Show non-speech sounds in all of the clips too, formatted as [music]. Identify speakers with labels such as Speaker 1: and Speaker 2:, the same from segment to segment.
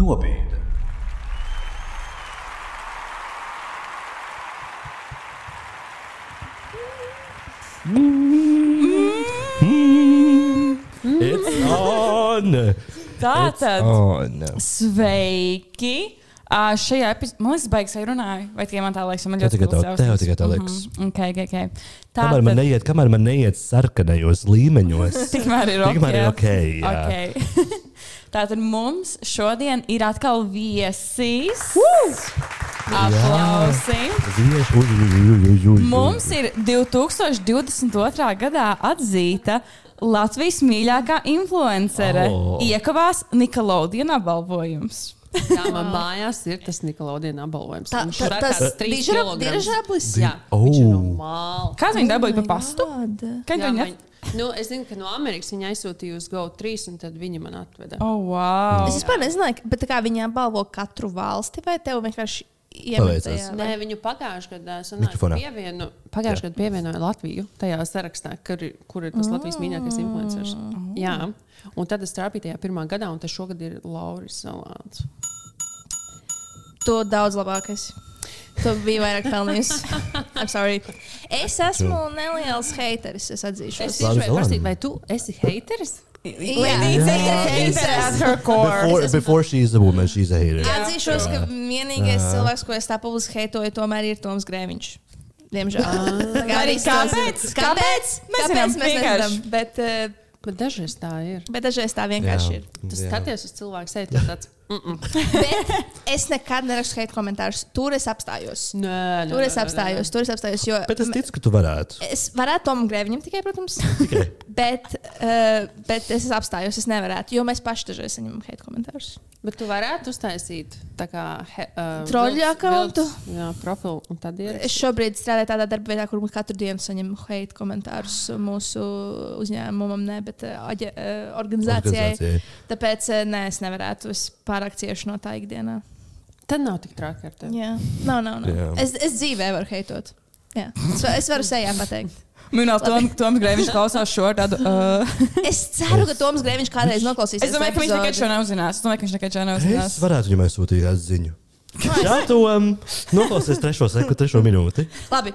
Speaker 1: Nobīde.
Speaker 2: It's [laughs] on!
Speaker 3: Tātad,
Speaker 2: on.
Speaker 3: sveiki! Ā, Šajā epizodē, man liekas, baigs, ja runāju. Vai tikai man tā liekas, man
Speaker 2: Tev
Speaker 3: ļoti
Speaker 2: tikai tā-
Speaker 3: plūcis
Speaker 2: tev
Speaker 3: ausis.
Speaker 2: tikai tā
Speaker 3: Mhm.
Speaker 2: liekas.
Speaker 3: Okay, okay, okay. Tā
Speaker 2: Kamēr man neiet, kamēr man neiet sarkanajos līmeņos.
Speaker 3: Tikmēr ir ok.
Speaker 2: Tikmēr ir ok, jā.
Speaker 3: okay. [laughs] Tātad mums šodien ir atkal viesis. Aplausim!
Speaker 2: Vieši, uj, uj, uj, uj, uj, uj.
Speaker 3: Mums ir 2022. gadā atzīta Latvijas mīļākā influencere.
Speaker 2: Oh.
Speaker 3: Oh. Iekavās Nikolaudijas apbalvojums.
Speaker 4: Jā, man mājās ir tas Nikolaudijas apbalvojums.
Speaker 5: Tā-
Speaker 4: Viņš
Speaker 5: tā-
Speaker 4: ir
Speaker 5: tas
Speaker 4: tāds trīs
Speaker 5: dižra-
Speaker 4: kilograms.
Speaker 5: diržablis?
Speaker 4: Jā,
Speaker 2: Di-
Speaker 4: viņš ir
Speaker 2: Oh.
Speaker 4: no māla.
Speaker 3: Kā viņi dabūja pa pastu? Kad
Speaker 4: Jā,
Speaker 3: viņi
Speaker 4: man- Nu, es zinu, ka no Amerikas viņa aizsūtīja uz GO3, un tad viņa man atveda.
Speaker 3: Oh, wow.
Speaker 5: Es vispār nezināju, bet tā kā viņi apbalvo katru valsti, vai tev vienkārši
Speaker 2: Paveicās.
Speaker 5: iemet tajā?
Speaker 4: Nē, viņu pagājušajā gadā sanāk,
Speaker 2: Mikrofonā.
Speaker 4: pievienu, pagājušajā gadā pievienoja Latviju tajā sarakstā, kur, ir- kur ir tas Latvijas mīļākais influenceris. Jā, un tad es trāpīju tajā pirmā gadā, un tas šogad ir Lauris Salāns.
Speaker 5: To daudz labākais. Tu biji vairāk
Speaker 4: [laughs]
Speaker 5: pelnījis. I'm sorry. Es esmu neliels haiteris, es
Speaker 4: Es
Speaker 5: atzīšos.
Speaker 2: Lauris
Speaker 4: gribēju
Speaker 2: Zalāns.
Speaker 4: prasīt, vai tu esi heiteris?
Speaker 5: Ladies and gentlemen,
Speaker 2: Before, before she's a woman, she's a hater.
Speaker 5: Atzīšos, ka vienīgais cilvēks, ko es tā publiski heitoju, tomēr ir Toms Grēviņš. Diemžēl. Tā kā
Speaker 3: Arī
Speaker 5: visi to zina.
Speaker 3: Ah. kāpēc?
Speaker 5: Kāpēc?
Speaker 3: Mēs
Speaker 5: Kāpēc
Speaker 3: zinām,
Speaker 5: mēs nezinām?
Speaker 3: vienkārši.
Speaker 5: Bet, eh,
Speaker 4: Bet dažreiz tā ir.
Speaker 5: bet dažreiz tā vienkārši ir.
Speaker 4: Tu skaties uz cilvēku sēdi, un tāds -
Speaker 5: Bet es nekad nerakstu hate komentārus. Tur es apstājos.
Speaker 4: nē, nē,
Speaker 5: Tur
Speaker 4: nē, nē,
Speaker 5: es
Speaker 4: nē.
Speaker 5: apstājos. Tur es apstājos jo
Speaker 2: Bet es ticu, ka tu varētu.
Speaker 5: es varētu Tomam Grēviņam tikai, protams. [laughs] bet, uh, bet es apstājos. Es nevarētu, jo mēs paši dažreiz saņemam hate komentārus.
Speaker 4: Bet tu varētu uztaisīt tā kā he- uh,
Speaker 5: Troļļu
Speaker 4: vilc-
Speaker 5: akauntu?
Speaker 4: vilc- Jā, profilu. Un tad ir.
Speaker 5: Es šobrīd strādāju tādā darba vietā, kur mēs katru dienu saņemam hate komentārus mūsu uzņēmumam, ne, bet uh, aģe- uh, organizācijai.
Speaker 2: Organizācijai.
Speaker 5: Tāpēc uh, nē, es nevarētu. Es pārāk cieši no tā ikdienā.
Speaker 4: Tad nav tik traki ar tevi.
Speaker 5: Jā, nav, nav. nav.
Speaker 2: Jā.
Speaker 5: Es, es dzīvē varu heitot. Jā. Es va- Es varu sejā pateikt.
Speaker 3: Minēta, Tom, Toms Grēviņš klausās šo tādu. Uh,
Speaker 5: Es ceru, ka Toms Grēviņš kādreiz noklausīsies.
Speaker 3: es domāju, ka viņš
Speaker 5: šo
Speaker 3: nekad šo neuzzinās. Es domāju, ka viņš nekad šo
Speaker 2: Es
Speaker 3: neuzzinās.
Speaker 2: varētu viņam aizsūtīt kādu ziņu. Šāduam noklausies trešo sekundu, trešo minūti.
Speaker 5: epizodu. Labi,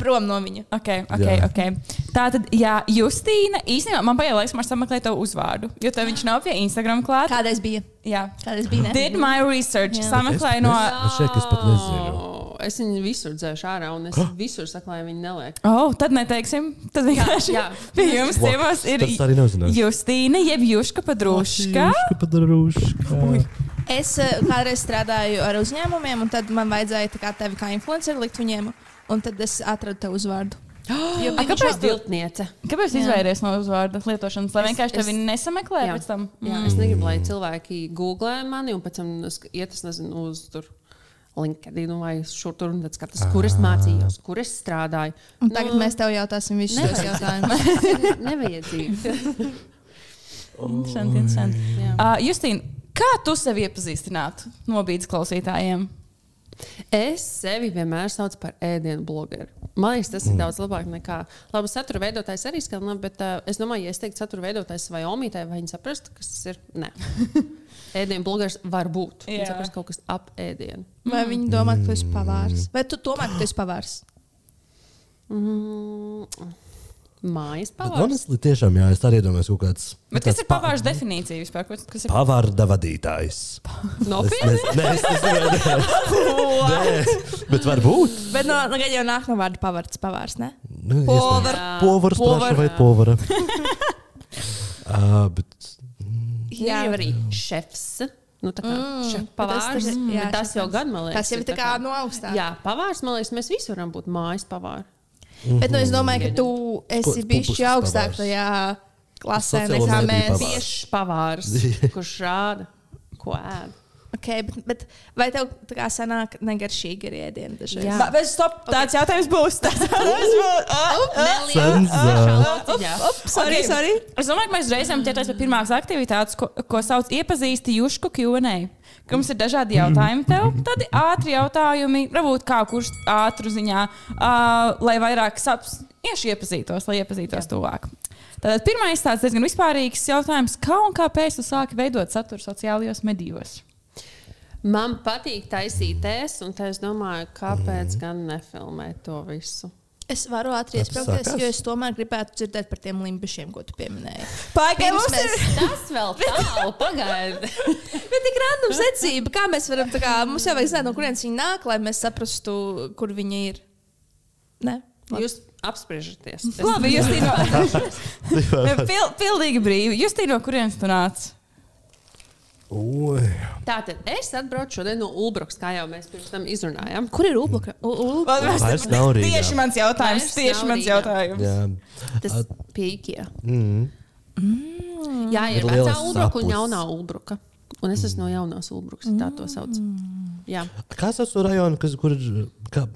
Speaker 5: prom no viņa.
Speaker 3: Okay, okay,
Speaker 2: Jā.
Speaker 3: okay. Tā tad, jā, Justīna, īstenībā man bija laiks, man sameklēja tavu uzvārdu, jo tev viņš nav pie Instagram klāta.
Speaker 5: Kādreiz bija?
Speaker 3: Jā,
Speaker 5: Kādreiz bija?
Speaker 3: did
Speaker 5: Ne?
Speaker 3: my research,
Speaker 5: Jā.
Speaker 3: sameklēja no.
Speaker 2: Es- es šeit es pat nezinu.
Speaker 4: Au, Es viņu visur dzēšu ārā, un es visur saklāju, viņa neliek.
Speaker 3: Oh, tad neteiksim, tad vienkārši jā,
Speaker 4: jā.
Speaker 3: jā. pie jums
Speaker 2: Wow,
Speaker 3: ciemos ir
Speaker 2: tad es arī nezināju.
Speaker 3: Justīna, jeb Juška Padrūška.
Speaker 2: Šķiška padarūška.
Speaker 5: Es eh, kādreiz strādāju ar uzņēmumiem, un tad man vajadzēja tā kā tevi kā influenceru likt viņiem, un tad es atradu tev uzvārdu.
Speaker 3: [gasps]
Speaker 5: Jo
Speaker 4: A,
Speaker 5: viņš
Speaker 4: kāpēc
Speaker 5: šo-
Speaker 4: viltniece?
Speaker 3: Kāpēc
Speaker 5: Jā.
Speaker 3: izvairies no uzvārda lietošanas? Lai
Speaker 4: Es-
Speaker 3: vienkārši tevi
Speaker 4: es-
Speaker 3: nesameklē
Speaker 4: jā.
Speaker 3: pēc tam.
Speaker 4: Jā,
Speaker 2: Mm.
Speaker 4: es negribu, lai cilvēki googlē mani, un pēc tam es- iet, es nezinu, uz tur. LinkedIn vai šur tur un tad skatās,
Speaker 2: Ah.
Speaker 4: kur es mācījos, kur es strādāju.
Speaker 5: Un tagad mēs tev jautāsim visus šos
Speaker 4: Nevajag.
Speaker 5: jautājumus.
Speaker 4: Nevajadzīgi.
Speaker 3: [laughs]
Speaker 2: [laughs]
Speaker 4: [laughs]
Speaker 3: Interesanti, interesanti. Uh, Justīna, kā tu sevi iepazīstinātu nobīdes klausītājiem?
Speaker 4: Es sevi vienmēr saucu par ēdienu blogeru. Man liekas, tas ir daudz labāk nekā labi satura veidotājs arī skan, labi, bet uh, es domāju, ja es teiktu satura veidotājs vai omītē, vai viņi saprastu, kas tas ir. Nē, ēdienu blogeris var būt.
Speaker 3: Jā.
Speaker 4: Viņi saprast kaut kas ap ēdienu.
Speaker 5: Vai viņi domā, ka tu esi pavārs? Vai tu domā, ka tu esi pavārs?
Speaker 4: Mm. Mājas pavārs.
Speaker 2: Honestly, tiešām, jā, es arī domāju, ka kaut kāds.
Speaker 3: Bet kas ir pavārs definīcija vispār? Ko- Kas ir
Speaker 2: Pavārda vadītājs.
Speaker 4: Nopietni.
Speaker 2: Nē, es nezinu. Bet varbūt.
Speaker 5: Bet no, no gada jau nāk no vārda pavārds, pavārs, ne?
Speaker 2: Nu,
Speaker 5: Povar.
Speaker 2: iespējams. Povars,
Speaker 4: Povar.
Speaker 2: prašu vai povara.
Speaker 4: [laughs]
Speaker 2: Ā, Bet
Speaker 4: Jā, ir arī šefs. Nu, tā kā mm, šef
Speaker 5: bet tas
Speaker 4: pavārs.
Speaker 5: tas
Speaker 4: Tas,
Speaker 5: ir- jā,
Speaker 4: jā, tas jau
Speaker 5: šefs.
Speaker 4: gan, man liekas.
Speaker 5: Tas jau ir tā kā no augstāk.
Speaker 4: Jā, pavārs, man liekas, mēs visi varam būt mājas pavāri.
Speaker 5: Bet nu, es domāju, ka tu esi
Speaker 2: Mhm. Ko-
Speaker 5: bijis
Speaker 2: publisks
Speaker 5: augstāk
Speaker 2: pavārs.
Speaker 5: tajā klasē
Speaker 2: Sociālo
Speaker 5: nekā
Speaker 2: mediju
Speaker 5: mēs.
Speaker 2: pavārs.
Speaker 4: Tieši pavārs, kurš rāda, ko ēd.
Speaker 5: Okay, bet, bet vai tev tā kā sanāk negaršīgi ir ēdienu dažreiz?
Speaker 4: Jā.
Speaker 3: Ba- Bet stop, tāds jautājums būs. Tāds jautājums būs. Ah, ah.
Speaker 2: Senza.
Speaker 5: Sorry,
Speaker 3: Ok.
Speaker 5: sorry.
Speaker 3: Es domāju, ka mēs reizēm ķeramies pie pirmās aktivitātes, ko, ko sauc iepazīsti Jušku Q&A. Ka Mums ir dažādi jautājumi tev, tādi ātri jautājumi, varbūt kā kurš ātru ziņā, uh, lai vairāk saprastu. Iešu iepazītos, lai iepazītos tuvāk. Tātad pirmais tāds diezgan vispārīgs jautājums, kā un kāpēc tu sāki veidot saturu sociālajos medijos?
Speaker 4: Man patīk taisīt tēs, un tā es domāju, kāpēc mm. gan nefilmēt to visu.
Speaker 5: Es varu ātri
Speaker 2: Kāpēc
Speaker 5: iesaistīties,
Speaker 2: sākās?
Speaker 5: jo es tomēr gribētu dzirdēt par tiem limbišiem, ko tu pieminēji.
Speaker 3: Pagaid,
Speaker 5: Pirms
Speaker 3: mums ir-
Speaker 4: Tas vēl [laughs] tālu pagaidi.
Speaker 5: [laughs] Bet tik random secība, kā mēs varam, tā kā mums jau vajag zināt, no kurienes viņi nāk, lai mēs saprastu, kur viņi ir. Nē,
Speaker 4: Jūs apspriežaties. Es-
Speaker 3: Labi,
Speaker 4: [laughs]
Speaker 3: Justīno, Pil, pilnīgi brīvi. Justīno, kurienes tu nāc?
Speaker 2: Oi.
Speaker 4: Tātad es atbraucu šodien no Ulbrukas, kā jau mēs pirms tam izrunājām.
Speaker 5: kur ir upe?
Speaker 3: Vēl-
Speaker 2: Vairs nav Rīgā.
Speaker 3: Tieši mans jautājums.
Speaker 4: Vairs
Speaker 3: Tieši
Speaker 4: nav
Speaker 3: mans
Speaker 4: Rīgā.
Speaker 3: jautājums.
Speaker 2: Jā.
Speaker 4: Tas pieeja.
Speaker 2: Mm.
Speaker 4: Jā, ir,
Speaker 2: Ir
Speaker 4: ir vecā
Speaker 2: lielas
Speaker 4: Ulbruka un
Speaker 2: sapulces.
Speaker 4: jaunā Ulbruka. Un es esmu no jaunās Ulbrukas, tā
Speaker 2: Mm.
Speaker 4: to sauc. Jā,
Speaker 2: Kā sauc to rajonu, kas, kur ir. Kā,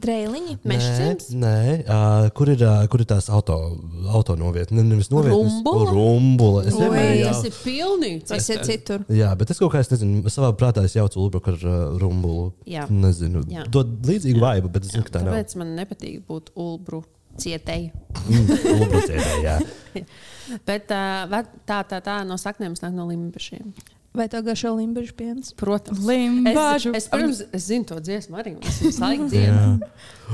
Speaker 5: Dreiliņi.
Speaker 4: Mežciems?
Speaker 2: Nē, nē uh, kur, ir, uh, kur ir tās auto, auto novietnes? Ne, nevis novietnes,
Speaker 4: Rumbula?
Speaker 2: rumbula. Es vienmēr, jā,
Speaker 4: tas ir pilnīgi
Speaker 5: Tas ir citur.
Speaker 2: jā, bet es kaut kā, es nezinu, savā prātā es jaucu Ulbraku ar uh, rumbulu.
Speaker 4: Jā.
Speaker 2: Nezinu,
Speaker 4: Jā.
Speaker 2: dod līdzīgu vaibu, bet es zinu, ka tā nav.
Speaker 4: Tāpēc man nepatīk būt Ulbru cietēji.
Speaker 2: Ulbrucēdē, Mm, jā.
Speaker 4: Bet uh, ve- tā, tā, tā no saknēm es nāk no limbišiem.
Speaker 5: Vai to garšo limbišu piens?
Speaker 4: Protams. Es,
Speaker 3: Limbažu.
Speaker 4: es, pirms, es zinu to dziesmu arī. Es viņu
Speaker 2: jā.
Speaker 4: laiku dziesmu.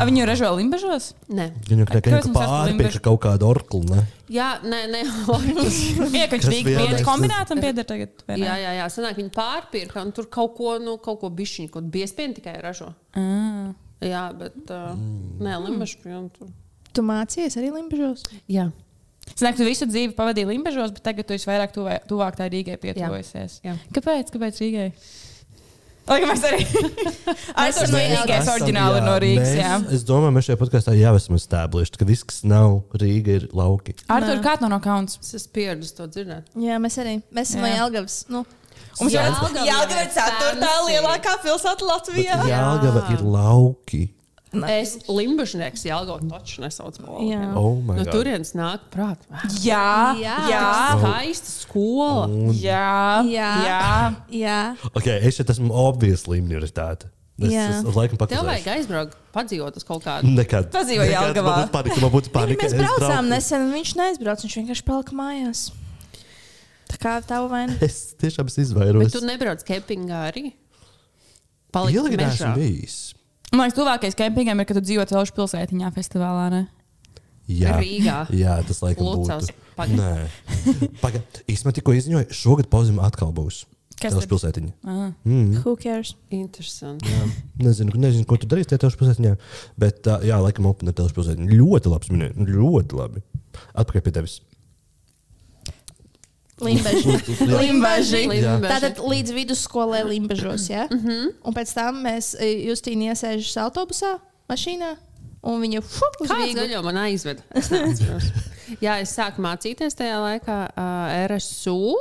Speaker 3: A, Viņu ražo
Speaker 2: [laughs]
Speaker 3: limbažos?
Speaker 4: Nē,
Speaker 2: Viņu kā
Speaker 3: Kāpēc
Speaker 2: kā
Speaker 3: mums esmu
Speaker 2: pārpirka kaut kādu orklu, ne?
Speaker 4: jā, nē, nē.
Speaker 3: Iekāpst
Speaker 2: Kas
Speaker 3: Rīgas
Speaker 2: vienais-
Speaker 3: viena kombinācija pieder tagad. vai ne?
Speaker 4: jā, jā, jā. Sanāk, viņi pārpirka un tur kaut ko, nu, kaut ko bišķiņu, kaut biespienu tikai ražo.
Speaker 3: Ā.
Speaker 4: Jā, bet uh, mm. nē, limbašu pienu tur.
Speaker 5: Tu mācījies arī limbišos?
Speaker 4: Jā.
Speaker 3: Sanāk, tu visu dzīvi pavadīji limbažos, bet tagad tu esi vairāk tuvai- tuvāk tā Rīgai pietuvojusies.
Speaker 4: Jā.
Speaker 3: Kāpēc? Kāpēc Rīgai? Lai gan mēs arī
Speaker 5: [laughs]
Speaker 3: esam no
Speaker 5: esam jau-
Speaker 3: Rīgas,
Speaker 2: Esam,
Speaker 3: oriģināli
Speaker 2: jā,
Speaker 3: no Rīgas.
Speaker 2: mēs-
Speaker 3: jā.
Speaker 2: Es domāju, mēs šajā podkāstā jau esam establishējuši, ka viss, kas nav Rīga, ir lauki.
Speaker 3: Artur, kā tev no kauns?
Speaker 4: Es esmu pieradis to dzirdēt.
Speaker 5: Jā, mēs arī. Mēs esam no
Speaker 3: Jā.
Speaker 5: Jālgavas. Nu,
Speaker 3: Mums
Speaker 4: Jā,
Speaker 3: jau
Speaker 4: Jelgava ir
Speaker 3: ir ceturtā
Speaker 4: fancy.
Speaker 3: lielākā pilsēta Latvijā.
Speaker 2: Jā, gala ir lauki.
Speaker 4: Es limbažnieks Jālgo taču nesauc par
Speaker 5: Jā.
Speaker 4: Olgu.
Speaker 2: Oh my
Speaker 4: No
Speaker 2: God.
Speaker 4: turienes nāk prātā.
Speaker 3: Jā, jā,
Speaker 5: Jā.
Speaker 3: jā,
Speaker 4: Skaista skola.
Speaker 2: Mm.
Speaker 3: jā.
Speaker 5: Jā.
Speaker 3: jā.
Speaker 5: jā.
Speaker 2: Okay, es šeit esmu obviously minoritāte. Es,
Speaker 5: Jā.
Speaker 2: es, es laikam
Speaker 4: Tev
Speaker 2: pakāpēju.
Speaker 4: vajag aizbraukt, padzīvot uz kaut kādu.
Speaker 2: Nekad.
Speaker 3: Padzīvo Jelgavā.
Speaker 2: Man būtu panika, man būtu
Speaker 5: Viņu
Speaker 2: panika.
Speaker 5: mēs
Speaker 2: es
Speaker 5: braucām
Speaker 2: braucu.
Speaker 5: nesen, un viņš neaizbrauca. Viņš vienkārši palika mājās. Tā kā tava vaina.
Speaker 2: Es tiešām esmu
Speaker 4: Bet
Speaker 2: izvairos.
Speaker 4: tu nebrauc kempingā arī. Palikt
Speaker 2: Ilgi
Speaker 4: mežā.
Speaker 2: neesmu bijis.
Speaker 3: Man liekas, tuvākais kempingam ir, kad tu dzīvo Velšu pilsētiņā, festivālā. Ne?
Speaker 2: Jā,
Speaker 4: Rīgā.
Speaker 2: Jā, tas laikam
Speaker 4: Lucavs.
Speaker 2: būtu.
Speaker 4: Pagaid.
Speaker 2: [laughs] Nē. Pagaid. Īstumā tikko izziņoju, šogad pauzim atkal būs.
Speaker 3: Kas
Speaker 2: Telšu
Speaker 3: tad?
Speaker 2: pilsētiņa?
Speaker 3: Ah.
Speaker 2: Mm.
Speaker 5: Who cares?
Speaker 4: Interesanti.
Speaker 2: Jā. Nezinu, nezinu, ko tu darīsi tajā telšu pilsētiņā. Bet, ā, jā, laikam, opina telšu pilsētiņa. Ļoti labs minēt. Ļoti labi. Atpakaļ pie tevis. [laughs]
Speaker 5: Limbaži. Limbaži.
Speaker 4: Limbaži.
Speaker 5: Tātad līdz vidusskolai Limbažos. Ja? Mm -hmm.
Speaker 3: Mhm.
Speaker 5: Un pēc tam mēs e, Justīnu iesēžam autobusā, mašīnā. Un viņa
Speaker 4: Kāds
Speaker 3: nu-
Speaker 5: fuck!
Speaker 4: gaļo man aizved? Es neatceros. Jā, es sāku mācīties tajā laikā uh, RSU.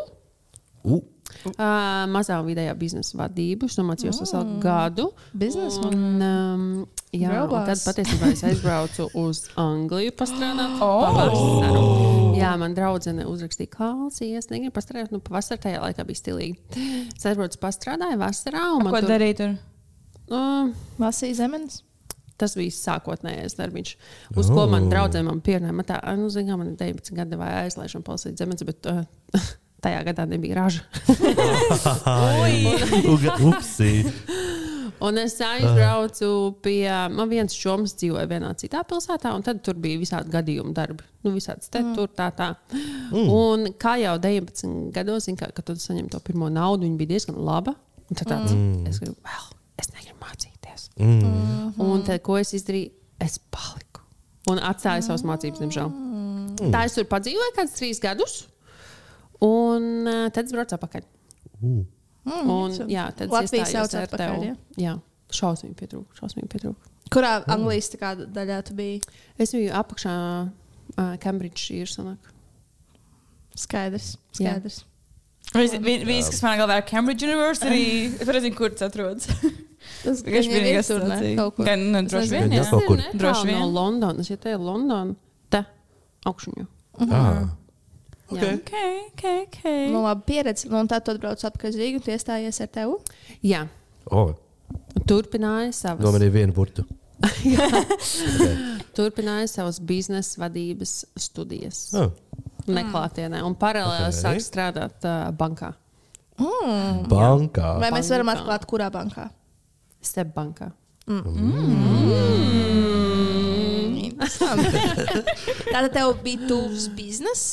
Speaker 2: U,
Speaker 4: Uh, mazā un vidējā biznesa vadību. Es mācījos to mm. gadu.
Speaker 5: Biznesa
Speaker 4: un, um, jā,
Speaker 5: Girl
Speaker 4: un tad
Speaker 5: boss.
Speaker 4: patiesībā es aizbraucu uz Angliju strādāt.
Speaker 3: Oh!
Speaker 4: Oh. Jā, man draudzene uzrakstīja, ka klausies, negribu strādāt. Nu, pavasarī tajā laikā bija stilīgi. Es aizbraucu, pastrādāju vasarā. un man
Speaker 3: Ko
Speaker 4: tur-
Speaker 3: darīt? Tur?
Speaker 4: Mm,
Speaker 5: Vasīja zemenes.
Speaker 4: Tas bija sākotnējais darbs, uz ko man draudzēm pierādīja. Tā, "Ai, nu, zināmā mērā, man ir 19 gadi, vai aizlaižam palsīt zemes, bet uh, [laughs] tajā gadā nebija raža.
Speaker 2: uga- Upsi.
Speaker 4: Un es aizbraucu pie, man viens čoms dzīvoja vienā citā pilsētā, un tad tur bija visādi gadījumi darbi. Nu, visāds te, mm. tur, tā, tā. Mm. Un kā jau 19 gados, zin kā, kad tu saņem to pirmo naudu, viņa bija diezgan laba. Un tad tāds, mm. es gribu vēl, es negribu mācīties.
Speaker 2: Mm.
Speaker 4: Un tad, ko es izdarīju? Es paliku. Un atstāju savas mācības, diemžēl. Tā es tur padzīvoju kaut kādus trīs gadus. Un uh, tad es braucu atpakaļ.
Speaker 2: U.
Speaker 5: Mm,
Speaker 4: Un,
Speaker 5: so-
Speaker 4: jā, tad es
Speaker 5: Latvijas
Speaker 4: iestājos
Speaker 5: sauc atpakaļ.
Speaker 4: RTU.
Speaker 5: Ja?
Speaker 4: Jā, šausmīgi pietrūka. Šausmīgi pietrūka.
Speaker 5: Kurā Anglijas tā kā, daļā tu biji?
Speaker 4: Es biju apakšā uh, Cambridge īrsanā.
Speaker 5: Skaidrs.
Speaker 4: Jā.
Speaker 5: skaidrs.
Speaker 3: Viss, vi- viss, kas manā galvā ir Cambridge University, es pat nezinu, kur tas atrodas.
Speaker 5: Tas
Speaker 3: Vienkārši
Speaker 5: viņiem ir
Speaker 3: vienīgais
Speaker 5: tur, ne?
Speaker 3: situācija.
Speaker 5: Kaut kur.
Speaker 3: Gan, nu, droši
Speaker 2: nezinu.
Speaker 3: vien,
Speaker 2: Gan
Speaker 3: jā.
Speaker 2: jau kaut kur.
Speaker 4: Droši
Speaker 3: Droši
Speaker 4: vien.
Speaker 3: vien.
Speaker 4: No Londonas, ja te ir Londona, te augšņu.
Speaker 2: Ah.
Speaker 4: Okay.
Speaker 3: Okay, okay, okay.
Speaker 5: Nu, labi, pieredze. Nu, un tā tu atbrauc atpakaļ uz Rīgu un tu iestājies ar tevu.
Speaker 4: Jā.
Speaker 2: O,
Speaker 4: Turpināju savas. [laughs]
Speaker 2: Domāju, viena burta.
Speaker 4: Turpināju savas biznesa vadības studijas.
Speaker 2: Ah,
Speaker 4: Neklātienē, un paralēli
Speaker 2: Ok.
Speaker 4: okay. sāku strādāt uh, bankā.
Speaker 5: Mm.
Speaker 2: bankā.
Speaker 5: Vai mēs varam
Speaker 4: Bankā.
Speaker 5: atklāt, kurā bankā?
Speaker 4: Step bankā.
Speaker 5: Tātad tev bija tuvs bizness.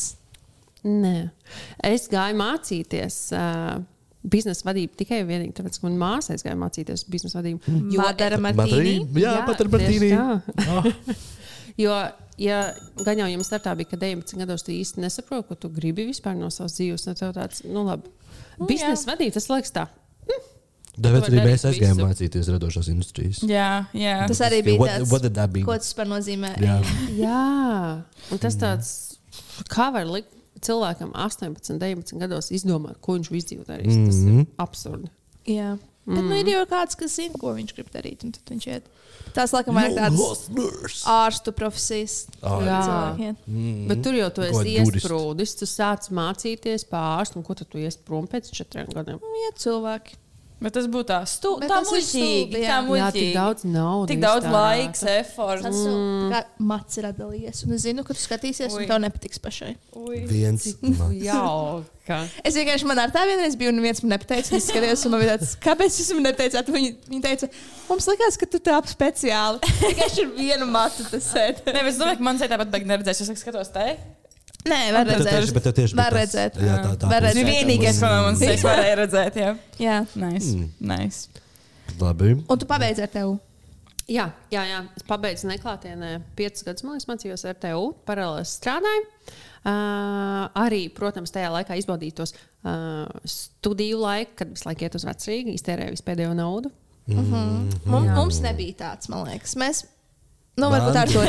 Speaker 4: Nē, es gāju mācīties. Uh, Biznesa vadība tikai un vienīgi tāpēc, ka manā māsā gāja mācīties biznesa vadību. Jo
Speaker 5: Madara Martīni.
Speaker 2: Madrī- Jā,
Speaker 4: Jā,
Speaker 2: pat ar Ah. Martīnu.
Speaker 4: tieši [laughs] Jo, ja gan jau jums startā bija, ka 19 gados tu īsti nesaproti, ko tu gribi vispār no savas dzīves, tad tev tāds, nu, labi, biznesa vadība, tas liekas tā.
Speaker 2: Tāpēc
Speaker 4: Tu
Speaker 2: arī
Speaker 4: vari
Speaker 2: mēs
Speaker 4: darīt
Speaker 2: aizgājām
Speaker 4: visu.
Speaker 2: mācīties radošās industrijas.
Speaker 3: Jā, jā.
Speaker 5: Tas arī bija
Speaker 2: What-
Speaker 5: tāds,
Speaker 2: what did that mean?
Speaker 5: ko tas par nozīmē.
Speaker 2: Jā,
Speaker 4: Jā, un tas tāds, kā var likt cilvēkam 18, 19 gados izdomāt, ko viņš visu dzīvi darīs. Mm. Tas
Speaker 2: Mhm.
Speaker 4: ir absurdi.
Speaker 5: Jā. Bet nu, ir
Speaker 4: Mm.
Speaker 5: jau kāds, kas zina, ko viņš grib darīt. un tad Viņš iet. Tās laikam
Speaker 2: Nu,
Speaker 5: ir tāds
Speaker 2: nurse.
Speaker 5: ārstu profesijas.
Speaker 4: Jā.
Speaker 5: cilvēkiem.
Speaker 4: Bet tur jau tu
Speaker 2: Mm. Nu, Kaut
Speaker 4: esi
Speaker 2: kādi juristi.
Speaker 4: iesprūdis, tu sāc mācīties pārst, un ko tad tu iesi prom pēc četriem gadiem?
Speaker 5: Nu, Ja cilvēki.
Speaker 3: Bet tas būtu tā stūra.
Speaker 5: Bet
Speaker 3: Tā
Speaker 5: tas ir
Speaker 3: muļķīgi.
Speaker 5: stulbi, jā.
Speaker 3: Tā
Speaker 4: Jā, tik
Speaker 3: muļķīgi.
Speaker 4: daudz naudas.
Speaker 3: Tik daudz
Speaker 4: iztērēta.
Speaker 3: laiks, efforts.
Speaker 5: Tas mm. kā mats ir atdalījies. Un es zinu, ka tu skatīsies,
Speaker 3: Ui.
Speaker 5: un tev nepatiks pašai.
Speaker 2: Viens. Nu,
Speaker 4: [laughs]
Speaker 2: man.
Speaker 4: Jauka.
Speaker 5: Es vienkārši man ar tā vienreiz biju, un viens man nepateica, un es skatījos, un man bija tāds, kāpēc jūs man neteicāt? Viņa, viņa teica, mums likās, ka tu tāp
Speaker 2: [laughs]
Speaker 5: speciāli. Vienkārši ar vienu matu tas sēd.
Speaker 3: Nē, bet es domāju, ka man tāpat beigas neredzēs. Es skatos te.
Speaker 5: Nē, var
Speaker 2: Tev tieši-
Speaker 5: redzēt.
Speaker 2: bet tev tieši bija
Speaker 5: Var
Speaker 2: tas-
Speaker 5: redzēt.
Speaker 2: Jā, tā tā.
Speaker 5: Var
Speaker 2: tas-
Speaker 5: Tas
Speaker 3: Tas
Speaker 5: redzēt.
Speaker 3: ir Nu, vienīgais, ko man sēž varēja redzēt. Jā,
Speaker 5: Jā.
Speaker 3: nice.
Speaker 2: Mm.
Speaker 3: nice.
Speaker 2: Labi.
Speaker 5: Un tu pabeidz ar tevu.
Speaker 4: Jā, jā, jā. Es pabeidzu neklātienē, piecus gadus man liekas, mācījos RTU, paralēli strādāju. Uh, arī, protams, tajā laikā izbaudīju tos uh, studiju laiku, kad visu laiku iet uz vecrīgu, iztērēju visu pēdējo naudu.
Speaker 5: Mhm.
Speaker 2: Mhm.
Speaker 5: Mums, mums nebija tāds, man liekas. Mēs, nu, varbūt ar to.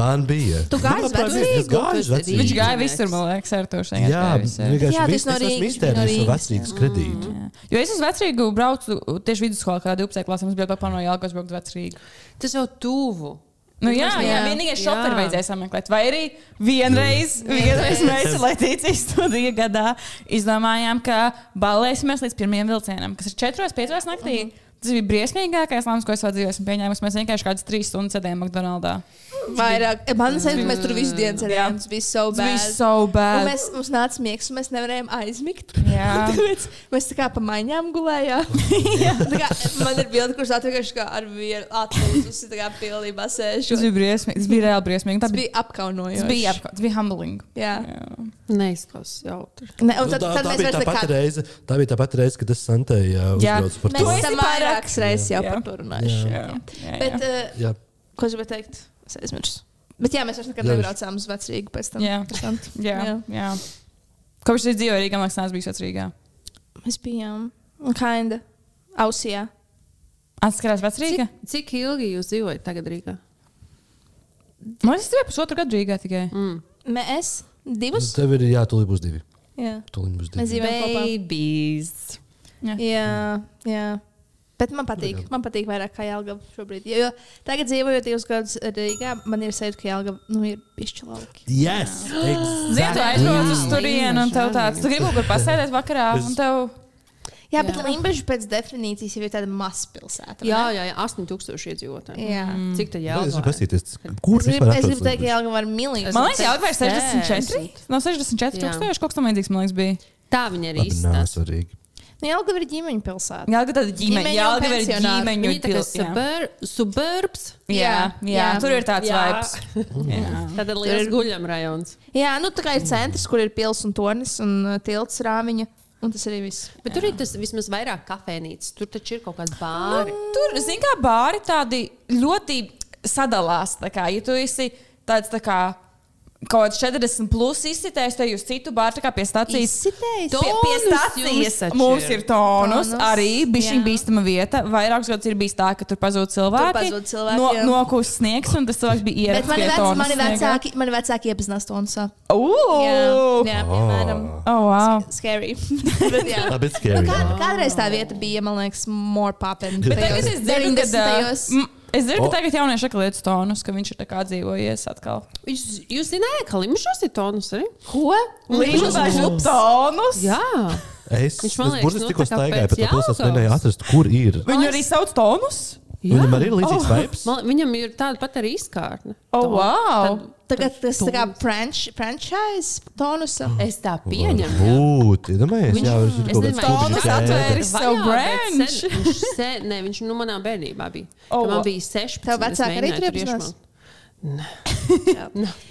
Speaker 2: Man bija.
Speaker 5: Tu gāji uz
Speaker 2: Manuprāt,
Speaker 5: vecrīgu?
Speaker 2: Es gāju uz
Speaker 4: Tu esi
Speaker 2: vecrīgu.
Speaker 3: Viņš
Speaker 4: Viņš
Speaker 3: gāja
Speaker 4: gāja
Speaker 3: visur, man liekas, ar to šajā
Speaker 2: Jā, vienkārši
Speaker 5: Jā, tu
Speaker 2: viss-
Speaker 5: esi
Speaker 2: es
Speaker 5: no
Speaker 2: esmu
Speaker 5: Rīgas,
Speaker 2: iztērējis
Speaker 5: no
Speaker 2: no vecrīgas kredītu.
Speaker 3: Jo es uz vecrīgu braucu tieši vidusskolā, kad 12. klasē mums bija kopā no Jālgos braukt uz vecrīgu.
Speaker 4: Tas jau tuvu.
Speaker 3: Nu, jā,
Speaker 5: Mēs-
Speaker 3: jā,
Speaker 5: jā.
Speaker 3: vienīgais
Speaker 4: Jā.
Speaker 3: šoferi vajadzēja sameklēt. Vai arī vienreiz, vienreiz mēs, Latīcijas studiju gadā, izdomājām, ka balēsimies līdz pirmajam vilcienam, kas ir 4-5 naktī. Tas bija briesmīgākais lēmums, ko es savā dzīvē esmu pieņēmis. Mēs vienkārši kādas trīs stundas sēdējām McDonald's.
Speaker 5: Vairāk,
Speaker 2: [laughs]
Speaker 5: man liekas, mēs tur visu dienu cerējām, tas bija so
Speaker 3: Tas bija
Speaker 5: bad.
Speaker 3: so
Speaker 5: Un
Speaker 3: bad.
Speaker 5: Mēs, mums nāca miegs, un mēs nevarējām aizmigt.
Speaker 3: Jā.
Speaker 5: Tāpēc mēs tā kā pa maiņām gulējām. [laughs] Tā kā, man ir bilde, kurš atvērš ar vienu atlūzusi, tā kā pilnībā
Speaker 3: [laughs] Tas
Speaker 5: sēžu.
Speaker 3: bija briesmīgi. Tas bija reāli briesmīgi. Tā
Speaker 5: Tas
Speaker 3: bija,
Speaker 5: bija apkaunojoši.
Speaker 3: tas bija, apka- tas bija humbling.
Speaker 5: Jā.
Speaker 3: Jā.
Speaker 4: Neizklausās jautri.
Speaker 5: Ne,
Speaker 2: Nu,
Speaker 5: un tad,
Speaker 2: tā,
Speaker 5: tad
Speaker 2: tā,
Speaker 5: mēs
Speaker 2: bija
Speaker 5: vairs
Speaker 2: tā, pati
Speaker 5: nekad.
Speaker 2: reize, tā bija tā pati reize, kad es Santēju
Speaker 3: Jā.
Speaker 2: uzbraucu par
Speaker 5: Mēs
Speaker 3: Tu
Speaker 2: to.
Speaker 3: esi
Speaker 5: esam
Speaker 3: pārāk-
Speaker 5: vairākas reizes jau
Speaker 3: Jā.
Speaker 5: par to runājuši.
Speaker 3: Jā. Jā,
Speaker 5: Bet,
Speaker 3: jā.
Speaker 5: eh,
Speaker 2: Jā,
Speaker 5: ko es gribēju teikt? Es aizmirsu. Bet jā, mēs vairs nekad
Speaker 2: Jā.
Speaker 5: nebraucām uz vecrīgu pēc tam.
Speaker 3: Jā.
Speaker 5: Interesanti.
Speaker 3: jā, jā. Kopš es dzīvoju Rīgā, man liekas, nesmu bijis vecrīgā.
Speaker 5: Mēs bijām kinda ausijā.
Speaker 3: Atcerās vecrīgā?
Speaker 4: Cik, cik ilgi jūs dzīvojat tagad Rīgā?
Speaker 3: Man liekas, tas bija pusotru gadu Rīgā tikai.
Speaker 4: Mm.
Speaker 5: Mēs
Speaker 2: Uz...
Speaker 5: divus.
Speaker 2: Tev ir jātūlīt būs divi.
Speaker 5: Jā.
Speaker 2: Tūlīt būs
Speaker 5: Mēs
Speaker 2: divi.
Speaker 5: dzīvojam kopā.
Speaker 4: Babies.
Speaker 5: Jā, jā. Bet man patīk,
Speaker 2: Tagad.
Speaker 5: man patīk vairāk kā Jālgava šobrīd. Jo, jo tagad dzīvojot divus gadus Rīgā, man ir sajūta, ka Jālgava nu, ir pišķi lauki.
Speaker 2: Yes,
Speaker 3: Zinu, tu aizbrauc uz turieni un tev tāds, tu gribi kaut kur pasēdēt vakarā
Speaker 2: Es-
Speaker 3: un tev.
Speaker 5: Jā, bet Limbaģa pēc definīcijas jau ir tāda mazpilsēta.
Speaker 4: Jā, jā, jā 8000 iedzīvotāji.
Speaker 5: jā. Mhm.
Speaker 4: Cik tā
Speaker 2: Jā,
Speaker 4: jau
Speaker 2: es gribu pasīties, kur
Speaker 5: Es gribu,
Speaker 2: vispār
Speaker 5: es gribu
Speaker 2: atrodas
Speaker 5: teikt, ka
Speaker 2: Limbaži?
Speaker 5: Jālgava ir milzīga.
Speaker 3: Man liekas, jau ir 64.
Speaker 4: 60.
Speaker 3: No 64
Speaker 4: Jā.
Speaker 3: tūkstoši kaut kas tam līdzīgs, man liekas, bija.
Speaker 4: Tā viņa ir
Speaker 2: Labi, nav
Speaker 4: īsta.
Speaker 2: svarīgi.
Speaker 5: Nu, Jālgava ir ģimeņa pilsēta.
Speaker 3: Jā, ka tāda ģimene,
Speaker 5: Ģimeņu
Speaker 3: jā, ka ir
Speaker 5: pensionāri.
Speaker 3: ģimeņu
Speaker 4: Viņa ir tāda
Speaker 3: pilsēta.
Speaker 4: super, suburbs.
Speaker 3: Jā, jā,
Speaker 5: Jā.
Speaker 3: tur ir tāds
Speaker 4: Jā.
Speaker 3: vibes. Jā.
Speaker 4: Tad ir liels guļamrajons.
Speaker 5: Jā, nu tā kā ir centrs, kur ir pils un tornis un uh, tilts rāmiņa. Un tas arī viss.
Speaker 4: Bet tur ir tas vismaz vairāk kafejnīcas. Tur taču ir kaut kāds bāri.
Speaker 3: Nu, Tur, zināmā mērā, bāri tādi ļoti sadalās. tā Kā, ja tu esi tāds tā kā kaut kāds 40 plus izsitējis, tad jūs citu bāru tā kā pie stācijas. Pie, pie
Speaker 5: Izsitējis.
Speaker 4: Tonus jums
Speaker 3: stācijas
Speaker 4: taču
Speaker 3: mums
Speaker 4: ir.
Speaker 3: ir tonus,
Speaker 5: Tonus,
Speaker 3: tonus arī bija
Speaker 5: jā.
Speaker 3: bīstama vieta. Vairākus gadus ir bijis tā, ka tur pazūd cilvēki.
Speaker 5: pazūd cilvēki,
Speaker 3: no,
Speaker 5: jā.
Speaker 3: nokūst sniegs, un tas cilvēks bija ieradies.
Speaker 5: Bet mani, vec, mani, vecāki, mani vecāki iepazinās Tonsā.
Speaker 3: Ugh!
Speaker 5: jā piemēram.
Speaker 3: Oh, wow.
Speaker 5: Scary. [laughs] Bet, jā.
Speaker 2: Labi, bet
Speaker 5: Nu,
Speaker 2: scary.
Speaker 5: kā,
Speaker 2: jā.
Speaker 5: kādreiz tā vieta bija, man liekas, more poppin.
Speaker 2: Bet
Speaker 3: Tagad es dzirdu, ka, uh, mm, es dzirdu,
Speaker 2: O.
Speaker 3: ka tagad jaunieši saka lietas tonus, ka viņš ir tā kā dzīvojies atkal.
Speaker 4: Jūs, jūs zinājāt, ka limšos ir tonus arī?
Speaker 5: Ko?
Speaker 4: Līdžos
Speaker 5: Līdžos
Speaker 4: ir
Speaker 3: tonus!
Speaker 4: Jā,
Speaker 2: Es
Speaker 4: Viņš,
Speaker 2: es
Speaker 4: man liekas,
Speaker 2: burtiski
Speaker 4: nu,
Speaker 2: tikko
Speaker 4: tā kā
Speaker 2: staigāju
Speaker 4: pēc
Speaker 2: pa to pilsētu,
Speaker 4: Jelgavas.
Speaker 2: mēģināju atrast, kur ir.
Speaker 3: Viņu arī sauc tonus?
Speaker 4: Jā.
Speaker 2: Viņam arī ir līdzīgs oh. vibes.
Speaker 4: Man, viņam ir tāda pati arī izkārne.
Speaker 3: Oh,
Speaker 4: Tā-
Speaker 3: wow!
Speaker 4: tad- Ah.
Speaker 5: Tagad tas tā kā franš- franchise tonusa.
Speaker 4: Es tā pieņemu. jā.
Speaker 2: Būt, iedomājies,
Speaker 4: Viņš-
Speaker 2: jā, viņš ir
Speaker 4: es
Speaker 2: kaut
Speaker 4: nezinu,
Speaker 2: kāds
Speaker 4: vai
Speaker 2: kubiņš
Speaker 4: viņš
Speaker 3: Tomas
Speaker 2: ēda.
Speaker 3: atvēra
Speaker 4: Vajā,
Speaker 3: savu
Speaker 4: bet
Speaker 3: branch.
Speaker 4: sen- viņš se- Nē, viņš nu manā bērnībā bija.
Speaker 3: Oh,
Speaker 4: Oh, man
Speaker 3: wow.
Speaker 4: bija 16.
Speaker 5: Tev
Speaker 4: es
Speaker 5: vecāki arī
Speaker 4: mēģināju
Speaker 5: tur
Speaker 4: tur
Speaker 5: iepazinās?
Speaker 4: iešmalt.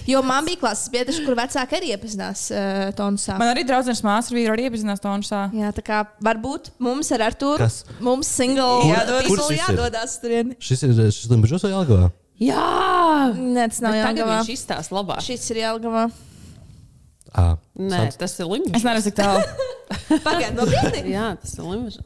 Speaker 5: Jo man bija klases biedrs, kur vecāki arī iepazinās uh, tonusā.
Speaker 3: Man arī draudzene māsas ar vīru arī iepazinās Tonšā.
Speaker 5: Jā, tā kā varbūt mums ar Arturu
Speaker 2: Kas?
Speaker 5: mums single
Speaker 2: Kur-
Speaker 5: jādodas,
Speaker 2: kurš šis ir?
Speaker 5: jādodas turien.
Speaker 2: Šis ir eh, šis Limbaģos vai Jāgavā?
Speaker 4: Jā!
Speaker 5: Nē, tas nav
Speaker 4: Bet Tagad
Speaker 5: jāgavā.
Speaker 4: viņš izstāsta labāk.
Speaker 5: Šis ir jāgavā.
Speaker 2: Ā,
Speaker 4: Nē,
Speaker 2: sāc.
Speaker 4: tas ir limžs.
Speaker 3: Es neesmu tik tālu.
Speaker 5: Pagaid, nopietni.
Speaker 4: Jā, tas ir limžs.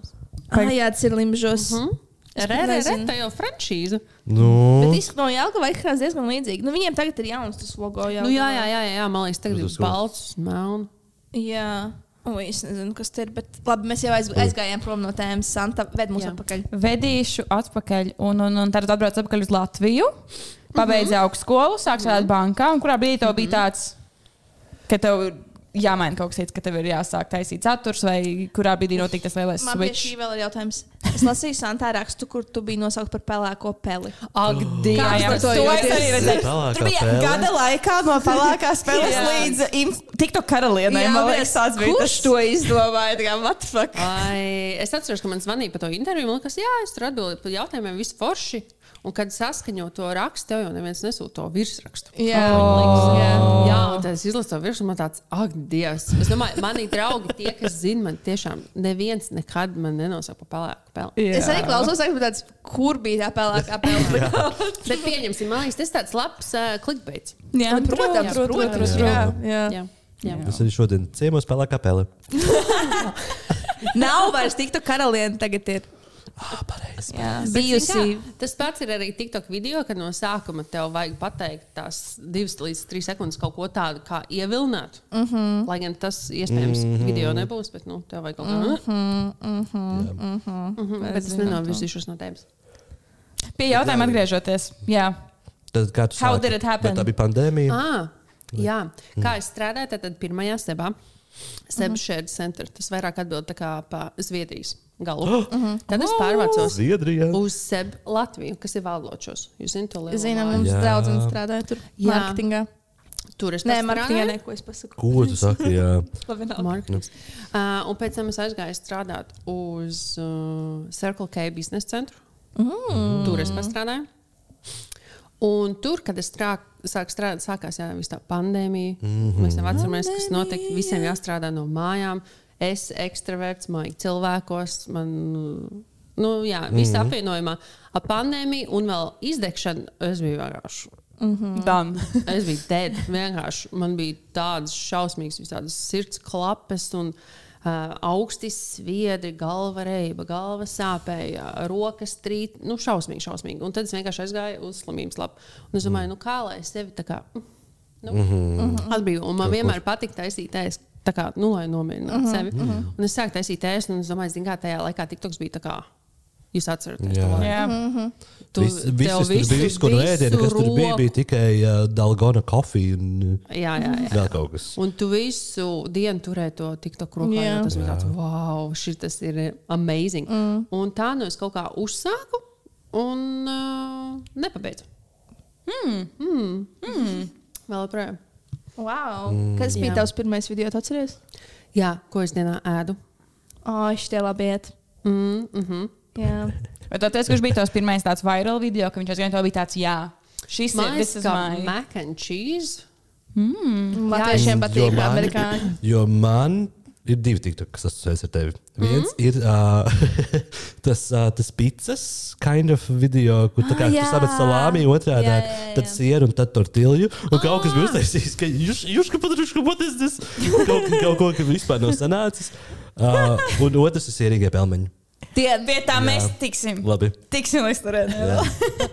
Speaker 5: Ah, jā, tas ir limžos.
Speaker 4: Mhm.
Speaker 5: Es pat
Speaker 4: Re, re, re,
Speaker 5: nezinu.
Speaker 4: tā jau franšīze.
Speaker 5: Bet
Speaker 2: Nu,
Speaker 5: īstenībā no Jāgava izskatās diezgan līdzīgi. Nu, viņiem tagad ir jauns tas logo.
Speaker 4: Nu, jā, jā, jā, jā, man liekas, tagad ir
Speaker 2: Uz- uz-
Speaker 4: balts, melns.
Speaker 5: jā. O, es nezinu, kas tas ir. Bet, labi, mēs jau aiz, aizgājām prom no tēmas. Santa ved mums
Speaker 4: Jā.
Speaker 5: atpakaļ.
Speaker 3: Vedīšu atpakaļ, un, un, un tad atbraucu atpakaļ uz Latviju. Pabeidzu mm
Speaker 5: Mhm.
Speaker 3: -hmm. augstskolu, sāku strādāt bankā, un kurā brīdī tev bija tāds, ka tev ir jāmaina kaut kas cits, ka tev ir jāsāk taisīt saturs, vai kurā brīdī notika tas lielais
Speaker 5: Man pie šī
Speaker 3: switch.
Speaker 5: vēl ir jautājums. Es lasīju Santā rakstu, kur tu biji nosaukt par pelēko peli.
Speaker 3: Ak,
Speaker 2: Oh.
Speaker 3: Dievs,
Speaker 5: Kā
Speaker 3: jā,
Speaker 5: par
Speaker 3: bet
Speaker 5: to
Speaker 3: to es
Speaker 5: jūties?
Speaker 3: arī redzēju.
Speaker 2: Pelēkā
Speaker 3: Tur bija
Speaker 2: pele?
Speaker 3: gada laikā no
Speaker 5: [laughs]
Speaker 3: pelēkās peles
Speaker 5: Jā.
Speaker 3: līdz tikto karalienei. Man liekas, tas bija
Speaker 5: kurš to izdomāja? Tā kā, what the fuck?
Speaker 4: Ai, es atceros, ka man zvanīja par to interviju. Man liekas, jā, es tur atbildēju par jautājumiem, viss forši. Un kad saskaņo to rakstu, tev jau neviens nesūta to virsrakstu.
Speaker 5: Jā,
Speaker 4: Oh.
Speaker 5: jā.
Speaker 4: Jā, un tad es izlasu to virsmu, man tāds, ak, Dievs. Es domāju, mani draugi, tie, kas zina, man tiešām neviens nekad man nenosaka par pelēku pelnu.
Speaker 5: Es arī klausos, ka tāds, kur bija tā pelēkā
Speaker 2: [laughs]
Speaker 5: pele.
Speaker 4: Bet pieņemsim, man liekas, tas tāds labs uh, clickbait.
Speaker 3: Jā,
Speaker 5: Nu, protams, protams, jā, jā.
Speaker 4: Jā. Jā.
Speaker 2: es arī šodien ciemos pelēkā pele.
Speaker 5: Nav vairs tiktu karaliene tagad ir.
Speaker 2: Ā, pareizi.
Speaker 5: Bijusi.
Speaker 4: Kā, tas pats ir arī TikTok video, kad no sākuma tev vajag pateikt tās divas līdz trīs sekundes kaut ko tādu, kā ievilināt. Mm
Speaker 5: Mhm.
Speaker 4: -hmm. Lai gan tas iespējams mm -hmm. video nebūs, bet nu, tev vajag kaut ko
Speaker 5: Mhm,
Speaker 4: tādu. Mm -hmm. Bet es nenovirzīšos no tēmas.
Speaker 3: Pie jautājuma atgriežoties. Jā.
Speaker 2: Tad kā tu
Speaker 3: How
Speaker 2: sāki?
Speaker 3: did it happen?
Speaker 2: Vai Tā bija pandēmija.
Speaker 4: Ah, jā, kā es strādāju, tad pirmajā sebā. Seba
Speaker 5: Mhm.
Speaker 4: Shared Center. Tas vairāk atbild tā kā pa Zviedrijas galu.
Speaker 5: Mhm.
Speaker 4: Tad es pārvācos
Speaker 2: Zviedrijā.
Speaker 4: uz Seba Latviju, kas ir Valdočos. Jūs zināt, to lielu
Speaker 5: Zinām,
Speaker 4: māju.
Speaker 5: mums
Speaker 2: Jā.
Speaker 5: draudzene strādāja tur.
Speaker 4: Jā.
Speaker 5: Mārketingā.
Speaker 4: tur es
Speaker 5: Nē,
Speaker 4: nestrādāju.
Speaker 5: mārketingā neko es pasaku.
Speaker 2: Ko tu saki? Jā.
Speaker 4: Mārketings. Uh, un pēc tam es aizgāju strādāt uz uh, Circle K biznesa centru. Mm. Tur es strādāju. Un tur, kad es strāk, sāku strādāt, sākās jā, viss tā pandēmija. Mm -hmm. Mēs jau atceramies, kas notika. Visiem jāstrādā no mājām. Es esmu ekstraverts, māju cilvēkos. Man, nu, jā, viss mm -hmm. apvienojumā ar pandēmiju un vēl izdegšanu. Es biju vienkārši
Speaker 5: Mhm.
Speaker 3: Dan.
Speaker 4: Es biju dead. Vienkārši man bija tādas šausmīgas, visādas sirds klapes. Un, Uh, augsti sviedri, galva reiba, galva sāpēja, rokas trīt, nu, šausmīgi, šausmīgi. Un tad es vienkārši aizgāju uz slimības lapu. Un es domāju, nu, kā lai es sevi tā kā nu, mm
Speaker 2: Mhm.
Speaker 4: -hmm. atbrīvoju. Un Man vienmēr patīk taisīt ēst, tā kā, nu, lai nomierinātu mm -hmm. sevi. Mm -hmm. Un es sāku taisīt ēst, un es domāju, zinu, kā tajā laikā TikToks bija tā kā, jūs atceraties to
Speaker 2: Jā.
Speaker 5: Mhm.
Speaker 4: laiku.
Speaker 3: Jā.
Speaker 4: Tu-
Speaker 2: Viss,
Speaker 4: tev
Speaker 2: visas, tur bija viss, kur
Speaker 4: visu
Speaker 2: ēdienu, kas tur bija,
Speaker 4: roku-
Speaker 2: bija tikai uh, Dalgona kofija un uh,
Speaker 4: Jā, jā, jā.
Speaker 2: vēl kaut kas.
Speaker 4: Un tu visu dienu turēji to tiktu krokā.
Speaker 5: Jā.
Speaker 4: Yeah. Tas bija tāds, wow, šis tas ir amazing. Mm. Un tā no es kaut kā uzsāku un uh, nepabeidzu. Mm. Mm. Mm. Vēl joprojām.
Speaker 5: Wow.
Speaker 2: Mm.
Speaker 5: Kas bija
Speaker 4: Jā.
Speaker 5: tavs pirmais video, tu atceries?
Speaker 4: Jā, ko es dienā ēdu?
Speaker 5: O, šitie labi iet.
Speaker 4: Mm, mm -hmm.
Speaker 5: Jā.
Speaker 3: Bet tu atceries, kurš bija tās pirmais tāds viral video, ka viņš aizgāja, to bija tāds, jā, šis ir,
Speaker 4: Mājas
Speaker 3: this is
Speaker 4: kā
Speaker 3: mine.
Speaker 4: mac and cheese.
Speaker 5: Mm. Latviešiem
Speaker 2: Mm, Jo
Speaker 5: patīk
Speaker 2: man-
Speaker 5: amerikāņi.
Speaker 2: Jo man ir divi tiktoki, kas asociējas ar tevi. Viens
Speaker 5: Mhm.
Speaker 2: mm. ir uh, [laughs] tas, uh, tas pizzas kind of video, kur tā kā
Speaker 5: Ah,
Speaker 2: tu
Speaker 5: jā.
Speaker 2: sabēd salāmi otrādi,
Speaker 5: Jā, jā, Ah. jā.
Speaker 2: tad sieru un tad tortilju. Un kaut kas bija uztaisījis, ka jūs, jūs, ka patrūši, ka what is this? Kaut, kaut ko, ka vispār nav sanācis. Uh, un otrs ir sierīgie pelmeņi.
Speaker 3: Tie bija tā,
Speaker 2: Jā.
Speaker 3: mēs tiksim.
Speaker 2: Labi.
Speaker 3: Tiksim līdz
Speaker 2: Jā.
Speaker 3: turienei.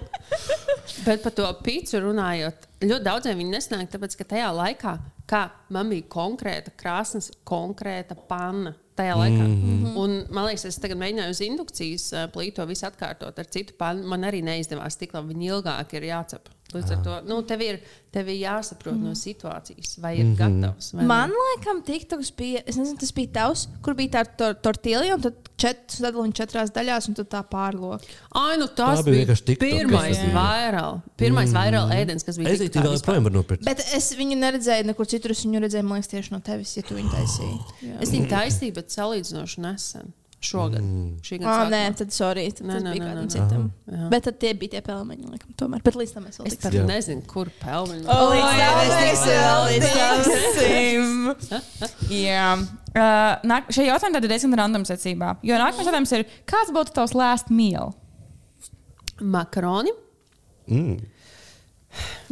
Speaker 4: Bet par to pīci runājot, ļoti daudziem viņi nesnāk, tāpēc ka tajā laikā, kā man bija konkrēta krāsa, konkrēta panna. Tajā laikā. Mm
Speaker 2: Mhm.
Speaker 4: -hmm. Un, man liekas, es tagad mēģināju uz indukcijas eh, plīto visu atkārtot ar citu pannu. Man arī neizdevās tik labi. Viņa ilgāk ir jācep. Līdz
Speaker 2: Ah.
Speaker 4: ar to nu, tev ir, tev ir jāsaprot mm. no situācijas, vai
Speaker 2: Mhm.
Speaker 4: ir mm -hmm. gatavs. Vai
Speaker 5: Mhm. Man liekas, TikToks bija, es nezinu, tas bija tavs, kur bija tā tor tortilja, un tad četras sadalījumi četrās daļās, un tad tā pārloka.
Speaker 4: Ai, nu tas
Speaker 2: Tā bija
Speaker 4: bija
Speaker 2: vienkārši TikTok,
Speaker 4: pirmais
Speaker 2: kas tas bija.
Speaker 4: viral. Pirmais mm. viral ēdiens, kas bija
Speaker 2: Es īstenībā
Speaker 4: TikTokā
Speaker 2: vēl
Speaker 4: vispār.
Speaker 2: joprojām varu nopirkt.
Speaker 5: Bet es viņu neredzēju nekur citur. Es viņu redzēju, man liekas, tieši no tevis, ja tu viņu taisīji.
Speaker 4: Es viņu taisīju, bet salīdzinoši nesen. Šogad.
Speaker 2: Mhm.
Speaker 4: Mm. Šī
Speaker 5: Ā,
Speaker 4: gada
Speaker 5: nē,
Speaker 4: sākumā.
Speaker 5: tad sorry. Tad
Speaker 4: Nē,
Speaker 5: tas
Speaker 4: nē,
Speaker 5: bija
Speaker 4: nē,
Speaker 5: kādam
Speaker 4: nē.
Speaker 5: citam.
Speaker 4: Aha.
Speaker 5: Bet tad tie bija tie pelmeņi, laikam, tomēr. Bet līdz tam mēs vēl
Speaker 4: Es pat
Speaker 5: tiksim.
Speaker 4: Jā. nezinu, kur pelnīt.
Speaker 3: O,
Speaker 5: Līdz
Speaker 3: jā,
Speaker 5: tam
Speaker 3: Oh, mēs
Speaker 5: mēs Oh, vēl
Speaker 3: tiksim. Jā. Uh, nāk- Šie jautājumi tad ir diezgan random secībā. Jo nākamais jautājums ir, kāds būtu tavs last meal?
Speaker 4: Makaroni.
Speaker 2: Mm.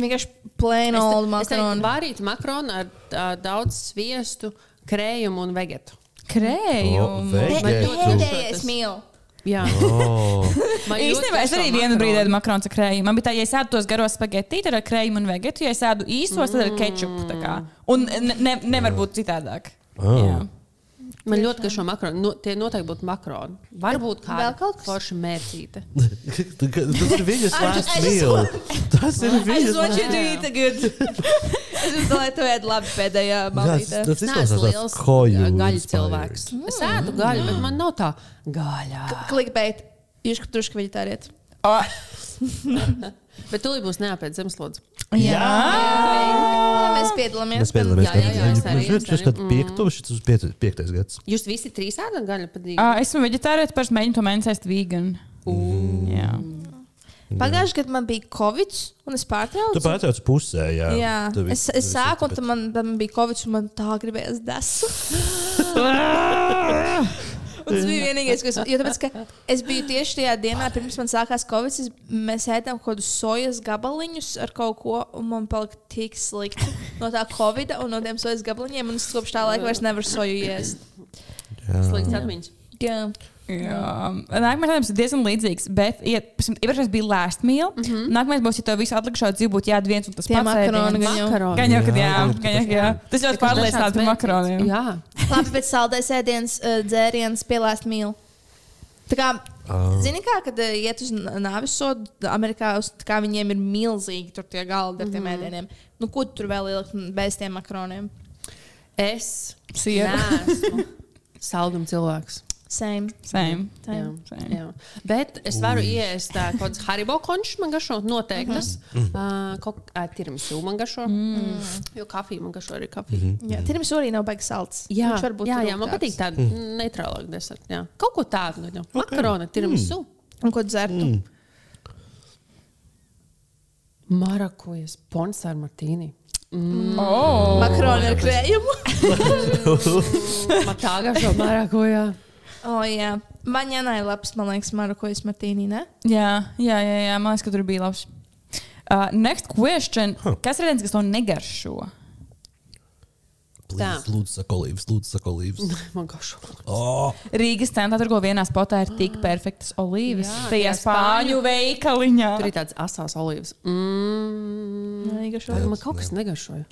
Speaker 5: Vienkārši plain old macaroni.
Speaker 4: Vārīt makaronu ar uh, daudz sviestu, krējumu un vegetu.
Speaker 2: O,
Speaker 3: Krējumu.
Speaker 2: vei.
Speaker 5: Pē-
Speaker 2: Vegetu.
Speaker 5: Pēdējais mīl.
Speaker 4: Jā,
Speaker 2: Oh. [laughs]
Speaker 4: Man ļoti
Speaker 3: Īstenībā es
Speaker 4: garšo
Speaker 3: arī vienu
Speaker 4: makaroni.
Speaker 3: brīdi ēdu makaronu ar krējumu. Man bija tā, ja es ēdu tos garos spagetti, tad ar krējumu un vegetu, ja es ēdu īstos, tad ar kečupu. tā kā. Un ne, ne, nevar būt citādāk.
Speaker 2: Oh.
Speaker 3: Jā.
Speaker 4: Man ļoti garšo makaroni. No, tie noteikti būtu makaroni. Varbūt kāda
Speaker 5: Vēl kaut kas?
Speaker 4: forša mērcīte.
Speaker 2: Tas ir viņas
Speaker 5: I just-
Speaker 2: last
Speaker 5: I just
Speaker 2: meal. Tas ir
Speaker 5: I
Speaker 2: viņas
Speaker 5: just want
Speaker 2: last
Speaker 5: you to eat a good. [laughs] es domāju, lai tu ēd labi pēdējā
Speaker 2: Tas
Speaker 5: malītē.
Speaker 2: tas
Speaker 4: Nē,
Speaker 2: izklausās tāds koju.
Speaker 4: gaļas
Speaker 2: inspired.
Speaker 4: cilvēks. Es
Speaker 3: Mm.
Speaker 4: ēdu gaļu, bet man nav tā gaļa.
Speaker 5: Klikbeit. Jūs esat drusku veģetāriet.
Speaker 4: Bet tu būsi neapēc zemeslodes.
Speaker 5: Mēs piedalāmies.
Speaker 2: Mēs piedalāmies.
Speaker 4: Jā, jā, jā, es arī,
Speaker 2: Viņš
Speaker 4: es
Speaker 2: ir
Speaker 4: arī.
Speaker 5: mm.
Speaker 2: kaut piekto, šis uz piekto- piektais gads.
Speaker 4: Jūs visi trīs ēdat gaļu padīgi.
Speaker 3: Uh, esmu vegetārietis, pēc mēģinājuma to mēģināju ēst vegan. Jā.
Speaker 5: Pagājušajā gadā man bija covid, un es pārtraucu.
Speaker 2: Tu pārtrauc pusē, jā.
Speaker 5: Jā,
Speaker 2: Tu vi-
Speaker 5: es, es
Speaker 2: tu vi-
Speaker 5: sāku, un tad man, tad man bija covid, un man tā gribējās
Speaker 2: [laughs]
Speaker 5: desu. Un Tas bija vienīgais, kas bija. Tāpēc, ka es biju tieši tajā dienā, pirms man sākās covid, es, mēs ēdām kaut kādus sojas gabaliņus ar kaut ko, un man palika tik slikti no tā covid un no tiem sojas gabaliņiem. Un es kopš tā laika vairs nevaru soju iest.
Speaker 4: Slikts atmiņas.
Speaker 5: Jā,
Speaker 3: Jā. Nākamais jautājums ir diezgan līdzīgs, bet ja, piemēram, iepriekšējais bija last meal. Mm -hmm. Nākamais būs, ja tev visu atlikušo dzīvi būtu jāatrod viens un tas
Speaker 5: Tie
Speaker 3: pats.
Speaker 5: makaroni
Speaker 3: ēdiens.
Speaker 5: gan jau.
Speaker 4: Makaroni.
Speaker 3: Gan jau, kad jā,
Speaker 2: Jā,
Speaker 3: gan jau, kad jā. Tas ļoti pārliecināts par makaroniem.
Speaker 4: Jā,
Speaker 5: labi, bet saldais ēdiens, eh, dzēriens, pielāst mīlu. Tā kā, oh. Zini, kā, kad eh, iet uz n- nāves sodu, Amerikā uz, tā kā viņiem ir milzīgi tur tie galdi ar tiem mm -hmm. ēdieniem. Nu, ko tu tur vēl ielikt mm, bez tiem makroniem?
Speaker 4: es
Speaker 3: Siera.
Speaker 4: [laughs] esmu saldums cilvēks.
Speaker 5: Same.
Speaker 3: Same.
Speaker 4: Jā,
Speaker 5: Same.
Speaker 3: Same.
Speaker 4: jā. Bet es varu ieiest uh, kaut kādas haribo končus, man garšo noteikti. Tas
Speaker 5: Mhm.
Speaker 4: uh, kaut kā tiramisu man garšo. Mhm. Jo kafija man garšo arī kafija.
Speaker 5: Jā, tirmis arī nav baigs salds.
Speaker 4: Jā,
Speaker 5: Viņš var būt
Speaker 4: jā,
Speaker 5: tur
Speaker 4: jā, man
Speaker 5: rūgtāks.
Speaker 4: patīk tāda
Speaker 5: Mhm.
Speaker 4: mm. neitrālāka deserta. jā. Kaut ko tādu, nu, okay. makaronu, tiramisu, mm.
Speaker 5: Un ko dzertu? Mm.
Speaker 4: marakujas, ponsāra martīni.
Speaker 3: Oh.
Speaker 5: Makaroni ar [laughs] krējumu.
Speaker 4: Man tā garšo marakujā.
Speaker 5: o, jā. Man jānai labs, man liekas, marukojas martīnī, ne?
Speaker 3: Jā, jā, jā, jā, man liekas, ka tur bija labs. Uh, next question. Huh. Kas ir viens, kas to negaršo?
Speaker 2: Please,
Speaker 4: Tā.
Speaker 2: Lūdzu, saka olīvas, lūdzu, saka
Speaker 5: Nu.
Speaker 2: olīvas.
Speaker 4: Man garšo.
Speaker 2: Oh,
Speaker 3: Rīgas centrā tur vienā spotā ir tik perfektas olīvas.
Speaker 4: Jā,
Speaker 3: Tajā
Speaker 4: tajā
Speaker 3: spāņu veikaliņā.
Speaker 4: Tur ir tāds asās olīvas. Mm.
Speaker 5: Jā, garšo.
Speaker 4: Man kaut kas negašoja.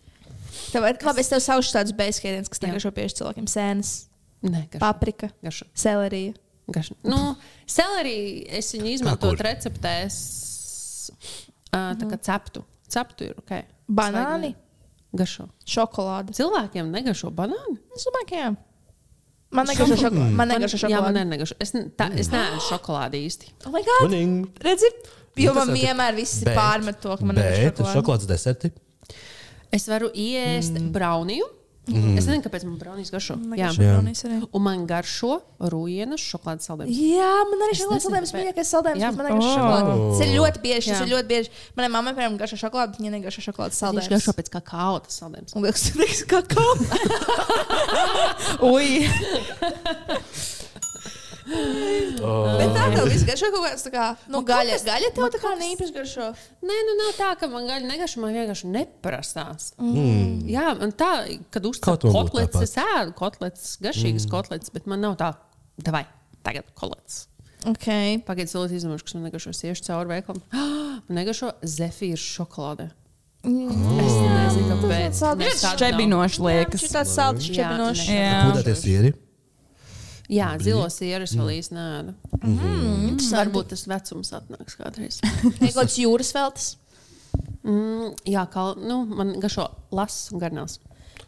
Speaker 5: Tev, ir- labi, es tev saušu tādus bezskēdienus, kas negaršo pieši cilvēkiem. Sēnes,
Speaker 4: Nē, garšo.
Speaker 5: paprika,
Speaker 4: garšo.
Speaker 5: selerija.
Speaker 4: garšo. Nu, selerī es viņu izmantoju
Speaker 2: kur?
Speaker 4: receptēs, uh, tā kā ceptu. Ceptu ir ok.
Speaker 5: Banāni,
Speaker 4: Garšo.
Speaker 5: šokolāde.
Speaker 4: Cilvēkiem negašo banānu.
Speaker 5: Es domāju, ka jā. Man negaršo šokolāde. Man negaršo
Speaker 4: Jā, man
Speaker 5: šokolāde.
Speaker 4: ir negašo. Es, ne- tā, es neēdu šokolādi īsti.
Speaker 5: Oh my God!
Speaker 2: winning.
Speaker 5: Redzi, jo man
Speaker 2: Interesanti.
Speaker 5: vienmēr viss
Speaker 2: Bet-
Speaker 5: pārmet to, ka
Speaker 2: Bet
Speaker 5: man negaršo šokolāde.
Speaker 2: šokolādes deserti.
Speaker 4: Es varu iest mm. brauniju. Mm. Es nezinu, kāpēc man braunijas garšo. Jā.
Speaker 2: Jā.
Speaker 4: Un man garšo rujienas šokolādes saldējumu.
Speaker 5: Jā, man arī šokolādes
Speaker 4: nezinu,
Speaker 5: saldējums
Speaker 4: bet-
Speaker 5: mīļākais saldējums,
Speaker 4: Jā.
Speaker 5: bet man negaršo
Speaker 3: Oh.
Speaker 5: šokolāde. Tas ir ļoti bieži, tas
Speaker 4: Jā.
Speaker 5: ir ļoti bieži. Manai mammai, piemēram, garšo šokolāde, viņa negaršo
Speaker 4: Viņš
Speaker 5: šokolādes saldējumus.
Speaker 4: garšo pēc kakao tas saldējums.
Speaker 5: Un liekas, tas ir kā
Speaker 4: [laughs]
Speaker 5: kaut
Speaker 3: Ui!
Speaker 5: Bet tā
Speaker 4: Oh.
Speaker 5: tev viss garšo kaut kāds tā kā, nu, gaļa, gaļa tev tā kā neīpaši garšo.
Speaker 4: Nē, nu nav tā, ka man gaļa negašo, man vienkārši neprasās. Jā, un tā, kad
Speaker 2: Kaut
Speaker 4: uzkopā
Speaker 2: man būtu
Speaker 4: kotlets,
Speaker 2: tāpat.
Speaker 4: es ēdu kotlets, garšīgas mm. kotlets, bet man nav tā, vai tagad kotlets.
Speaker 5: Okay.
Speaker 4: Pagaidiet, cilvēks izdomāšu, kas man negašo siešu cauri veikalam. [gasps] Man negašo zefīru šokolāde. Es Oh. nezinu, kāpēc.
Speaker 5: tāds
Speaker 4: Nē, tāda nav.
Speaker 3: Čebinoši liekas.
Speaker 5: Viņš ir tāds salds,
Speaker 4: Jā,
Speaker 5: čepinošs.
Speaker 3: Jā.
Speaker 2: Pūdēties sieri.
Speaker 4: Jā, zilo sieru es vēl īsti nēdu.
Speaker 5: Mm,
Speaker 4: Varbūt tas vecums atnāks kādreiz. [laughs]
Speaker 5: Kaut kāds jūras veltes.
Speaker 4: Mm, jā, kā nu, man garšo lasu un garnās.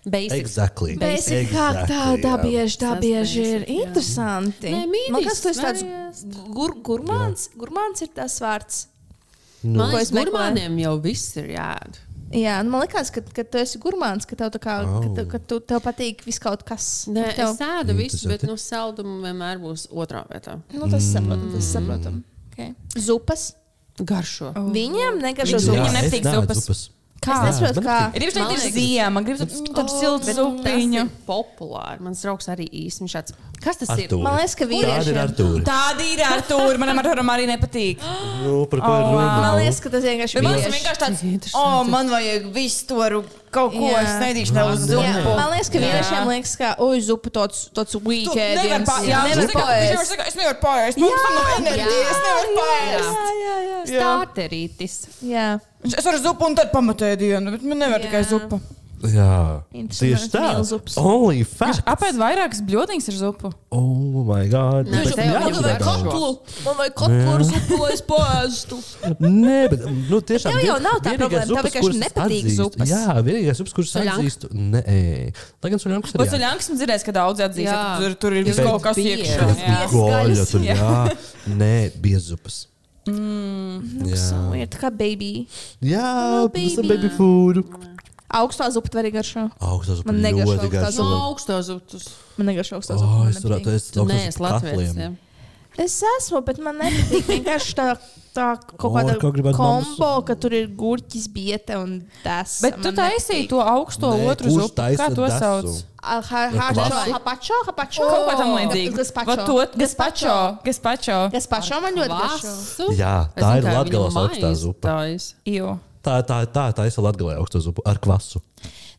Speaker 4: Basics.
Speaker 2: Exactly.
Speaker 5: Basic hack, tā, tā bieži, tā
Speaker 4: Tas
Speaker 5: bieži ir
Speaker 4: basic, jā.
Speaker 5: interesanti.
Speaker 4: Nē, mīdīs,
Speaker 5: Man liekas, tas ir
Speaker 4: variest.
Speaker 5: tāds gur, gurmāns. Gurmāns ir tas vārds.
Speaker 4: Man
Speaker 5: Ko
Speaker 4: liekas,
Speaker 5: es meklēju?
Speaker 4: gurmāniem jau viss ir jāēd.
Speaker 5: Jā, nu, man liekas, ka, ka tu esi gurmāns, ka tev, tā kā, oh. ka, tu- ka tu, tev patīk viss kaut kas.
Speaker 4: Nē,
Speaker 5: Ka
Speaker 4: es
Speaker 5: tev,
Speaker 4: ēdu visu, bet
Speaker 2: Interesanti.
Speaker 4: nu, saldumu vienmēr būs otrā vietā.
Speaker 5: nu, tas saprotam. Tas saprotam.
Speaker 3: Okay.
Speaker 5: Zupas.
Speaker 4: Garšo.
Speaker 5: Oh. Viņiem negažo
Speaker 3: Viņiem
Speaker 5: zupas.
Speaker 3: ne- nepatīk zupas.
Speaker 5: Es
Speaker 3: Kā?
Speaker 5: nesaprotu,
Speaker 2: man
Speaker 5: kā.
Speaker 2: patīk.
Speaker 3: Ir tieši tā,
Speaker 4: Man
Speaker 3: ka ir
Speaker 4: liekas-
Speaker 3: ziema, gribas mm, tādu
Speaker 5: O,
Speaker 3: siltu
Speaker 4: Bet tas
Speaker 3: zupiņu.
Speaker 4: ir populāri. Mans draugs arī īstenībā šāds. Kas tas ir?
Speaker 2: Artūri.
Speaker 5: Man liekas, ka
Speaker 2: Tāda ir
Speaker 5: vīriešiem-
Speaker 2: Artūra.
Speaker 3: Tāda ir ar to, manam ar to arī nepatīk.
Speaker 2: Nu, par ko ir
Speaker 3: Oh,
Speaker 2: runa?
Speaker 3: wow.
Speaker 5: Man liekas, ka tas vienkārši
Speaker 3: Bet
Speaker 5: ir
Speaker 3: man
Speaker 5: vīrieši.
Speaker 3: tas vienkārši tāds -
Speaker 4: Interesanti.
Speaker 3: oh, man vajag visu to ar kaut ko,
Speaker 5: Jā.
Speaker 3: es nedīšu tev uz
Speaker 5: Jā,
Speaker 3: zupu.
Speaker 5: man liekas, ka vīriešiem liekas, ka oi, zupa tāds, tāds
Speaker 3: Tu
Speaker 5: weekend.
Speaker 3: nevari pa- jā, tu zini, kā- viņš jau
Speaker 5: pārējais.
Speaker 3: saka, Es nevaru pāriest. Man tas nav enerģijas, es nevaru pāriest.
Speaker 4: Starterītis.
Speaker 5: Jā,
Speaker 3: Es varu zupu un tad pamatēju dienu, bet man nevar
Speaker 5: Jā.
Speaker 3: tikai zupa.
Speaker 2: Jā,
Speaker 5: Interesants
Speaker 2: tieši tā.
Speaker 5: mīlzups.
Speaker 2: Only fact.
Speaker 3: Apēd vairākas bļodiņas ar zupu.
Speaker 2: Oh, my God.
Speaker 4: Nē,
Speaker 2: Bet
Speaker 4: bet tev
Speaker 2: jā,
Speaker 4: jau vajag
Speaker 2: jā.
Speaker 4: katlu.
Speaker 5: Man vajag katlu ar zupu, lai es pārēstu.
Speaker 2: Nē, bet nu, tiešām
Speaker 5: Tev jau
Speaker 2: vien-
Speaker 5: nav tā
Speaker 2: vienīgās
Speaker 5: problēma, tev
Speaker 2: zupas,
Speaker 5: vienkārši
Speaker 2: kuras es
Speaker 5: nepatīk
Speaker 2: atzīstu.
Speaker 5: zupas.
Speaker 2: Jā, vienīgās zupas, kuras
Speaker 4: Suļanka?
Speaker 2: atzīstu. Nē, lai gan suļankas ir.
Speaker 3: Bet
Speaker 2: jā.
Speaker 3: cilvēks man dzirdēs, ka daudz atzīst,
Speaker 4: Jā.
Speaker 3: ka tur, tur ir
Speaker 4: Bet-
Speaker 3: viss kaut kas
Speaker 4: Bieži.
Speaker 3: iekšā. jā.
Speaker 2: Goļa tur,
Speaker 5: Jā.
Speaker 2: jā. Nē, biezupas. Jā,
Speaker 5: Ir tā kā baby.
Speaker 2: [laughs] jā
Speaker 5: baby.
Speaker 2: some baby food.
Speaker 5: Augstā zupa tev arī garšo.
Speaker 2: Augstās zupas
Speaker 5: Man negaršo
Speaker 2: ļoti
Speaker 5: augstā
Speaker 4: No
Speaker 2: garšo.
Speaker 4: augstās upes.
Speaker 5: Man negaršo augstā zupa.
Speaker 2: Oh,
Speaker 5: man
Speaker 2: es varētu
Speaker 5: nepatīk.
Speaker 2: ēst
Speaker 4: Tu
Speaker 2: augstās
Speaker 4: neesi
Speaker 2: zupas
Speaker 4: Latvijas.
Speaker 2: katliem.
Speaker 4: ja?
Speaker 5: Es esmu, bet man nepatīk vienkārši tā, tā
Speaker 2: O,
Speaker 5: kaut kāda
Speaker 2: kā gribētu
Speaker 5: kombo, ka tur ir gurķis, biete un tas.
Speaker 3: Bet tu taisīji to augsto
Speaker 2: Nē,
Speaker 3: otru
Speaker 2: kurš
Speaker 3: zupu. Kā
Speaker 2: taisa
Speaker 3: to
Speaker 2: dasu?
Speaker 3: sauc?
Speaker 2: Kvasu?
Speaker 5: Hapačo, hapačo.
Speaker 3: Kaut ko tam līdzīgu.
Speaker 5: Gaspačo.
Speaker 3: Va to gaspačo. Gaspačo.
Speaker 5: Gaspačo man ļoti garšo.
Speaker 4: Kvasu?
Speaker 2: Jā,
Speaker 4: Es
Speaker 2: tā ir
Speaker 4: zinu, kā viņu
Speaker 2: Latgales augstā
Speaker 4: maizi
Speaker 2: zupa.
Speaker 4: taisa.
Speaker 3: Jo.
Speaker 2: Tā, tā, tā, tā ir latgalē augstā zupa ar kvasu.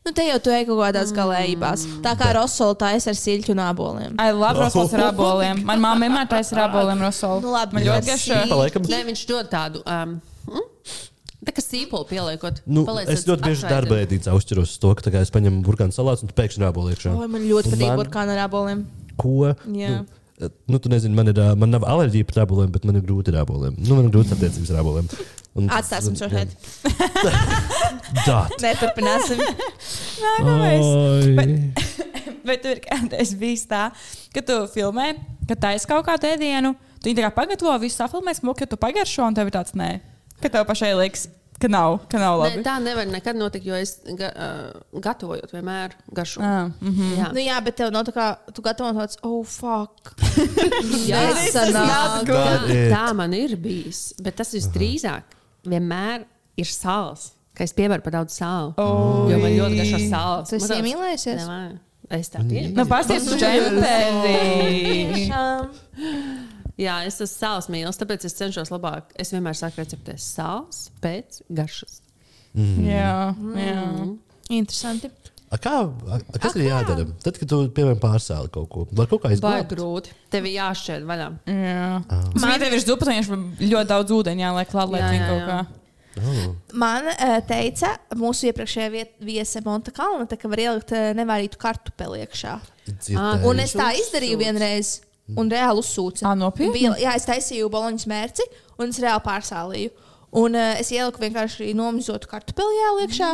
Speaker 5: Nu, te jau tu ej kaut kādās galējībās. Tā kā rosola taisa ar siļķu un āboliem.
Speaker 3: Ai, labi, rosols ar aboliem. Man mamma vienmēr taisa ar aboliem rosolu. [laughs]
Speaker 5: Nu, labi,
Speaker 3: man
Speaker 5: jā.
Speaker 3: ļoti garšo.
Speaker 2: Tā laikam.
Speaker 4: Nē, viņš dod tādu. Um, mm, tā kā sīpolu pieliekot.
Speaker 2: Nu,
Speaker 4: paliec
Speaker 2: es
Speaker 4: tāds
Speaker 2: ļoti bieži
Speaker 4: atšķaidins.
Speaker 2: darba ēdīnā uzturos to, ka tā kā es paņemu burkānu salātu un tu pēkšņi rāpo iekšā.
Speaker 5: Oi, man ļoti
Speaker 2: Un
Speaker 5: patīk
Speaker 2: man-
Speaker 5: burkāna ar āboliem.
Speaker 2: Ko? Nu,
Speaker 5: Jā.
Speaker 2: eh, Nu, tu nezini, man, ir, eh, man nav alerģija pret rāpoliem, bet man ir grūti rāpoliem. Nu, man ir grūti attiecības ar rāpoliem. Un tas-
Speaker 5: Atstāsim šo
Speaker 2: jā.
Speaker 5: šeit.
Speaker 2: Tā.
Speaker 5: [laughs] Neturpināsim.
Speaker 3: Nākamais.
Speaker 2: Oi.
Speaker 3: nu
Speaker 2: Oh.
Speaker 3: Vai tu ir [laughs] kādreiz bijis tā, ka tu filmē, ka taisa kaut kādu ēdienu, tu viņu tā kā pagatavo, visu safilmē, smuki, ka tu pagaršo un tev ir tāds nē. Ka tev pašai liekas, ka nav, ka nav
Speaker 4: Nē,
Speaker 3: labi.
Speaker 4: tā nevar nekad notikt, jo es ga, uh, gatavojot vienmēr garšu.
Speaker 3: Ā, mhm.
Speaker 4: Jā,
Speaker 5: Nu jā, bet tev nav tā kā, tu gatavo tāds, oh, fuck.
Speaker 4: jā.
Speaker 5: Nesanāk.
Speaker 2: That
Speaker 4: tā,
Speaker 2: it.
Speaker 4: tā man ir bijis. Bet tas visdrīzāk vienmēr ir sāls. Ka es pievaru par daudz sāla. Oh, jo man ļoti garšo sāls.
Speaker 5: Tu esi
Speaker 4: Man tāds-
Speaker 5: iemīlējusies?
Speaker 4: Nevajag. Es tā domāju.
Speaker 3: Nu, pasties uz [laughs] džempeli.
Speaker 5: Tiešām.
Speaker 4: Jā, es esmu sāls mīlestības, tāpēc es cenšos labāk. Es vienmēr saku receptē sāls pēc garšas.
Speaker 3: Jā, jā.
Speaker 5: Interesanti.
Speaker 2: A Kā, a- a kas ir jādara? Tad, kad tu piemēram pārsāli kaut ko, var kaut kā
Speaker 4: Vai
Speaker 2: izglābt.
Speaker 4: grūti? Tev ir jāšķiet vaļā.
Speaker 3: Jā.
Speaker 2: Um.
Speaker 3: Man ir tieši zupa, viņš ļoti daudz ūdeni jāliek klāt, lai
Speaker 4: Jā,
Speaker 3: viņi
Speaker 4: jā,
Speaker 3: kaut kā.
Speaker 4: jā.
Speaker 2: Oh.
Speaker 5: Man eh, teica, mūsu iepriekšējā viet- viese Monte Kalna, te, ka var ielikt eh, nevārītu kartupeli iekšā.
Speaker 2: Dzirdēju.
Speaker 5: Ah, Un es tā izdarīju vienreiz. Un reāli uzsūcu.
Speaker 3: Ā, nopietni?
Speaker 5: Bija- Jā, es taisīju boloņas mērci, un es reāli pārsālīju. Un uh, es ieliku vienkārši nomizotu kartupeli jēlu iekšā,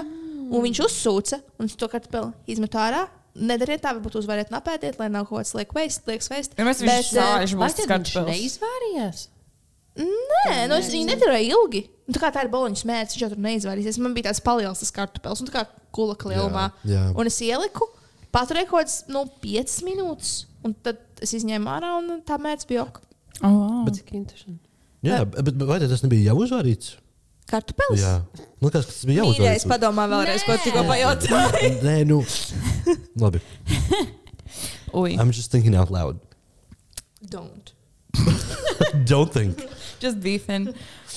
Speaker 5: un viņš uzsūca, un es to kartupeli izmetu ārā. Nedariet tā, varbūt uzvariet napēdiet, lai nav kaut kāds liekas veist, liekas veist.
Speaker 3: Ja mēs viņš sāž
Speaker 4: Vai
Speaker 3: mums
Speaker 4: tad viņš
Speaker 3: skatās.
Speaker 4: neizvērījies?
Speaker 5: Nē, nu es viņu nedarīju ilgi. Un Tā kā tā ir boloņas mērķis, viņš jau tur neizvairīsies. Man bija tāds paliels tas kartupēlis, un tā kā kula klielumā.
Speaker 2: Jā, jā.
Speaker 5: Un es ieliku, paturēju kaut kādas nu, 5 minūtes, un tad es izņēmu ārā, un tā mērķis bija ok.
Speaker 4: Cik interesanti.
Speaker 2: Jā, bet bet vai tad tas nebija jau uzvarīts?
Speaker 5: Kartupēlis.
Speaker 2: Jā. Man liekas, ka tas bija jau
Speaker 5: Mīļais,
Speaker 2: uzvarīts.
Speaker 5: padomā vēlreiz, ko tikko pajautāju.
Speaker 2: Nē, nu. Labi.
Speaker 3: Ui,
Speaker 2: I'm just thinking out loud.
Speaker 5: [laughs] Don't.
Speaker 2: Don't
Speaker 3: [laughs]
Speaker 2: think.
Speaker 3: just beefing.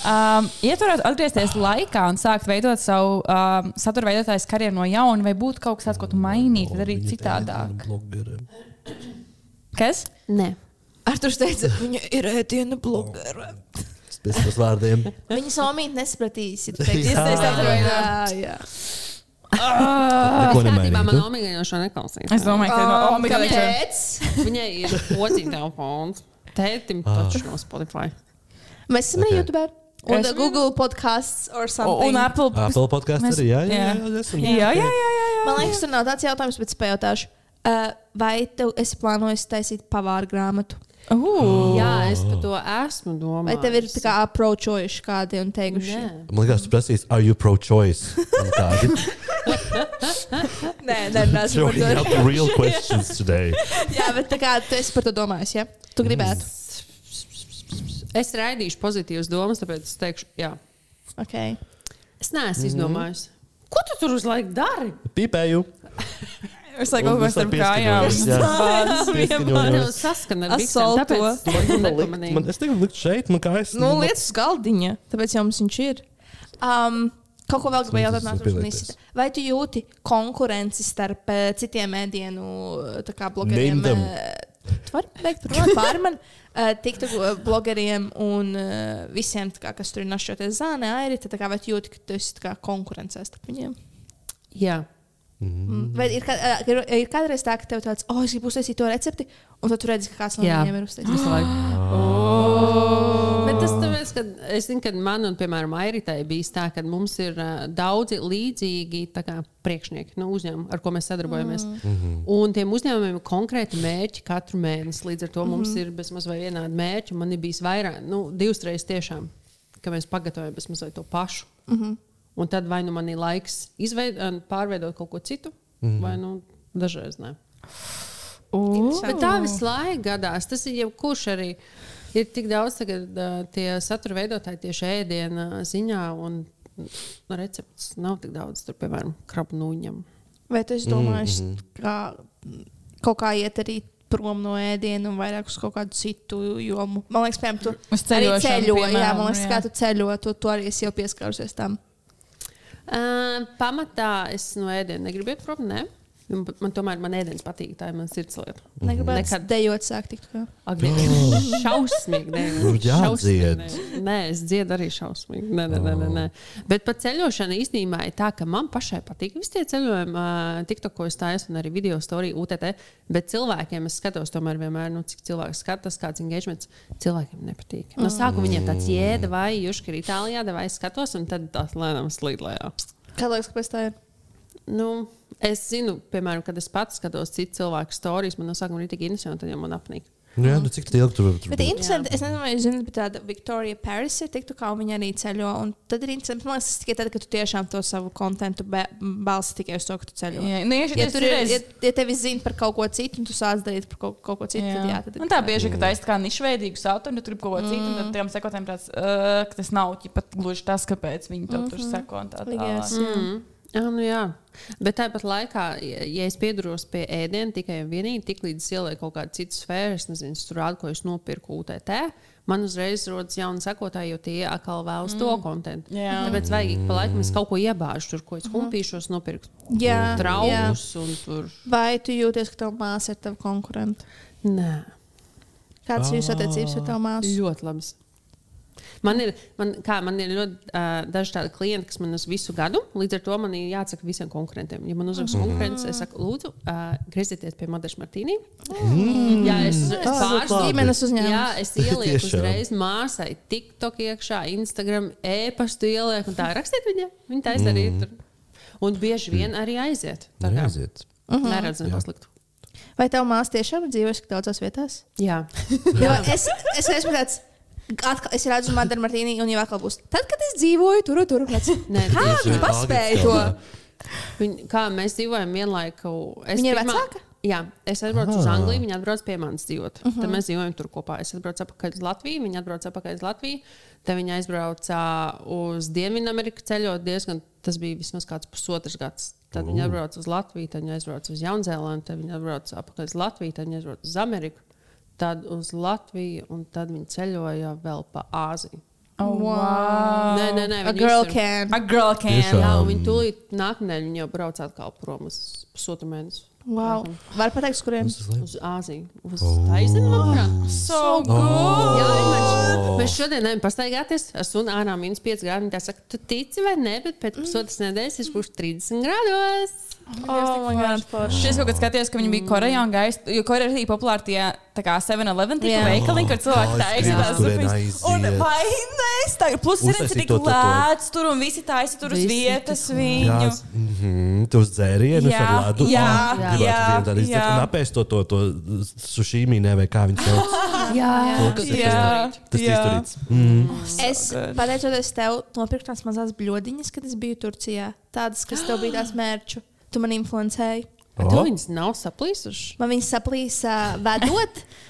Speaker 3: Um, ja tu varētu atgriezties laikā un sākt veidot savu um, satura veidotājas karjeru no jauna, vai būtu kaut kas tāds, ko tu mainītu, vai arī
Speaker 2: Oh, Viņa nu, ēdienu
Speaker 3: citādāk?
Speaker 2: blogeri.
Speaker 3: Kas?
Speaker 4: Nē,
Speaker 5: Ar to teicu, viņa ir ēdienu blogere.
Speaker 2: Spēc uz
Speaker 3: [laughs]
Speaker 2: vārdiem.
Speaker 5: Viņa somīt
Speaker 2: [laughs]
Speaker 5: nesapratīs. ja tu
Speaker 2: Jā.
Speaker 5: teiksi, es teicu, Jā, jā.
Speaker 2: Neko
Speaker 4: skatījumā man
Speaker 2: nemainītu.
Speaker 4: omega jau šo neklausīja.
Speaker 3: Es domāju, ka
Speaker 5: Ah,
Speaker 3: no Omega viņš ir.
Speaker 5: Um, Kāpēc?
Speaker 4: Viņai ir pocīja telefons. Tētim taču no Spotify.
Speaker 5: Mēs esam arī
Speaker 2: Ok.
Speaker 5: YouTube. Un
Speaker 3: Es-
Speaker 5: Google podkāsts or something.
Speaker 3: Un Apple.
Speaker 2: Apple podkāstā
Speaker 3: Mēs-
Speaker 2: arī. Jā, jā,
Speaker 3: jā.
Speaker 2: jā. esam.
Speaker 3: Jā, jā, jā. jā, jā.
Speaker 5: Man liekas, tur nav tāds jautājums, bet es pajautāšu. Uh, vai tev esi plānojis taisīt pavāru grāmatu?
Speaker 3: Ugh.
Speaker 4: Jā, es par to esmu domājis.
Speaker 5: Vai tev ir tā kā apročojuši kādi un teikuši?
Speaker 4: Nē.
Speaker 2: Man liekas, tu prasīs, are you pro-choice?
Speaker 3: [laughs]
Speaker 2: Un tādi.
Speaker 5: nē, nē, nē, es par
Speaker 2: Throwing
Speaker 5: to.
Speaker 2: out real questions today.
Speaker 5: [laughs] Jā, bet tā kā tu esi par to domājis, ja? Tu gribētu.
Speaker 4: Es raidīšu pozitīvas domas, tāpēc es teikšu, jā.
Speaker 5: Okay.
Speaker 4: Es neesmu izdomājis. Ko tu tur uz laiku dari?
Speaker 2: Pīpēju.
Speaker 3: Es laiku
Speaker 2: Un
Speaker 3: kaut
Speaker 2: visam
Speaker 3: kā starp kājām.
Speaker 2: pieskaņojos, jā.
Speaker 4: [laughs]
Speaker 3: Bāzes vienmēr.
Speaker 4: Tev saskana ar biksēm,
Speaker 5: Assalto.
Speaker 4: tāpēc tu to
Speaker 3: [laughs]
Speaker 4: nepamanīji.
Speaker 2: Man, es teiktu, likt šeit, man kā es.
Speaker 3: Nu, lietas uz galdiņa.
Speaker 5: Tāpēc jau mums viņš ir. Um, kaut ko vēl gribēju
Speaker 2: Tas
Speaker 5: jautāt,
Speaker 2: esmu
Speaker 5: Nācis, un
Speaker 2: pielietojis.
Speaker 5: izsita. vai tu jūti konkurenci starp eh, citiem mēdienu tā kā blogeriem?
Speaker 2: Name them.
Speaker 5: eh, Tu vari beigt runāt par mani, tiktu blogeriem un eh, visiem, tā kā, kas tur ir našķoties zānē, arī tā kā vai tu jūti, ka tu esi tā kā konkurencē starp viņiem?
Speaker 4: Jā,
Speaker 5: Mm. Vai ir, kā- eh, ir, ir kādreiz tā, ka tev tāds, oh, es gribu uztaisīt to recepti, un tad tu redzi, ka kāds no
Speaker 4: Jā.
Speaker 5: viņiem ir uztaisījis.
Speaker 4: visu laiku. Bet
Speaker 5: Oh.
Speaker 4: tas tāpēc, ka es zinu, ka man un, piemēram, Airitai bija tā, ka mums ir uh, daudzi līdzīgi tā kā, priekšnieki no uzņēmuma, ar ko mēs sadarbojamies. Mm -hmm. Un tiem uzņēmumiem ir konkrēti mērķi katru mēnesi. Līdz ar to mm -hmm. mums ir bezmaz vai vienādi mērķi. Man ir bijis vairāk, nu, divas reizes tiešām, ka mēs pagatavojam bezmaz vai to pašu. Mm -hmm. Un tad vai nu man ir laiks izveid, eh, pārveidot kaut ko citu, mm -hmm. vai nu dažreiz ne. Bet tā visu laiku gadās. Tas ir jebkurš arī. Ir tik daudz tagad, ā, tie satura veidotāji tieši ēdienas ziņā, un recepts nav tik daudz, tur, piemēram, krabnūņam.
Speaker 5: Vai tu esi domājis, mm -hmm. kā mm, kaut kā iet arī prom no ēdiena un vairāk uz kaut kādu citu jomu? Man liekas, piemēram, tu
Speaker 3: Uz
Speaker 5: arī
Speaker 3: ceļošanu,
Speaker 5: ceļo, jā,
Speaker 3: piemēram,
Speaker 5: man liekas,
Speaker 3: jā.
Speaker 5: kā tu ceļo, tu, tu arī esi jau pieskārusies tam.
Speaker 4: Uh, pamatā es no ēdienas negribu iet prom. Ne? Man, man tomēr man ēdienas patīk, tā ir mana sirds lieta.
Speaker 5: Negribētu
Speaker 4: Nekad.
Speaker 5: Nekad. dejot sāk tikt. kā.
Speaker 4: Agri, šausmīgi. Nē,
Speaker 2: Nu, jādzied.
Speaker 4: šausmīgi, nē. Nē, es dziedu arī šausmīgi. Nē, nē, nē, nē, nē. Bet par ceļošanu īstenībā ir tā, ka man pašai patīk. Visi tie ceļojumi, ā, TikTok, ko es taisu, un arī video storija UTT. Bet cilvēkiem es skatos, tomēr vienmēr, nu, cik cilvēks skatās, kāds ir engagements. Cilvēkiem nepatīk. No sākuma viņiem tāds jēda, vai juška ir Itālijā, vai es skatos, un tad tas lēnām slīd lejā.
Speaker 5: Kā liekas, kāpēc tā ir?
Speaker 4: Nu, es zinu, piemēram, kad es pats skatos citu cilvēku stāstus, man no sākuma ir tik interesanti, un tad jau man apnīk.
Speaker 2: Nu, jā, nu cik tā ilgi tur var
Speaker 5: Bet
Speaker 2: būt?
Speaker 5: ir interesanti, es nezinu, vai jūs zināt, bet tāda Viktorija Paris ir tiktu, kā viņa arī ceļo. Un tad ir interesanti, man liekas, tas tikai tad, kad tu tiešām to savu kontentu be- balsi tikai uz to, ka tu ceļo.
Speaker 3: Jā, nu, ja
Speaker 5: Ja,
Speaker 3: šitais
Speaker 5: tur ir,
Speaker 3: reiz-
Speaker 5: ja, ja tevi zina par kaut ko citu, un tu sāc darīt par kaut, kaut ko citu, jā. tad jā, tad ir
Speaker 3: Man Nu, tā bieži ir, ka taisa kā nišveidīgu saturu, un tur ir kaut ko citu, un
Speaker 2: Mm.
Speaker 3: tad tiem sekotājiem tāds, "Ā, ka tas nav ķipa gluži tas, kāpēc viņi to
Speaker 2: Mhm.
Speaker 3: tur seko. un tā tālāk.
Speaker 5: I guess, jā.
Speaker 4: Mm. Jā, nu jā. Bet tāpat laikā, ja ja es piedaros pie ēdienas tikai un vienīgi, tik līdz es ielieku kaut kādu citu sfēru, es nezinu, es tur rādu, ko es nopirku UTT, man uzreiz rodas jauni sekotāji, jo tie atkal vēlas mm. to kontekstu.
Speaker 3: Jā.
Speaker 4: Tāpēc vajag ik pa laikam es kaut ko iebāžu, tur, ko es kumpīšos, nopirku
Speaker 5: Jā, jā.
Speaker 4: traumas un tur.
Speaker 5: Vai tu jūties, ka tavs māsas ir tavs konkurents?
Speaker 4: Nē.
Speaker 5: Kādas ir jūsu attiecības ar tavu māsu?
Speaker 4: Ļoti labi. Man ir, man, kā, man ir ļoti uh, daži tādi klienti, kas man uz visu gadu, līdz ar to man ir jāatsaka visiem konkurentiem. Ja man uzraksta mm -hmm. konkurence, es saku, lūdzu, uh, griezieties pie Madaras Martīnī. Mm. Jā, es, es
Speaker 2: Tas ir
Speaker 4: pārstu,
Speaker 2: labi.
Speaker 5: Ģimenes uzņēmums.
Speaker 4: Jā, es ielieku
Speaker 2: Tiešām.
Speaker 4: uzreiz māsai, TikTok iekšā, Instagram, e-pastu ielieku un tā rakstīt viņai. Viņa tā izdarīja. Mm. Un bieži vien arī aiziet. Tā
Speaker 2: Nu,
Speaker 4: kā
Speaker 2: Aiziet.
Speaker 4: neredzam, kas sliktu.
Speaker 5: Vai tavs māsas tiešām ir dzīvojusi tik daudzās vietās?
Speaker 4: Jā,
Speaker 5: Jo es, es esmu tāds. Atkal, es redzu, Madara Martīni, un jau atkal būs. Tad, kad es dzīvoju tur, un tur un tur.
Speaker 4: nē,
Speaker 5: Kā
Speaker 2: Tieši
Speaker 5: viņi
Speaker 2: tā,
Speaker 5: paspēja
Speaker 2: Agriskā,
Speaker 5: to?
Speaker 2: jā.
Speaker 4: Viņ, kā mēs dzīvojam vienlaiku. Es
Speaker 5: Viņa ir vecāka?
Speaker 4: Jā, es atbraucu uz Angliju, viņa atbrauc pie manis dzīvot. Uh -huh.
Speaker 5: Mhm.
Speaker 4: Tad mēs dzīvojam tur kopā. Es atbraucu atpakaļ uz Latviju, viņa atbrauca atpakaļ uz Latviju. Tad viņa aizbrauca uz Dienvidameriku ceļot diezgan, tas bija vismaz kāds pusotrs gads. Tad viņa atbrauca uz Latviju, tad viņa aizbrauca uz Jaunzēlandi, tad viņa atbrauca atpakaļ uz Latviju, tad viņa aizbrauca uz Ameriku, tad uz Latviju, un tad viņa ceļoja vēl pa Āziju.
Speaker 3: Oh, wow.
Speaker 4: Nē, nē, nē,
Speaker 5: A
Speaker 4: viņa
Speaker 5: girl
Speaker 4: visur.
Speaker 5: can.
Speaker 3: A girl can.
Speaker 2: Tiešām.
Speaker 4: Jā, un viņi tūlīt nākamnedēļ jau brauc atkal prom uz pusotru mēnesi.
Speaker 5: Wow. Var pateikt, uz kuriem?
Speaker 2: Mums tas liekas.
Speaker 4: Uz Āziju, uz
Speaker 2: Oh.
Speaker 4: Taizemi, manuprāt.
Speaker 5: So
Speaker 2: Oh.
Speaker 5: good!
Speaker 4: Jā, vienkārši. Mēs šodien ejam pastaigāties ar sunu ārā minus 5 grādi. Viņa saka, tu tici vai ne, bet pēc pusotras nedēļas es būšu 30 grādos.
Speaker 5: Oh, my God, forši.
Speaker 3: Šis kaut kāds skaties, ka viņi bija Korejā
Speaker 2: Mm.
Speaker 3: un gaisa. Jo Korejā ir arī populāri tie tā kā 7-Eleven tie
Speaker 5: Jā.
Speaker 3: veikali, kur
Speaker 2: Kā
Speaker 3: cilvēki
Speaker 2: es
Speaker 3: taisa
Speaker 2: gribu
Speaker 3: tās
Speaker 2: turien
Speaker 3: zupiņas. Un
Speaker 2: aiziet.
Speaker 3: vai nē, tā ir plus ir
Speaker 2: Uztaisīt
Speaker 3: tik
Speaker 2: to, to, to.
Speaker 3: lēts tur un visi taisa tur uz
Speaker 4: Visi
Speaker 3: vietas
Speaker 4: tik
Speaker 3: viņu.
Speaker 2: Jā, mm, tu uz dzērienu
Speaker 3: Jā,
Speaker 2: ar Oh, ledu.
Speaker 3: jā, jā, jā.
Speaker 2: Napēs to, to, to sušīmī, ne, vai kā viņš
Speaker 3: [laughs]
Speaker 2: sauc.
Speaker 5: Jā,
Speaker 2: To, kas ir tas- Tas
Speaker 3: jā.
Speaker 2: izturīts. Mm.
Speaker 5: Es pateicoties tev, nopirku tās mazas bludiņas, kad es biju Turcijā. Tādas, kas tev bija tās mērķu. Tu man influencēji.
Speaker 4: Oh.
Speaker 2: O.
Speaker 4: Tu viņas nav saplīsuši.
Speaker 5: Man viņas saplīsa vedot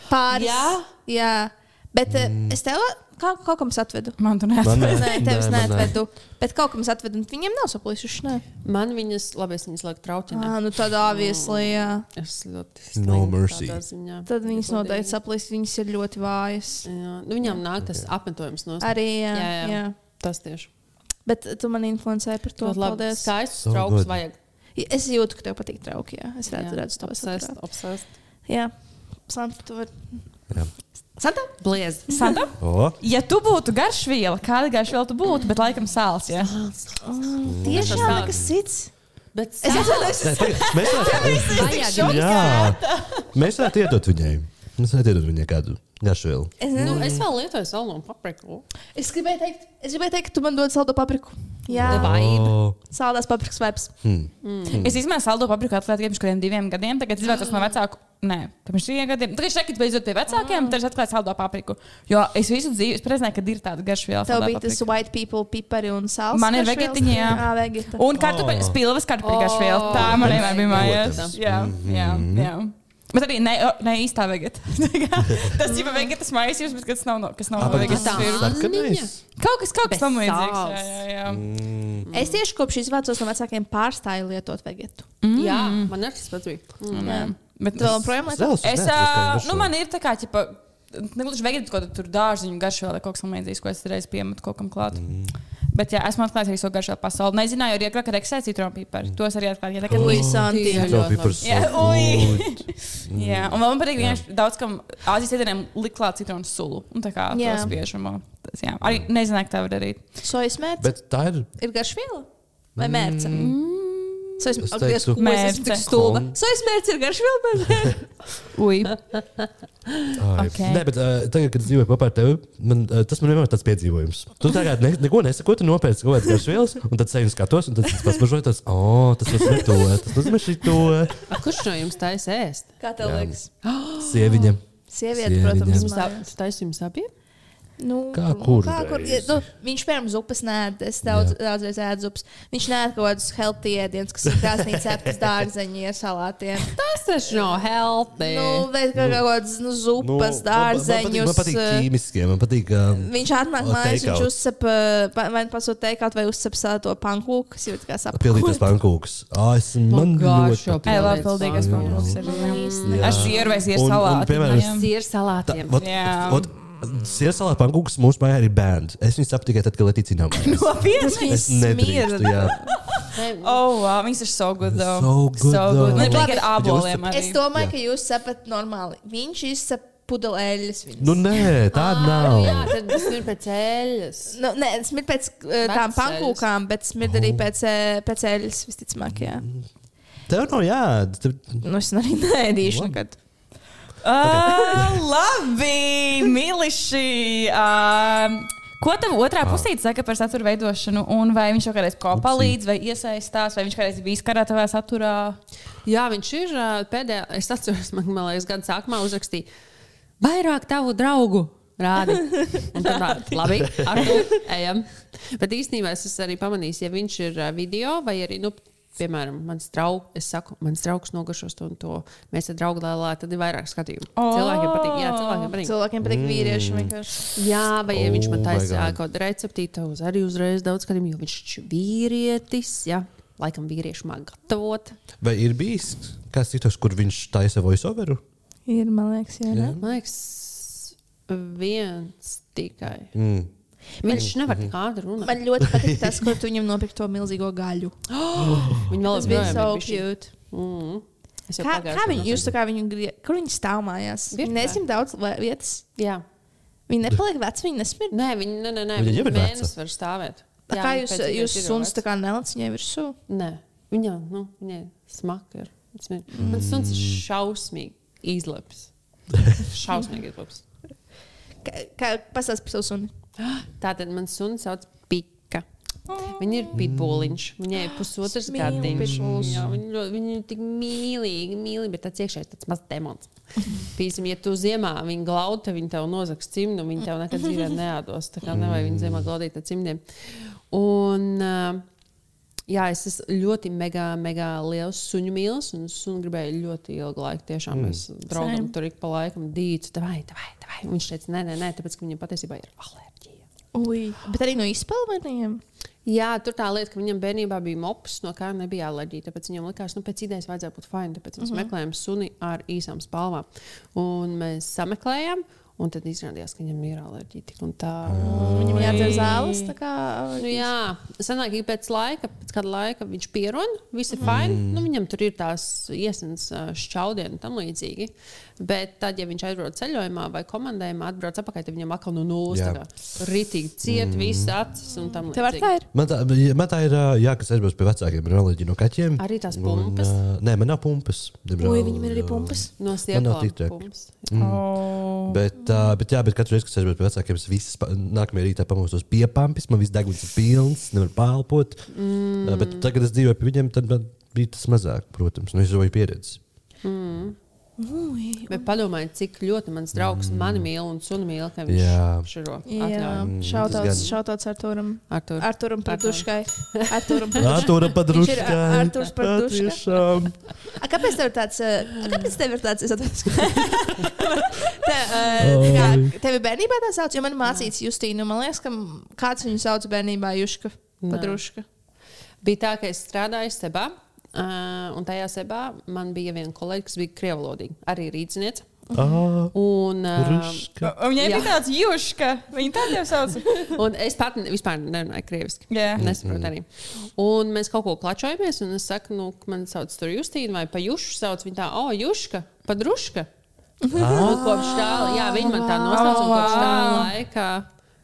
Speaker 5: pāri.
Speaker 4: Jā?
Speaker 5: jā, bet mm. es tev kā, kaut kam atvedu.
Speaker 3: Man tur
Speaker 2: Man
Speaker 3: nē.
Speaker 2: ne.
Speaker 5: Nē, tevis
Speaker 2: Nē, man nē.
Speaker 5: neatvedu. Bet kaut kam atvedu. un Viņiem nav saplīsuši. Nē,
Speaker 4: Man viņas, labi, es viņas lieku traucināt.
Speaker 5: à, nu tādā vieslī.
Speaker 4: Es ļoti
Speaker 2: No
Speaker 4: slinka
Speaker 2: mercy.
Speaker 4: tādā ziņā.
Speaker 5: Tad viņas
Speaker 4: Godīgi.
Speaker 5: noteikti saplīs, viņas ir ļoti vājas.
Speaker 4: Jā, nu, viņām nāk tas apmetojums no
Speaker 5: Arī
Speaker 4: Jā,
Speaker 5: jā, jā,
Speaker 4: jā.
Speaker 5: jā. jā.
Speaker 4: Tas tieši.
Speaker 5: Bet tu man influencēji par to.
Speaker 4: Ļoti labi.
Speaker 5: Paldies.
Speaker 4: Skaists
Speaker 2: So
Speaker 4: trauks
Speaker 2: good.
Speaker 4: vajag.
Speaker 5: Es jūtu, ka tev patīk trauki. Jā. Es redzu, redzu to
Speaker 4: Obsessed,
Speaker 5: sapratu.
Speaker 4: obsessed.
Speaker 5: Jā, Santa, tu vari.
Speaker 2: Jā.
Speaker 5: Santa?
Speaker 4: Bliez.
Speaker 3: Santa?
Speaker 2: O,
Speaker 3: Ja tu būtu garšviela, kāda garšviela tu būtu, bet laikam sāls. Jā,
Speaker 5: Mm, Tiešām nekas cits.
Speaker 4: Bet
Speaker 5: Es
Speaker 4: sāp
Speaker 5: atvainojos.
Speaker 2: Nē, tagad mēs varētu-
Speaker 4: vajag.
Speaker 2: Jā. Mēs varētu iedot viņai. Mēs varētu iedot viņai kādu garšvielu.
Speaker 5: Es,
Speaker 4: Nu,
Speaker 5: nezinu.
Speaker 4: es vēl lietoju salonu papriku.
Speaker 5: es gribēju teikt, es gribēju teikt, ka tu man dod saldo papriku. Jā,
Speaker 2: O,
Speaker 5: saldās paprikas vēps.
Speaker 3: Es izmantoju saldo papriku atklāti pirms kādiem diviem gadiem. Tagad es izvēlos no vecāku. Nē, pirms trījiem gadiem. Tagad es šeit beidzot pie
Speaker 5: Ah.
Speaker 3: vecākiem, tad es atklāju saldo papriku. Jo es visu dzīvi prezentēju, ka ir tāda garšviela.
Speaker 5: Tev
Speaker 3: saldā
Speaker 5: bija tas
Speaker 3: paprika.
Speaker 5: white people, pipari un sāls.
Speaker 3: Man ir
Speaker 5: karšvielas.
Speaker 3: vegetiņa, jā.
Speaker 5: Jā, vegeta.
Speaker 3: Un kartupeļu
Speaker 2: Oh.
Speaker 3: spilves, kartupeļu garšviela. Tā
Speaker 4: Oh.
Speaker 3: man vienmēr bija mājās.
Speaker 4: Ļoti.
Speaker 3: Jā, jā, jā. Bet arī ne, ne īstā [laughs] vegeta. tas ir vegetas maisījums, bet tas nav, no- kas nav no
Speaker 2: Apakaļ
Speaker 3: vegetas.
Speaker 4: tā.
Speaker 3: firmas.
Speaker 2: sarkanais.
Speaker 3: Kaut kas, kaut kas
Speaker 4: Bez
Speaker 3: tam līdzīgs. Jā,
Speaker 4: sāls.
Speaker 3: jā, jā.
Speaker 5: Es tieši kopš izvācos no vecākiem pārstāju lietot vegetu.
Speaker 4: Jā, man ir tas pats bija. Mm.
Speaker 5: Jā.
Speaker 3: Bet
Speaker 5: Tu vēl joprojām lietot?
Speaker 2: Zelsus
Speaker 3: Es,
Speaker 2: neatceros, kā
Speaker 3: ā,
Speaker 2: viņš
Speaker 3: nu,
Speaker 2: šo-
Speaker 3: man ir tā kā, ķipa, negluži vegāns, kaut kāda dārziņa garša vai kaut kas tamlīdzīgs, ko es reiz piemetu kaut kam klāt.
Speaker 2: Mhm.
Speaker 3: Mm. Bet jā, esmu atklājis arī šo garšo pasauli. Nezināju, arī agrāk, kad eksēju citronu
Speaker 2: Mhm.
Speaker 3: pipari. Tos arī atklāju. Jā, tā kā-
Speaker 5: Ui, Santi.
Speaker 4: Jā.
Speaker 2: Tev bija par
Speaker 3: Jā,
Speaker 2: so good. Mhm.
Speaker 3: jā, un vēl man patīk, ka daudz kam Āzijas ēdieniem likt klāt citronu sulu. Un tā kā
Speaker 5: Jā.
Speaker 3: tas biežumā. Tas, jā, arī nezināju, ka tā var darīt.
Speaker 5: Sojas mērce
Speaker 2: Bet Mm. tā ir.
Speaker 5: ir garšviela vai mērce?
Speaker 2: Es
Speaker 5: Sojas mērce. Ak, Dievs,
Speaker 2: teiktu-
Speaker 5: ko es esmu
Speaker 3: Mērce.
Speaker 5: tik stulba.
Speaker 2: Kon-
Speaker 5: Sojas mērce ir garšviela. vai ne?
Speaker 3: Ui,
Speaker 5: Ah,
Speaker 2: Ai,
Speaker 3: Ok.
Speaker 2: Nē, bet uh, tagad, kad es dzīvoju kopā ar tevi, man, uh, tas man vienmēr ir tāds piedzīvojums. Tu tagad ne, neko nesaki, tu nopērci kaut kādas garšvielas, un tad sevi skatos, un tad es pasmažoju, tas, oh, tas nozīmē to, tas nozīmē šī to.
Speaker 4: Kurš no jums taisa ēst?
Speaker 5: Kā tev liekas?
Speaker 2: Sieviņa.
Speaker 5: Sieviete,
Speaker 2: Sieviņa.
Speaker 5: protams,
Speaker 2: Jums
Speaker 4: Jūs tā-
Speaker 5: mājās.
Speaker 4: tu taisi jums abiem?
Speaker 5: Nu,
Speaker 2: Kā
Speaker 5: nu,
Speaker 2: kur
Speaker 5: kā kur ja,
Speaker 2: reizi.
Speaker 5: nu, viņš piemēram zupas nē, es daudz, daudz reizes ēdu zupas. Viņš nē, kaut kādas healthy ēdienas, kas ir
Speaker 2: [laughs]
Speaker 5: krāsnīcā ar dārzeņiem, ar salātiem. [laughs]
Speaker 4: Tas taču nav healthy.
Speaker 5: Nu, vai kā kaut kādas nu, zupas, nu, dārzeņus. eh,
Speaker 2: Man patīk ķīmiskie, man patīk. Um,
Speaker 5: Viņš atnāk
Speaker 2: O,
Speaker 5: mājās,
Speaker 2: take-out.
Speaker 5: viņš uzsap, vai nu pasūta teikāt, vai uzsap sā- to pankūku, kas jūt kā
Speaker 2: Pildītas
Speaker 5: sapņot.
Speaker 2: pankūks. Ah, es, man ļoti patīk.
Speaker 3: Ei, labi, paldies, man mums ir.
Speaker 2: Jā.
Speaker 3: Ar sieru vai sieru
Speaker 2: Un- un,
Speaker 3: salātu.
Speaker 2: piemēram,
Speaker 3: jā.
Speaker 4: Sieru
Speaker 2: Tā,
Speaker 4: salātiem.
Speaker 2: vot,
Speaker 3: Jā.
Speaker 2: vot, Siesalā pankūks mūsu mājā ir bērns. Es viņu saprotu tikai tad, kad Letīcija nav. mājās.
Speaker 5: Tas
Speaker 2: Es
Speaker 5: viņas
Speaker 2: nedrīkstu,
Speaker 5: smira.
Speaker 2: jā.
Speaker 3: Oh, wow, viņas ir so good, though.
Speaker 2: So good, though.
Speaker 3: Man ir
Speaker 5: Labi.
Speaker 3: tikai ar āboliem.
Speaker 5: Es
Speaker 3: arī.
Speaker 5: domāju, ka jūs sapat normāli. Viņš izsap pudelēļas. viņas.
Speaker 2: Nu, nē, tāda
Speaker 4: Ah, Jā,
Speaker 2: nav.
Speaker 4: tad tas ir pēc eļas.
Speaker 5: Nu, nē, smird pēc eh, tām
Speaker 4: Vecas
Speaker 5: pankūkām, bet smird
Speaker 2: Oh.
Speaker 5: arī pēc, eh, pēc eļļas, visticamāk. Jā.
Speaker 2: Tev nav jāēd. Tev-
Speaker 5: Nu,
Speaker 3: [laughs]
Speaker 5: es arī [laughs] neēdīšu
Speaker 2: Labi.
Speaker 5: nekad.
Speaker 3: Ā, Ah, Labi, mīliši. ā, Ko tam
Speaker 2: Ah.
Speaker 3: otrā pusē saka par satura veidošanu? Un vai viņš jau kādreiz ko palīdz, vai iesaistās, vai viņš kādreiz bija izkarā tavā saturā?
Speaker 4: Jā, viņš ir ā, pēdējā, es atceros, man man liekas, gada sākumā uzrakstīja vairāk tavu draugu. Rādi. Un tad tā, Labi, ar to ejam. Bet īstenībā es esmu arī pamanījis, ja viņš ir ā, video vai arī, nu, piemēram, mans draugs, es saku, mans draugs nogašos to un to. Mēs ar draugu lēlā, tad ir vairāk skatījumu.
Speaker 3: Oh!
Speaker 4: Cilvēkiem patīk, jā, cilvēkiem patīk.
Speaker 5: Cilvēkiem patīk
Speaker 2: Mm.
Speaker 5: vīrieši vienkārši.
Speaker 4: Jā, vai ja viņš man
Speaker 2: Oh my
Speaker 4: taisīja
Speaker 2: God.
Speaker 4: ā, kaut kādu receptīti, uz arī uzreiz daudz skatījumu, jo viņš taču vīrietis, jā, laikam vīriešu māk gatavot.
Speaker 2: Vai ir bijis kāds citos, kur viņš taisa voiceoveru?
Speaker 5: Ir, man liekas, jā. jā.
Speaker 4: Man liekas, viens tikai.
Speaker 2: Mm.
Speaker 4: Viņš nevar nekādu runāt.
Speaker 5: Man ļoti patīk tas,
Speaker 2: [laughs]
Speaker 5: kur tu viņam nopirkt to milzīgo gaļu.
Speaker 4: Viņa vēl
Speaker 5: Tas bija
Speaker 4: aizvien
Speaker 5: so
Speaker 4: ir bišķi-
Speaker 5: cute.
Speaker 4: Mm. Es jau
Speaker 5: Kā,
Speaker 4: pagājušajā
Speaker 5: kā viņi
Speaker 4: gadā
Speaker 5: jūs tā kā viņu griezās? Kur viņi stāv mājās? Viņi
Speaker 4: Virtuvē.
Speaker 5: nezina daudz vai- vietas.
Speaker 4: Jā.
Speaker 5: Viņi nepaliek veci, viņi nesmird.
Speaker 4: Nē, viņi nē, nē, nē,
Speaker 2: Viņa
Speaker 4: viņi
Speaker 2: jau ir veca.
Speaker 4: mēnesis var stāvēt.
Speaker 5: Tā
Speaker 4: Jā,
Speaker 5: kā
Speaker 4: viņi
Speaker 5: jūs,
Speaker 4: pēc
Speaker 5: jūs
Speaker 4: iet ir
Speaker 5: suns
Speaker 4: veca.
Speaker 5: tā kā nelec viņai virsū.
Speaker 4: Nē, viņa, nu, viņa smaka ir. Es mīlu. Mans suns ir
Speaker 2: Mm.
Speaker 4: šausmīgi
Speaker 2: [laughs]
Speaker 4: izleps. Šausmīgi izleps.
Speaker 5: Kā, kā pastāst par savu suni?
Speaker 4: Tātad man suns sauc Pika. Viņa ir pitbuliņš. Viņai ir pusotrs
Speaker 5: Mīlu
Speaker 4: gadiņš.
Speaker 5: pitbulls.
Speaker 4: Jā, Viņa, ļo- viņa ir tik mīlīga, mīlīga, bet tāds iekšā ir tāds mazs demons. Pīsim, ja tu ziemā viņa glauda, tad viņa tev nozags cimdu, viņa tev nekad dzīvē neādos. Tā kā nevajag viņu ziemā glaudīt ar cimdiem. Un, ā, Jā, es esmu ļoti mega, mega liels suņu mīlestības, un es sunu gribēju ļoti ilgu laiku. Tiešām mm. es draugam
Speaker 3: Same.
Speaker 4: tur ik pa laikam dīcu, tā vai, tā vai, tā vai. Viņš teica, nē, nē, nē, tāpēc, ka viņam patiesībā ir alerģija.
Speaker 5: Ui. Bet arī no izpelnījumiem.
Speaker 4: Jā, tur tā lieta, ka viņam bērnībā bija mops, no kā nebija alerģija. Tāpēc viņam likās, ka nu, pēc idejas vajadzēja būt fainam. Tāpēc mēs mm -hmm. meklējām suni ar īsām spalvām. Un mēs sameklējām, un tad izrādījās, ka viņam ir alerģija. tik un Tā.
Speaker 5: Viņam jādzer zāles.
Speaker 4: Nu,
Speaker 5: tā Kā,
Speaker 4: jā, sanāk, ka pēc laika, pēc kāda laika viņš pierod, viss ir fini. Mm. Nu, viņam tur ir tās iesnas ā, šķaudienas un tam līdzīgi. Bet tad, ja viņš aizbrauc ceļojumā vai komandējumā, atbrauc atpakaļ, tad viņam atkal no nulles
Speaker 2: Jā.
Speaker 4: tā kā ritīgi ciet, mm. visas acis un tam līdzīgi.
Speaker 5: tev ar tā ir.
Speaker 2: Man tā, man tā ir, ā, jā, kas aizbrauc pie vecākiem, ir alerģija no kaķiem.
Speaker 4: Arī tās
Speaker 2: Un,
Speaker 4: pumpas?
Speaker 2: ā, Nē, man nav pumpas. diemžēl.
Speaker 5: Ui, viņam ir arī pumpas. Oh.
Speaker 4: No
Speaker 2: nav tik
Speaker 4: stiepām
Speaker 2: traki.
Speaker 4: pumps.
Speaker 2: Mm.
Speaker 3: Oh.
Speaker 2: Bet, uh, bet, jā, bet katru reizi, kad es aizbraucu pie vecākiem, es visas pa- nākamajā rītā pamostos piepampis, man viss deguns ir pilns, nevaru pārelpot. Mm. Uh, bet tagad, kad es dzīvoju pie viņiem, tad man bija tas mazāk, protams, no nu, izvēles
Speaker 5: [laughs]
Speaker 2: pieredzes.
Speaker 5: Ui.
Speaker 4: Bet padomājiet, cik ļoti mans draugs mm. mani mīl un sunu mīl, ka
Speaker 2: Jā.
Speaker 4: viņš širo
Speaker 5: Jā,
Speaker 4: atļauj.
Speaker 5: šautauts,
Speaker 2: tas
Speaker 5: šautauts Arturam.
Speaker 4: Artur.
Speaker 5: Arturam Paduškai. [laughs] Arturam Paduškai.
Speaker 2: Artura
Speaker 5: Viņš ir
Speaker 2: padruškā.
Speaker 5: Ar- Arturs Padruška.
Speaker 2: Tiešām.
Speaker 5: A, Kāpēc tev ir tāds? eh, a, Kāpēc tev ir tāds? Es
Speaker 4: [laughs]
Speaker 5: atvainojos. Te, eh, kā, Tevi bērnībā tā sauc, jo man mācīts Justīnu. Man liekas, ka m- kāds viņu sauc bērnībā Juška. Padruška.
Speaker 4: Bija tā, ka es strādāju sebā, uh, un tajā sebā man bija viena kolēģa, kas bija krievlodīga, arī rīzniece.
Speaker 5: [laughs] Um,
Speaker 2: Ah,
Speaker 4: Un, uh,
Speaker 2: Padruška.
Speaker 3: Viņai
Speaker 4: Jā.
Speaker 3: bija tāds jūšs, ka viņi tā tevi sauc.
Speaker 4: un es pat ne- vispār nerunāju krieviski.
Speaker 3: Jā.
Speaker 2: [laughs]
Speaker 4: Nesaprotu arī. Un mēs kaut ko klačojamies, un es saku, nu, ka man sauc tur Justīna vai pa Jušu sauc viņa tā, o, Juška, padruška. Un kopš tā, jā, viņi man tā nosauca, un kopš tā laika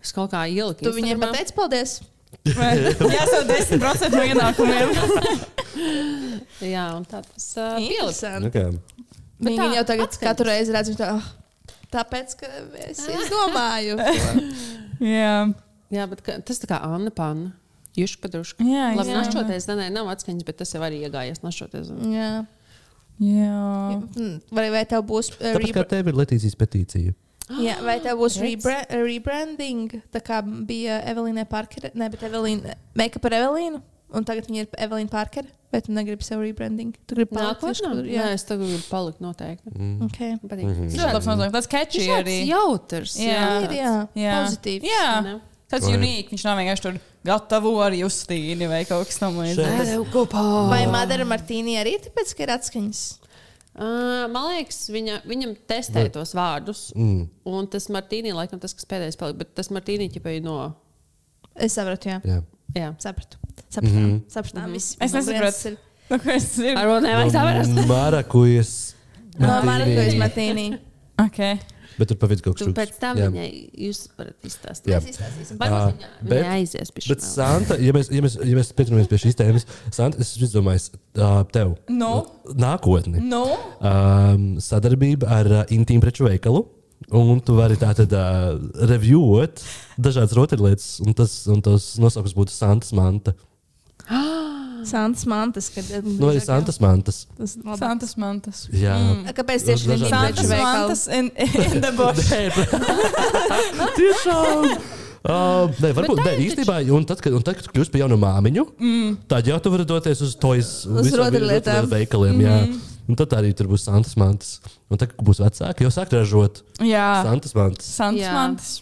Speaker 4: es kaut kā ieliku.
Speaker 5: Tu viņiem
Speaker 4: Instagramā.
Speaker 5: pateici paldies.
Speaker 3: Jā, savu 10% no ienākumiem.
Speaker 4: Jā, un tā tas uh, pielicis.
Speaker 2: Nu
Speaker 5: Interesanti.
Speaker 2: kā,
Speaker 5: Viņi
Speaker 4: tā,
Speaker 5: viņu jau tagad
Speaker 4: atskaņas.
Speaker 5: katru reizi redz, viņš tā. "Ah, Tāpēc, ka es
Speaker 4: [laughs]
Speaker 5: izdomāju.
Speaker 3: Jā,
Speaker 4: Jā, bet ka, tas tā kā Anna Panna. Jūs padrušķi.
Speaker 3: jā.
Speaker 4: Labi,
Speaker 3: jā.
Speaker 4: našķoties, nē, nē, nav atskaņas, bet tas jau arī iegājies našķoties.
Speaker 5: Jā.
Speaker 3: Jā.
Speaker 5: Mm, Vai, vai tev būs eh,
Speaker 2: tāpēc kā
Speaker 5: rebra-
Speaker 2: tev ir Latīsijas petīcija.
Speaker 5: [gasps] jā, vai tev būs
Speaker 4: Redz.
Speaker 5: rebra- uh, rebranding? Tā kā bija Evelīna Parkere, ne, bet Evelīna Makeup par Evelīnu. Un tagad viņa ir Evelīna Parkere, bet tu negribi sev rebranding. Tu gribi palikt tieši,
Speaker 4: Nākotnē?
Speaker 5: kur-
Speaker 4: Jā,
Speaker 5: Jā,
Speaker 4: es tagad gribu palikt noteikti.
Speaker 5: okay.
Speaker 2: Mm-hmm.
Speaker 4: Patīk.
Speaker 3: Tas
Speaker 4: Viņš
Speaker 3: ļoti
Speaker 4: tāds-
Speaker 3: labs nozīmē. Tas
Speaker 4: viņš
Speaker 3: catchy arī.
Speaker 4: tāds jautrs.
Speaker 3: Jā.
Speaker 5: ir, jā,
Speaker 3: Jā.
Speaker 5: jā. pozitīvi.
Speaker 3: Jā,
Speaker 4: Ne?
Speaker 3: tas
Speaker 2: Vai-
Speaker 3: ir unikāls. Viņš nav vienkārši tur gatavo ar justīnu vai kaut kas tamlīdzīgs.
Speaker 2: Šeit.
Speaker 4: Ēdu kopā.
Speaker 5: Vai Madara Martīni arī tāpēc, ka ir atskaņas?
Speaker 4: Ā, Man liekas, viņa, viņam testē tos vārdus.
Speaker 2: Mm,
Speaker 4: Un tas Martīnī, laikam, tas, kas pēdējais palika, bet tas Martīnī ķipēja no.
Speaker 5: Es sapratu, jā. Mhm.
Speaker 2: jā.
Speaker 4: Jā.
Speaker 5: Sapratu.
Speaker 2: Mhm.
Speaker 5: Sapratām, sapratām visi.
Speaker 3: Es
Speaker 5: No kurienes
Speaker 3: nesapratu.
Speaker 5: ir-
Speaker 3: Nu, ko es dzirdu?
Speaker 4: Ar to nevajag saprast.
Speaker 2: Mm. Marakujas.
Speaker 5: No Marakujas Martīni.
Speaker 3: Okay.
Speaker 2: Bet tur pavisam kaut kas
Speaker 4: Tu
Speaker 2: šūds.
Speaker 4: pēc tam
Speaker 2: Jā.
Speaker 4: viņai, jūs varat izstāstīt.
Speaker 2: Jā.
Speaker 5: Mēs izstāstīsim.
Speaker 4: Varbūt
Speaker 2: Ā,
Speaker 4: viņa-
Speaker 2: bet-
Speaker 4: viņa aizies pie
Speaker 2: Bet,
Speaker 4: šī.
Speaker 2: Santa, ja mēs, ja mēs, ja mēs pieturamies pie šīs tēmas, Santa, es izdomāju, uh, tev
Speaker 3: Nu?
Speaker 2: nākotni.
Speaker 3: Nu?
Speaker 2: Um, sadarbība ar uh, Intīmu preču veikalu. Un tu vari tātad uh, reviewot dažādas rotaļlietas, un tas un tos nosaukums būtu Santas Manta.
Speaker 5: Sants Mantas, kad ir.
Speaker 2: Nu, arī Santas Mantas.
Speaker 5: Tas ir labāk.
Speaker 3: Santas mantas. Mm.
Speaker 2: Jā,
Speaker 5: A, Kāpēc tieši
Speaker 2: Dažādi veidi.
Speaker 5: Rīgas
Speaker 3: Santas
Speaker 5: preču veikals?
Speaker 3: mantas in, in the
Speaker 2: [laughs]
Speaker 3: bush.
Speaker 2: tiešām. Um, nē, varbūt nē, īstenībā, un tad, kad, un tad, kad tu kļūsi par jaunu māmiņu, mm. tad jau tu vari doties uz to
Speaker 5: Uz Mhm. rotaļlietām.
Speaker 2: veikaliem. Mm. Un tad arī tur būs Santas Mantas. Un tad, kad būs vecāki, jau sāk ražot
Speaker 5: Ah.
Speaker 3: Jā.
Speaker 2: Santas Mantas.
Speaker 3: Santas
Speaker 4: Jā.
Speaker 3: mantas.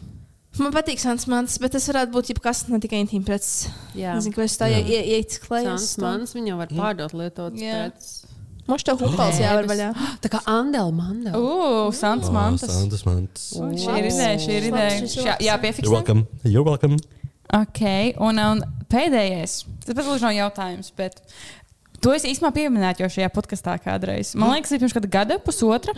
Speaker 5: Man patīk Sants Mantas, bet tas varētu būt jebkas, ne tikai intīm preces.
Speaker 4: Jā.
Speaker 5: Nezinu, ko es tā
Speaker 2: Jā.
Speaker 5: ieietu klajās.
Speaker 4: Sants mans, viņa jau var pārdot lietot.
Speaker 5: Jā.
Speaker 4: pēc-
Speaker 5: Mums tā hupals jāvar vaļā.
Speaker 4: Tā kā Andela Mandela.
Speaker 3: Ugh, Santas mantas.
Speaker 2: Ah, Santas Mantas.
Speaker 3: U, Šī ir ideja, šī ir
Speaker 5: Labs,
Speaker 3: ideja.
Speaker 5: šis ir
Speaker 3: Šā- Jā,
Speaker 2: You're
Speaker 3: piefiksē.
Speaker 2: welcome. You're welcome.
Speaker 3: Ok, un, un pēdējais. Tas pat gluži nav jautājums, bet To es īstenībā pieminēju jau šajā podkāstā kādreiz.
Speaker 5: Mm.
Speaker 3: Man liekas, tas ir pirms kāda gada, pusotra.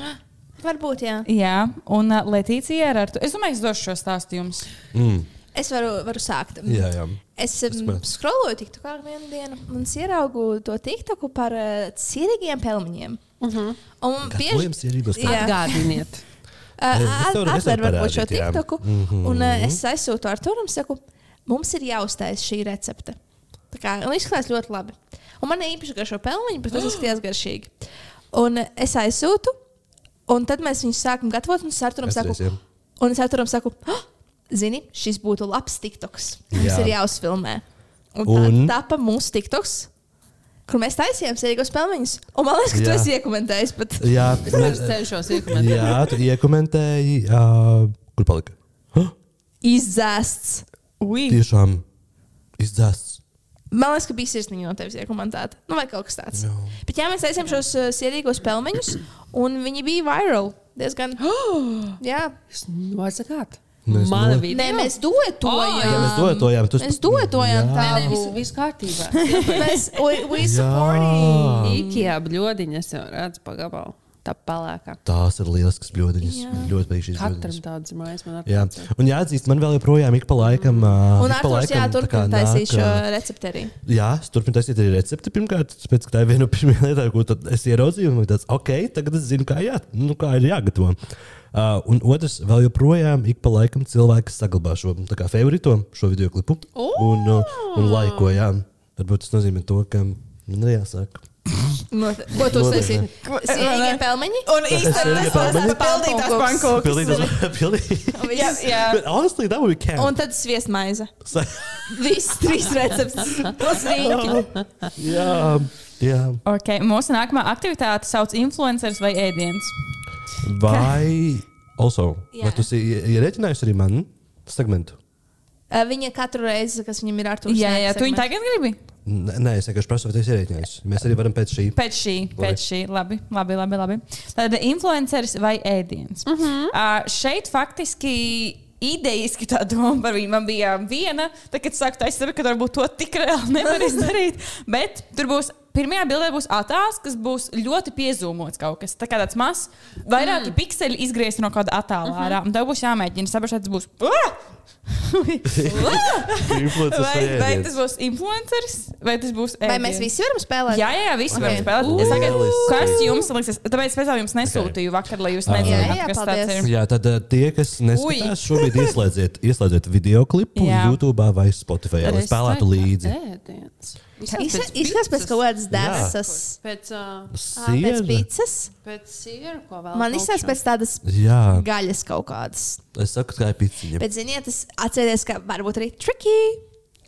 Speaker 5: Varbūt, jā.
Speaker 3: Jā, un uh, Letīcija ir ar to. Es domāju, es došu šo stāstu jums.
Speaker 2: Mm.
Speaker 5: Es varu, varu sākt. Mm.
Speaker 2: Jā, jā.
Speaker 5: Es um,
Speaker 2: man-
Speaker 5: skroloju tiktu kā vienu dienu, un es ieraugu to tiktu par uh, cirīgiem pelmeņiem. Uh -huh. Un bieži
Speaker 2: Gatavojums ierības
Speaker 5: Jā. [laughs]
Speaker 4: Atgādiniet,
Speaker 2: Es varu- es
Speaker 5: Uh, atver
Speaker 2: varu
Speaker 5: varbūt šo
Speaker 2: parādīt, jā.
Speaker 5: tiktu,
Speaker 2: Mhm.
Speaker 5: un uh, es aizsūtu ar to, un saku, mums ir jāuztais šī recepte. Tā kā un izskatās ļoti labi. Un man ir īpaši garšo pelmeņi, bet tas izskatās garšīgi. Un uh, es aizsūtu, un tad mēs viņus sākam gatavot, un es ar to
Speaker 2: Atceries, jā.
Speaker 5: saku, un es ar to saku, oh, zini, šis būtu labs tiktoks. Mums
Speaker 2: Jā.
Speaker 5: ir jāuzfilmē. Un
Speaker 2: Un?
Speaker 5: tā tapa mūsu tiktoks, kur mēs taisījām sērijas pelmeņus. Un man liekas, ka tu
Speaker 2: Jā.
Speaker 5: esi iekomentējis. Bet...
Speaker 2: Jā,
Speaker 4: es
Speaker 2: mēs-
Speaker 4: cenšos iekomentēt.
Speaker 2: jā, tu iekomentēji. ā, Kur palika? Huh?
Speaker 5: Izzēsts.
Speaker 3: Ui,
Speaker 2: Tiešām izdzēsts.
Speaker 5: Man liekas, ka bija sirsniņa no tevis iekomentēta. Nu, vai kaut kas tāds.
Speaker 2: Jā.
Speaker 5: Bet jā, mēs taisījām šos uh, sērijas pelmeņus, un viņi bija viral. [gasps] Diezgan. jā,
Speaker 4: Vārdsakāt.
Speaker 2: Mēs
Speaker 4: nu, Mana
Speaker 2: no-
Speaker 5: Nē,
Speaker 4: vidē.
Speaker 5: mēs dotojām.
Speaker 2: Jā, mēs dotojām. Tu...
Speaker 5: Mēs dotojām
Speaker 2: Jā.
Speaker 5: tādu.
Speaker 4: Viss viss kārtībā.
Speaker 2: [laughs]
Speaker 5: [laughs] Mēs we, we
Speaker 2: Jā.
Speaker 5: supporting.
Speaker 2: Ah.
Speaker 4: Ikea bļodiņas jau redz pagabalu. Tā palēkā.
Speaker 2: Tās ir lieliskas bļodiņas.
Speaker 5: Jā.
Speaker 2: Man ļoti patīk šīs
Speaker 4: Katram
Speaker 2: bļodiņas.
Speaker 4: tāds mājas man
Speaker 2: Jā.
Speaker 4: atnāca.
Speaker 2: Un jāatzīst, man vēl joprojām ik pa laikam. ā,
Speaker 5: Un
Speaker 2: ik pa
Speaker 5: Arthurs, jā,
Speaker 2: laikam tā kā
Speaker 5: turpināt
Speaker 2: nāk,
Speaker 5: taisīt šo
Speaker 2: ā,
Speaker 5: recepti arī.
Speaker 2: Jā, es turpinu taisīt arī recepti. Pirmkārt, tāpēc, ka tā ir viena no pirmajām lietām, ko tad es ieraudzīju. Man bija tāds, ok, tagad es zinu, kā, jā, nu, kā ir jāgatavo. Uh, un otrs, vēl joprojām ik pa laikam cilvēki saglabā šo tā kā, favorito šo video klipu un, uh, un laiko. Jā. Varbūt tas nozīmē to, ka man ir jāsāk.
Speaker 5: Ko tu
Speaker 2: Noteikti.
Speaker 5: uztaisīji? Sīvīgi pelmeņi? Un
Speaker 2: Sierīgie pelmeņi?
Speaker 5: pildītās pankūkas.
Speaker 2: Pilnīgi tas [laughs] pilnīgi.
Speaker 5: Jā, jā.
Speaker 2: But honestly, that would be camp.
Speaker 5: Un tad sviestmaize.
Speaker 2: Sa-
Speaker 5: Viss trīs recepts. Plus rīki.
Speaker 2: jā, jā.
Speaker 3: okay. mūsu nākamā aktivitāte sauc influenceris vai ēdiens.
Speaker 2: Vai also,
Speaker 5: Jā.
Speaker 2: vai tu esi ierēķinājusi arī manu segmentu?
Speaker 5: Uh, Viņa katru reizi, kas viņam ir ar to
Speaker 3: Jā, jā, tu viņu tagad gribi?
Speaker 2: Nē, nē, es vienkārši prasu, vai tas ir ierēķinājums. Mēs arī varam pēc šī.
Speaker 3: Pēc šī, pēc šī, labi, labi, labi. labi. Tad influenceris vai ēdiens. Uh -huh.
Speaker 5: Mhm.
Speaker 3: uh, šeit faktiski. Idejiski tā doma par viņu man bija viena. Tad, kad es sāku taisīt, sapratu, ka varbūt to tik reāli nevar izdarīt.
Speaker 5: [laughs]
Speaker 3: Bet tur būs pirmā bilde, būs attēls, kas būs ļoti piezūmots kaut kas. Tā kā tāds mazs, vairāki mm. pikseli izgriezti no kāda attēla
Speaker 5: Mhm.
Speaker 3: ārā. Un tev būs jāmēģina saprast,
Speaker 5: [laughs]
Speaker 3: tas būs. [laughs]
Speaker 2: Influenceris vai
Speaker 3: vai, vai
Speaker 2: ēdiens?
Speaker 3: tas būs influenceris, vai tas būs.
Speaker 5: Vai
Speaker 3: ēdiens?
Speaker 5: mēs visi varam spēlēt?
Speaker 3: Jā, jā, jā visi varam
Speaker 2: Ok.
Speaker 3: spēlēt.
Speaker 2: Ui.
Speaker 3: Es tagad,
Speaker 2: Lieliski.
Speaker 3: kas jums liksies? Tāpēc speciāli jums nesūtīju vakar, lai jūs
Speaker 5: Jā, jā,
Speaker 3: nezinātu, kas
Speaker 5: paldies.
Speaker 3: tas ir.
Speaker 2: Jā, tad ā, tie, kas neskatās, šobrīd ieslēdziet, ieslēdziet video klipu
Speaker 3: Jā.
Speaker 2: YouTube vai Spotify, lai spēlētu līdzi.
Speaker 4: Ēdiens.
Speaker 5: Izskatās izskatās pēc kaut kādas dēsas.
Speaker 4: Pēc, ā,
Speaker 5: Ā, Pēc
Speaker 2: Siena.
Speaker 5: pizzas.
Speaker 4: pēc sieru, ko vēl.
Speaker 5: Man izskatās pēc tādas
Speaker 2: Jā,
Speaker 5: gaļas kaut kādas.
Speaker 2: es saku, kā ir piciņa.
Speaker 5: Bet, ziniet, tas atcerieties, ka varbūt arī tricky.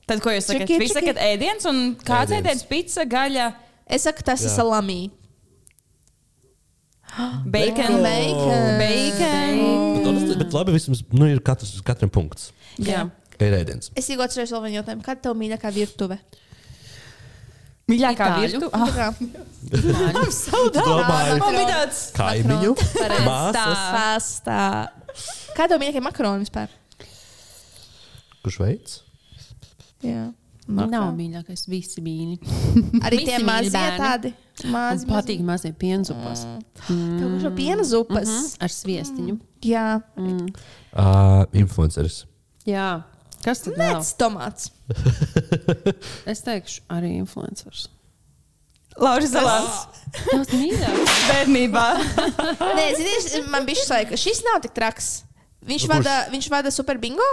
Speaker 3: Tad, ko jūs sakat?
Speaker 5: Čiki,
Speaker 3: Jūs
Speaker 5: čiki.
Speaker 3: sakat, ēdiens un kāds
Speaker 2: Ēdiens.
Speaker 3: ēdiens, pica, gaļa,
Speaker 5: Es saku, tas ir
Speaker 2: Jā.
Speaker 5: salami.
Speaker 3: bacon,
Speaker 5: Bacon.
Speaker 3: bacon.
Speaker 2: Bet, honestly, Nu, bet labi, vismaz nu, ir katrs, katram punkts.
Speaker 4: Jā.
Speaker 2: Kā ir ēdiens?
Speaker 5: Es īstenībā atceros vēl vienu jautājumu. Kad tev mīļākā virtuve?
Speaker 3: Mīļākā
Speaker 4: Itāļu.
Speaker 3: virtuve.
Speaker 5: Tā kā [laughs]
Speaker 2: Domāju,
Speaker 3: Man bija tāds.
Speaker 2: kaimiņu,
Speaker 5: Makaronu.
Speaker 2: māsas,
Speaker 5: pastā. Kā tev mīļākie makaroni vispār?
Speaker 2: kurš veids?
Speaker 5: Jā.
Speaker 4: Nav mīļākais, visi mīļi.
Speaker 5: Arī
Speaker 4: Visi
Speaker 5: tie
Speaker 4: mīļi
Speaker 5: mazie
Speaker 4: bērni.
Speaker 5: tādi.
Speaker 4: Man
Speaker 5: Mazi, mazi.
Speaker 4: patīk mazie pienzupas
Speaker 5: Mm. Tev garšo piena zupas.
Speaker 4: ar sviestiņu.
Speaker 5: Jā.
Speaker 2: Uh, influenceris.
Speaker 4: Jā. Kas tad vēl?
Speaker 5: Nec tomāts.
Speaker 4: Es teikšu, arī influencers.
Speaker 3: Lauris Zalants.
Speaker 4: Tās mīļākās.
Speaker 3: Bērnībā.
Speaker 5: Nē, zinies, man bija šis laika. Šis nav tik traks. Viņš
Speaker 2: Kurš?
Speaker 5: vada, viņš vada super bingo?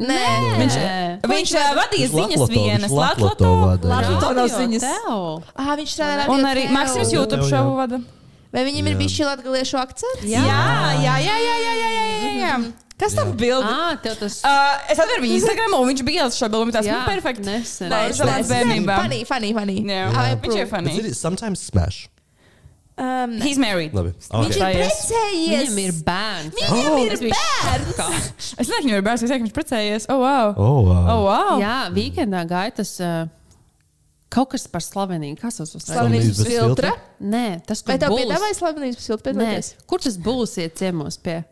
Speaker 5: Nē.
Speaker 4: Viņš
Speaker 3: Viņš ā, vadīja
Speaker 2: Viņš
Speaker 3: ziņas
Speaker 2: Latlato, viņš
Speaker 3: vienas.
Speaker 2: Latlato vada, jā.
Speaker 3: Latlato nav ziņas.
Speaker 4: Tev.
Speaker 5: Ah, viņš strādā
Speaker 3: Un arī
Speaker 5: radio
Speaker 3: Maksims
Speaker 5: Teo.
Speaker 2: Jā,
Speaker 3: YouTube
Speaker 2: jā.
Speaker 3: šovu vada.
Speaker 5: Vai viņam ir
Speaker 2: Jā.
Speaker 5: bijis šī latgaliešu akcents?
Speaker 3: Jā, jā, jā, jā, jā, jā, jā, jā, jā. Kas tam bildi?
Speaker 4: Ā, tev tas.
Speaker 3: Uh, es atveru viņu Instagram, un viņš bija ielicis šo bildi. un Tas bija perfekti.
Speaker 4: Nesen.
Speaker 3: Nē, es- Savās bērnībām.
Speaker 5: Funny, funny, funny.
Speaker 3: Jā, viņš ir
Speaker 5: I approve.
Speaker 2: Bet
Speaker 3: funny.
Speaker 2: zini, Sometimes smash.
Speaker 5: Um,
Speaker 3: He's married.
Speaker 2: Labi.
Speaker 5: viņš ir
Speaker 2: Okay.
Speaker 3: Tā es.
Speaker 5: precējies.
Speaker 4: Viņam ir bērns.
Speaker 5: Viņam
Speaker 4: Oh,
Speaker 5: ir
Speaker 4: es biju
Speaker 5: bērns!
Speaker 4: šokā.
Speaker 3: Es nezinu, viņam ir bērns, es domāju, viņš precējies. Oh, wow. Oh.
Speaker 2: Oh, wow.
Speaker 3: Oh, wow.
Speaker 4: Jā, weekendā gāja tas uh, kaut kas par slavenību. Kas tas uz
Speaker 2: Slavenības
Speaker 5: Slavenības
Speaker 2: filtra?
Speaker 5: filtra.
Speaker 4: Nē, tas
Speaker 5: Vai
Speaker 4: kaut
Speaker 5: tev
Speaker 4: kas
Speaker 5: piedāvāja slavenības filtru
Speaker 4: tāds.
Speaker 5: pieteikties?
Speaker 4: Kur tas būs iet ciemos pie?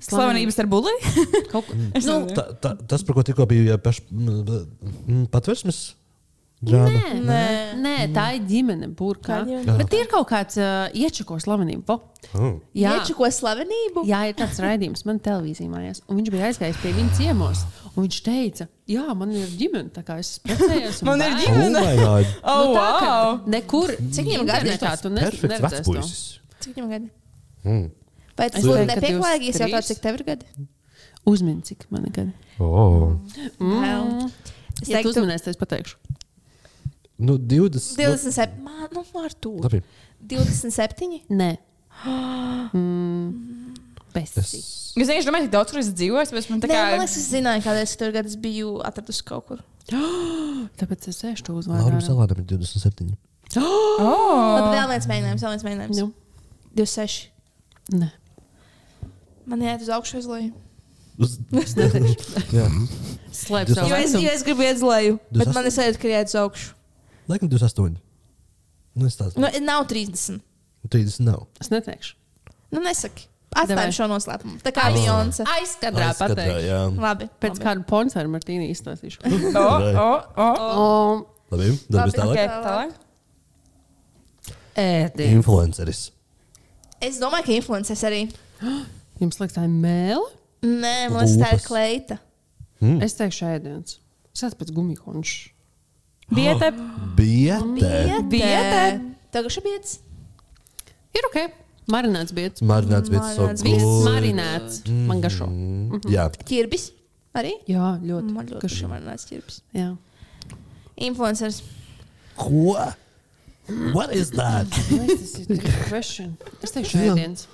Speaker 3: Slavenības ar
Speaker 5: [laughs]
Speaker 3: buli.
Speaker 4: Kaut ko.
Speaker 3: Nu.
Speaker 2: Nu, ta, ta, tas, par ko tikko bija paš, m, m, patversmes drāma.
Speaker 4: Nē,
Speaker 5: Nē.
Speaker 4: Nē, tā ir ģimene, burkā.
Speaker 5: Tā ir ģimene.
Speaker 4: Bet ir kaut kāds uh, iečako slavenība. Vo.
Speaker 2: Mm.
Speaker 4: Jā,
Speaker 5: Ieču ko slavenību?
Speaker 4: jā, ir tāds raidījums man televīzijā mājās. Un viņš bija aizgājis pie viņa ciemos. Un viņš teica, jā, man ir ģimene, tā kā es esmu precējies. un
Speaker 3: Man ir
Speaker 4: bērni."
Speaker 3: ģimene.
Speaker 2: Oh, my God.
Speaker 3: Oh,
Speaker 4: Nu, tā, ka
Speaker 3: wow!
Speaker 4: Nekur.
Speaker 5: Cik viņam gadi?
Speaker 4: internetā tu ne-
Speaker 2: Perfekts
Speaker 4: neredzēsi to.
Speaker 2: vecpuisis.
Speaker 5: Cik viņam gadi?
Speaker 2: Mm.
Speaker 5: Vai tas
Speaker 4: Es
Speaker 5: būtu
Speaker 4: teiktu, ka
Speaker 5: nepieklājīgi,
Speaker 4: 23.
Speaker 5: ja jautātu, cik tev ir gadi?
Speaker 4: Uzmini, cik man ir gadi.
Speaker 2: Oh.
Speaker 5: Vēl. Es
Speaker 4: Ja tu
Speaker 5: teiktu,
Speaker 4: uzminēsi, tad es pateikšu.
Speaker 2: Nu, 20.
Speaker 5: 27. Mā, nu, ar to.
Speaker 2: Nu, labi.
Speaker 5: 27.
Speaker 3: [gasps]
Speaker 4: Nē. Mm.
Speaker 2: Es...
Speaker 4: Pesi.
Speaker 3: Es nezinu, domāju, cik daudz kur es dzīvoju, bet man
Speaker 5: Nē,
Speaker 3: tā kā.
Speaker 5: man liekas, es zināju, kādreiz tur gadu es biju atradusi kaut kur.
Speaker 4: Tāpēc es sēžu to
Speaker 2: Laurim
Speaker 4: uzvārdu.
Speaker 2: Salādam ir 27.
Speaker 5: Labi,
Speaker 3: Oh!
Speaker 5: vēl viens mēģinājums, vēl viens mēģinājums.
Speaker 4: Nu,
Speaker 5: 26.
Speaker 4: nē.
Speaker 5: Man jāiet uz augšu, uz leju.
Speaker 2: Uz... Jā,
Speaker 4: Slēp savu
Speaker 5: Jo es,
Speaker 4: vecumu.
Speaker 5: jo es gribu iet uz leju, bet
Speaker 2: 28.
Speaker 5: man ir sajūta, ka jāiet uz augšu.
Speaker 2: laikam 28. Nu, es tādu.
Speaker 5: Nu, nav 30.
Speaker 2: 30 nav.
Speaker 4: Es neteikšu.
Speaker 5: Nu, nesaki.
Speaker 4: Davai.
Speaker 5: Atstājam šo noslēpumu. Tā kā Beyoncé.
Speaker 4: Aizkadrā
Speaker 2: Aizkadrā,
Speaker 4: pateikšu.
Speaker 2: jā.
Speaker 5: Labi.
Speaker 4: Pēc
Speaker 5: labi.
Speaker 4: kāda ponsa ar Martīnu izstāstīšu.
Speaker 3: [laughs] Oh, oh, oh.
Speaker 4: Um,
Speaker 2: Labi,
Speaker 5: Labi,
Speaker 2: dabūs tālāk.
Speaker 3: Okay, tālāk.
Speaker 4: Ēdiens.
Speaker 2: Influenceris.
Speaker 5: Es domāju, ka influenceris arī.
Speaker 4: Jums liekas, tā ir mēle?
Speaker 5: Nē, man liekas, tā ir
Speaker 2: Lūpas.
Speaker 5: kleita.
Speaker 2: Mm.
Speaker 4: Es teikšu, ēdiens. Es esmu pēc gumikonča.
Speaker 3: Dieta.
Speaker 2: Bietē.
Speaker 3: Biete.
Speaker 5: Tā kā šabiets.
Speaker 4: Ir ok. Marināts biets.
Speaker 2: Marināts vietas.
Speaker 5: Marināts
Speaker 4: Viss marināts. Man garšo.
Speaker 2: Jā,
Speaker 5: Ķirbis. Arī?
Speaker 4: Jā, ļoti.
Speaker 5: Man ļoti
Speaker 4: garšo.
Speaker 5: garšo marināts ķirbis.
Speaker 4: Jā.
Speaker 5: Influenceris.
Speaker 2: ko? What is that?
Speaker 4: Tas ir good question. Es teikšu,
Speaker 2: Jā.
Speaker 4: ēdiens.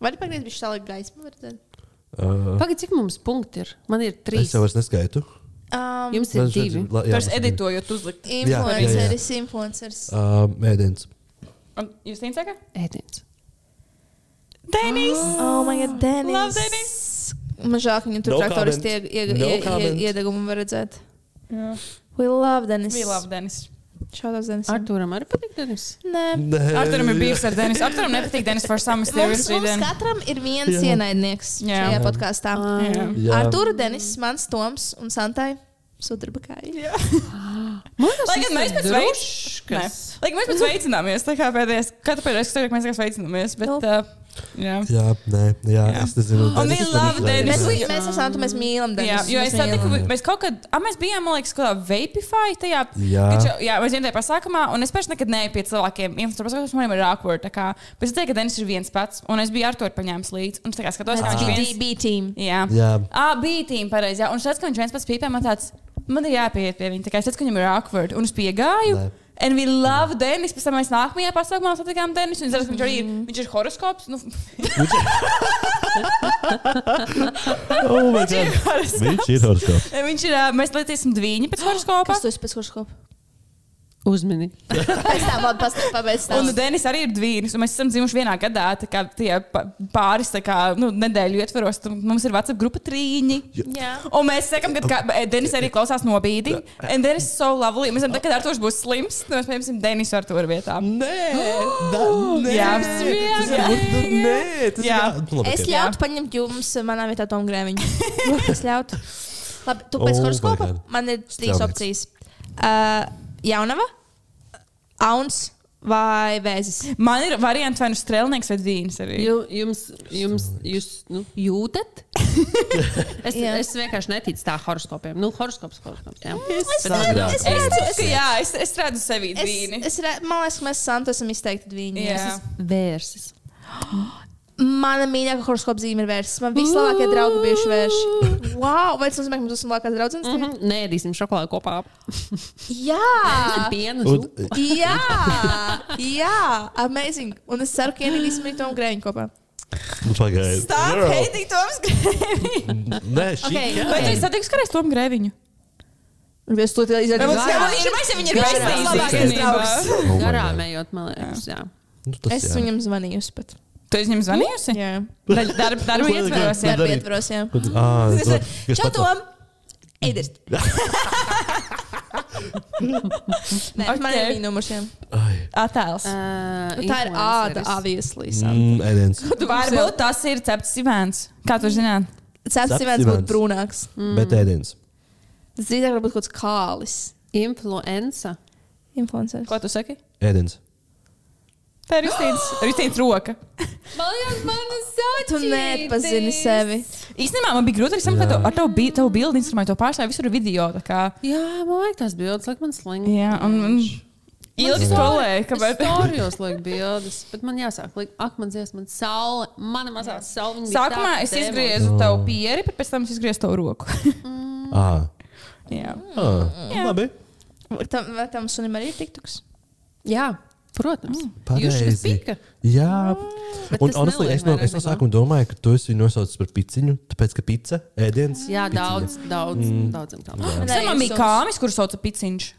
Speaker 5: Vari pagriezt, viņš tālāk gaismu var redzēt?
Speaker 2: Uh,
Speaker 4: Pagaid, cik mums punkti ir? Man ir
Speaker 2: es
Speaker 4: trīs.
Speaker 2: jau vairs neskaitu.
Speaker 5: Um,
Speaker 4: Jums ir divi.
Speaker 2: la- jā,
Speaker 3: Tur es
Speaker 2: mums ir divi.
Speaker 3: editoju, tu uzlikt.
Speaker 2: jā, jā.
Speaker 5: Influenceris, influenceris.
Speaker 2: Uh, Mēdienas.
Speaker 3: Un jūs teicāt, ka?
Speaker 4: Ēdiens.
Speaker 3: Denis!
Speaker 5: Oh, man ir Denis.
Speaker 3: Love, Denis!
Speaker 5: Man žēl, ka viņu tur
Speaker 2: No
Speaker 5: traktoris
Speaker 2: comment.
Speaker 5: tie ie-
Speaker 2: No
Speaker 5: ie- ie-
Speaker 2: comment.
Speaker 5: iedegumu var redzēt.
Speaker 3: Jā.
Speaker 5: We love Denis.
Speaker 3: Bija labi, Denis.
Speaker 5: Šādos Denis.
Speaker 4: Arturam arī patīk Denis.
Speaker 2: Mm.
Speaker 5: Nē.
Speaker 3: Arturam ir bijis ar Denisu. Arturam nepatīk Denis par samu
Speaker 5: Mums,
Speaker 3: stāstu.
Speaker 5: mums katram ir viens
Speaker 2: Jā.
Speaker 5: jā. ienaidnieks jā.
Speaker 3: Jā.
Speaker 5: šajā podkāstā.
Speaker 2: Jā.
Speaker 5: Ar Turu Denis, mans Toms un Santai Sudrabakāji.
Speaker 4: Man liekas,
Speaker 3: Lai gan mēs pēc
Speaker 4: veids.
Speaker 3: veicināmies. Lai gan mēs pēc veicināmies. Tā kā pēdējais, kad pēdējais, kad mēs tikai veicināmies.
Speaker 5: Nu.
Speaker 3: Bet, uh, jā.
Speaker 2: Jā, nē, jā,
Speaker 3: Jā.
Speaker 2: es nezinu.
Speaker 3: Un
Speaker 2: Denis man
Speaker 3: we love
Speaker 2: ir
Speaker 3: Denis.
Speaker 5: Mēs,
Speaker 2: redzējis.
Speaker 5: mēs, mēs ar Santu mēs mīlam Denisu.
Speaker 3: Jā, jo es
Speaker 5: Mēs
Speaker 3: saprotu,
Speaker 5: mīlam.
Speaker 3: ka mēs kaut kad, ah, mēs bijām, man liekas, kādā Vapify tajā.
Speaker 2: Jā.
Speaker 3: Taču, jā, mēs vienā tajā pasākumā, un es pats nekad neeju pie cilvēkiem. Influencer pasākumos man ir awkward. tā Kā, bet es teicu, ka Denis ir viens pats, un es biju ar to paņēmis līdzi. Un es tā kā skatos, kā
Speaker 5: Mēs
Speaker 3: viņš
Speaker 5: bija
Speaker 3: viens.
Speaker 5: D- B team.
Speaker 3: Jā,
Speaker 2: Jā.
Speaker 3: à, bija tīm pareizi. jā. Un es redzu, ka viņš viens pats pīpē man tāds, man ir jāpieiet pie viņa. Tā kā es redzu, ka viņam ir awkward. Un es piegāju.
Speaker 2: Nē.
Speaker 3: And we love Denis. Pēc tam mēs nākamajā pasākumā satikām Denisu. un es redzu, ka Viņš, arī
Speaker 5: Mhm.
Speaker 3: ir- viņš ir horoskops. Nu, [laughs]
Speaker 2: Oh my God.
Speaker 3: horoskops.
Speaker 2: Viņš ir horoskops.
Speaker 3: Viņš ir, ā, mēs lecīsim divi pēc horoskopa.
Speaker 5: Kas tu esi pēc horoskopa?
Speaker 4: Uzmini.
Speaker 5: Pēc tam, kad pastāv pabeigts
Speaker 3: Un
Speaker 5: stāsts.
Speaker 3: Denis arī ir dvīnis, un mēs esam dzimuši vienā gadā. tā kā Tie pa- pāris tā kā, nu, nedēļu ietvaros, tad mums ir Vācijā grupa trīņi.
Speaker 5: Jā.
Speaker 3: Un mēs sakām, ka kā, eh, Denis arī klausās nobīdi. Un Denis ir so lovely. Mēs zinām, ka Artošs būs slims. tad Mēs paņemsim Denisu ar to vietā. [gasps]
Speaker 2: Nē, da, nē.
Speaker 3: Jā,
Speaker 2: tas
Speaker 3: smieklīgi.
Speaker 2: ir ļoti- Nē, tas ir.
Speaker 3: Jā.
Speaker 2: kā- Nu, labi,
Speaker 5: Es
Speaker 2: ok.
Speaker 5: ļautu paņemt jums manā vietā Tomu Grēviņu.
Speaker 3: [laughs]
Speaker 5: es ļautu. Labi, tu
Speaker 2: Oh
Speaker 5: pēc oh
Speaker 2: my
Speaker 5: horoskopa
Speaker 2: God.
Speaker 5: man ir trīs
Speaker 2: Strāvnieks.
Speaker 5: opcijas. Uh, jaunava, auns vai vēzis.
Speaker 3: Man ir variants vai nu strēlnieks vai dvīnis arī.
Speaker 4: Ju- Jums, jums, jūs nu, jūtat? [laughs] es,
Speaker 5: Jā.
Speaker 4: es vienkārši neticu tā horoskopiem. Nu, horoskops, horoskops. Jā.
Speaker 5: Es
Speaker 2: Sagrāk.
Speaker 5: redzu, es
Speaker 3: Es
Speaker 5: redzu,
Speaker 3: redzu, ka jā, es, es redzu sevi
Speaker 5: es,
Speaker 3: dvīni.
Speaker 5: es redzu, man liekas, ka mēs Santu esam izteikti divi.
Speaker 3: Jā.
Speaker 4: Vērsis.
Speaker 5: Mana mīļākā horoskopa zīme ir vērsts. Man vislabākie draugi bijuši vērši. Wow, vai tas nozīmē, ka mums esam labākās draudzenes?
Speaker 4: Mm
Speaker 5: tagad?
Speaker 3: Mhm.
Speaker 4: -hmm. Nē, ēdīsim šokolādi
Speaker 3: [laughs]
Speaker 4: kopā. Ah.
Speaker 5: Jā!
Speaker 4: Piena
Speaker 2: Un,
Speaker 4: zupa.
Speaker 5: Jā, jā, amazing. Un es ceru, ka ienīdīsim arī Tomu Grēviņu kopā.
Speaker 2: nu, pagaidi.
Speaker 3: Stop
Speaker 2: Girl.
Speaker 3: hating Toms Grēviņu.
Speaker 2: Nē, šī
Speaker 5: Okay,
Speaker 2: ir.
Speaker 3: Vai tu esi satikus karēs Tomu Grēviņu?
Speaker 5: Es to
Speaker 3: Vai
Speaker 5: tikai izdarīju.
Speaker 3: mums
Speaker 4: jā.
Speaker 3: ir baisi, viņi ir
Speaker 4: Jā, jā.
Speaker 3: baisi. īstenībā.
Speaker 2: Oh my
Speaker 4: Garām
Speaker 2: God.
Speaker 4: ejot, man liekas. Jā.
Speaker 2: Nu, tas
Speaker 5: Es
Speaker 2: jā.
Speaker 5: viņam zvanīju. es pat.
Speaker 3: Tu esi viņam zvanījusi?
Speaker 5: Jā,
Speaker 3: Dar- Darba darba
Speaker 2: Ko-
Speaker 3: ietvaros,
Speaker 2: ko-
Speaker 3: jā.
Speaker 5: darba
Speaker 2: darīt?
Speaker 5: ietvaros. jā.
Speaker 3: [laughs]
Speaker 2: Ko tu- Ā, es domāju, ka es
Speaker 5: Čau,
Speaker 2: pats-
Speaker 5: Tom! Eidis! Nē, okay. man ir
Speaker 3: Ok.
Speaker 5: viņa numurs. jā.
Speaker 2: Ai.
Speaker 3: Attēls.
Speaker 4: Uh,
Speaker 5: Nu, Tā ir āda, obviously. Santa.
Speaker 2: Mm, ēdiens.
Speaker 3: Varbūt tas ir cepts sivens. Kā tu zini?
Speaker 2: Cepts
Speaker 5: Ceturtais ciments
Speaker 3: Mm.
Speaker 5: būtu
Speaker 2: Ivans.
Speaker 5: brūnāks.
Speaker 2: Bet ēdiens.
Speaker 5: Zīdāk varbūt kaut kāds kālis.
Speaker 4: Influenza.
Speaker 5: Influenceris.
Speaker 3: Ko tu saki?
Speaker 2: Ēdienas.
Speaker 3: Tā ir Kristīnas, Kristīnas roka.
Speaker 5: Tu nepazini sevi.
Speaker 3: Īstenībā man bija grūti arī saprast,
Speaker 2: Jā.
Speaker 3: ar tavu, bi- tavu bildi instrumentu, to pārstāju visur video. tā Kā,
Speaker 4: Jā, man vajag tās bildes, lai man slinki.
Speaker 3: jā,
Speaker 2: Mm.
Speaker 3: un, un ilgi strolēju,
Speaker 4: Kāpēc?
Speaker 3: kāpēc.
Speaker 4: Storijos liek bildes, bet man jāsāk likt, ak, man dzies, man saule, mana mazā saule. viņa bija
Speaker 3: Sākumā
Speaker 4: tā
Speaker 3: es
Speaker 4: demons.
Speaker 3: izgriezu tavu pieri, bet pēc tam es izgriezu tavu roku. [laughs]
Speaker 2: Ā,
Speaker 3: jā.
Speaker 2: ā, labi.
Speaker 5: Tam, vai tam sunim arī ir tiktuks?
Speaker 4: Jā, protams. Jūs esat
Speaker 2: Mm. Pareizi.
Speaker 4: pika.
Speaker 2: Jā,
Speaker 4: Bet
Speaker 2: un
Speaker 4: tas
Speaker 2: honestly,
Speaker 4: neliek
Speaker 2: es no,
Speaker 4: vairāk
Speaker 2: es no
Speaker 4: nekā.
Speaker 2: sākuma domāju, ka tu esi nosaucis par piciņu, tāpēc ka pica, ēdiens.
Speaker 4: Jā,
Speaker 2: piciņa.
Speaker 4: daudz, daudz,
Speaker 2: Mm.
Speaker 4: daudziem tādiem.
Speaker 3: Tas man bija kāmis, kurš sauca piciņš.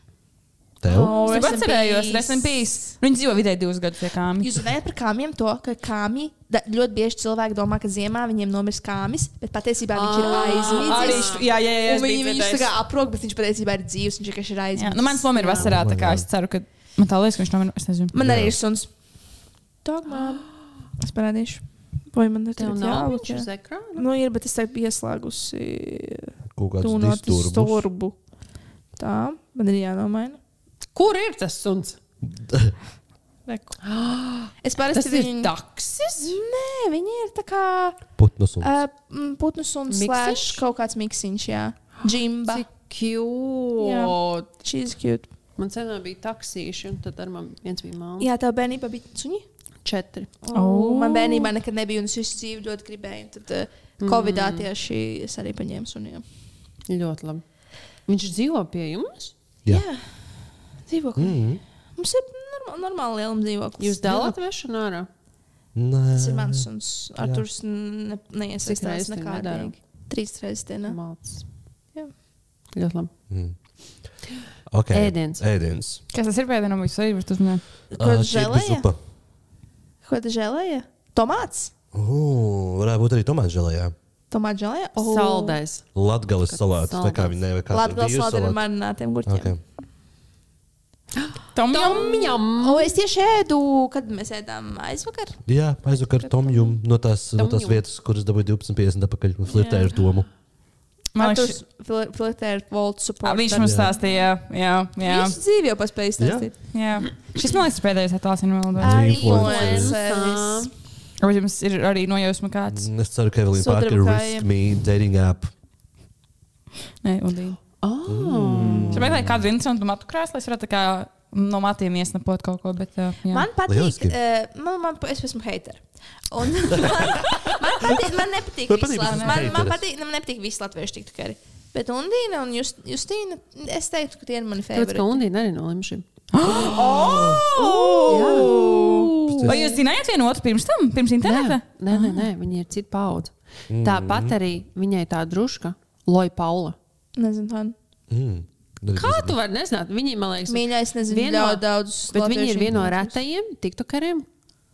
Speaker 2: Tev?
Speaker 5: Oh,
Speaker 3: Nu, Es
Speaker 5: rest in
Speaker 3: atcerējos,
Speaker 5: peace.
Speaker 3: resen bijis. Viņi dzīvo vidēji divus gadus pie kāmja.
Speaker 5: Jūs zināt par kāmiem to, ka kāmi da, ļoti bieži cilvēki domā, ka ziemā viņiem nomirst kāmis, bet patiesībā viņš ir aizmidzis.
Speaker 3: Jā, jā, jā.
Speaker 5: Un Viņi viņu tā kā aprūp, bet viņš patiesībā ir dzīves, viņš vienkārši ir
Speaker 3: Jā,
Speaker 5: aizmidzis.
Speaker 3: nu, mans nomira vasarā, tā kā es ceru, ka man tā liekas, ka viņš nomira. Es nezinu.
Speaker 5: Man arī ir suns. Dogmā. Es parādīšu. Vai man ir
Speaker 4: Tev
Speaker 5: tagad
Speaker 4: nav
Speaker 5: jālūk,
Speaker 4: viņš uz
Speaker 5: jā?
Speaker 4: ekrāna?
Speaker 5: Nu, ir, bet es tagad pieslēgusi
Speaker 2: Kaut kāds
Speaker 5: tūnotis
Speaker 2: disturbs.
Speaker 5: torbu. Tā, man ir jānomaina.
Speaker 4: Kur ir tas suns?
Speaker 5: Reku. Es parasti
Speaker 4: Tas ir
Speaker 5: viņu-
Speaker 4: taksis.
Speaker 5: Nē, viņi ir tā kā
Speaker 2: Putnus un.
Speaker 5: uh, putnus un
Speaker 4: Miksiņš?
Speaker 5: slēdz kaut kāds miksiņš, jā. Džimba.
Speaker 4: Cik cute.
Speaker 5: She's cute.
Speaker 4: Man senā bija taksīši, un tad ar mani viens bija māla.
Speaker 5: Jā, tev bērnībā bija suņi?
Speaker 4: Četri.
Speaker 5: Oh. Man bērnībā nekad nebija, un es visu dzīvi ļoti gribēju. un Tad
Speaker 4: Mm.
Speaker 5: uh, Covid-19 tieši es arī paņēmu suniem.
Speaker 4: Ļoti labi. Viņš dzīvo pie jums?
Speaker 2: Jā. Mm.
Speaker 5: Jā. Dzīvokli. Mums ir normāli, normāli lielums dzīvoklis.
Speaker 4: Jūs dalāt vešanu ārā?
Speaker 2: Nē.
Speaker 5: Tas ir mans suns. Ar tur ne, neiesaistās
Speaker 4: Cik reizes tu nedari?
Speaker 5: nekādīgi. Trīs reizes dienā.
Speaker 4: Mācis.
Speaker 5: Jā.
Speaker 4: Ļoti labi.
Speaker 2: Mm. Ok.
Speaker 4: Ēdiens.
Speaker 2: Ēdiens. Ah,
Speaker 3: Kas tas ir pēdējais no mums? Arī var uzmanīt.
Speaker 5: Ko
Speaker 2: Ā,
Speaker 5: tu
Speaker 2: čirpi
Speaker 5: žēlēji?
Speaker 2: supa.
Speaker 5: Ko tu žēlēji? Tomāts?
Speaker 2: Ū, Varētu būt arī tomāts žēlējā.
Speaker 5: Tomāts žēlēji? Oh.
Speaker 4: Saldais.
Speaker 2: Latgales salāts. Tā kā
Speaker 4: Saldēts.
Speaker 2: viņi nevajag kādu.
Speaker 5: Latvijas slāņi ar marinātiem gurķiem.
Speaker 2: Okay.
Speaker 4: Mm.
Speaker 3: Tom
Speaker 4: Tomjam.
Speaker 5: O, es tieši ēdu, kad mēs ēdām aizvakar.
Speaker 2: Jā, aizvakar Tomjum no tās, no tās
Speaker 4: Tomjum.
Speaker 2: vietas, kuras dabūju 12.50 atpakaļ un flirtēju ar Tomu.
Speaker 3: Man liekas,
Speaker 5: Arturs flir- flirtē ar Voltu
Speaker 3: ā,
Speaker 5: supportu.
Speaker 3: viņš mums stāstīja. Jā, jā.
Speaker 5: Jā. Visu dzīvi jau paspēja
Speaker 2: Jā.
Speaker 5: stāstīt.
Speaker 3: jā. Šis man liekas ir pēdējais attēls no Melnbalda.
Speaker 2: Ai.
Speaker 5: Influenceris.
Speaker 3: Vai jums ir arī nojausma kāds?
Speaker 2: Mm, Es ceru, ka Evelīna Parker
Speaker 5: Sudraba
Speaker 2: risk me dating app.
Speaker 3: Nē, un dīvaini.
Speaker 4: Oh. Mm.
Speaker 3: Es meklēju kādu interesantu matu krēslu, lai es varētu tā kā no matiem iesnapot kaut ko. Bet, uh, jā. [gasps]
Speaker 5: Man patīk,
Speaker 2: Lieliski.
Speaker 5: uh, man, man, es esmu haitera. [laughs] Man, man patīk, man nepatīk,
Speaker 2: Vai
Speaker 5: visi
Speaker 2: patīk,
Speaker 5: lat-
Speaker 2: esmu
Speaker 5: man, man
Speaker 2: haiteris?
Speaker 5: patīk, man nepatīk visi latviešu tiktu arī. Bet Undīna un Just, Justīna, es teiktu, ka tie ir mani
Speaker 4: Tāpēc, ka
Speaker 5: favorīti.
Speaker 4: Undīna arī nolimšība.
Speaker 3: Oh!
Speaker 4: Oh.
Speaker 3: Vai jūs zinājāt vienu otru pirms tam, pirms interneta?
Speaker 4: Nē, nē, nē, viņi ir cita paudze. Tāpat arī viņai tā druska, Loja Paula.
Speaker 5: Nezinu, kā.
Speaker 2: Mm.
Speaker 4: Kā tu vari nezināt? Viņi, man liekas,
Speaker 5: Mīļā, es nezinu,
Speaker 4: Vieno-
Speaker 5: vieno, daudz, daudz
Speaker 4: Bet viņi ir viena no retajiem tiktokeriem,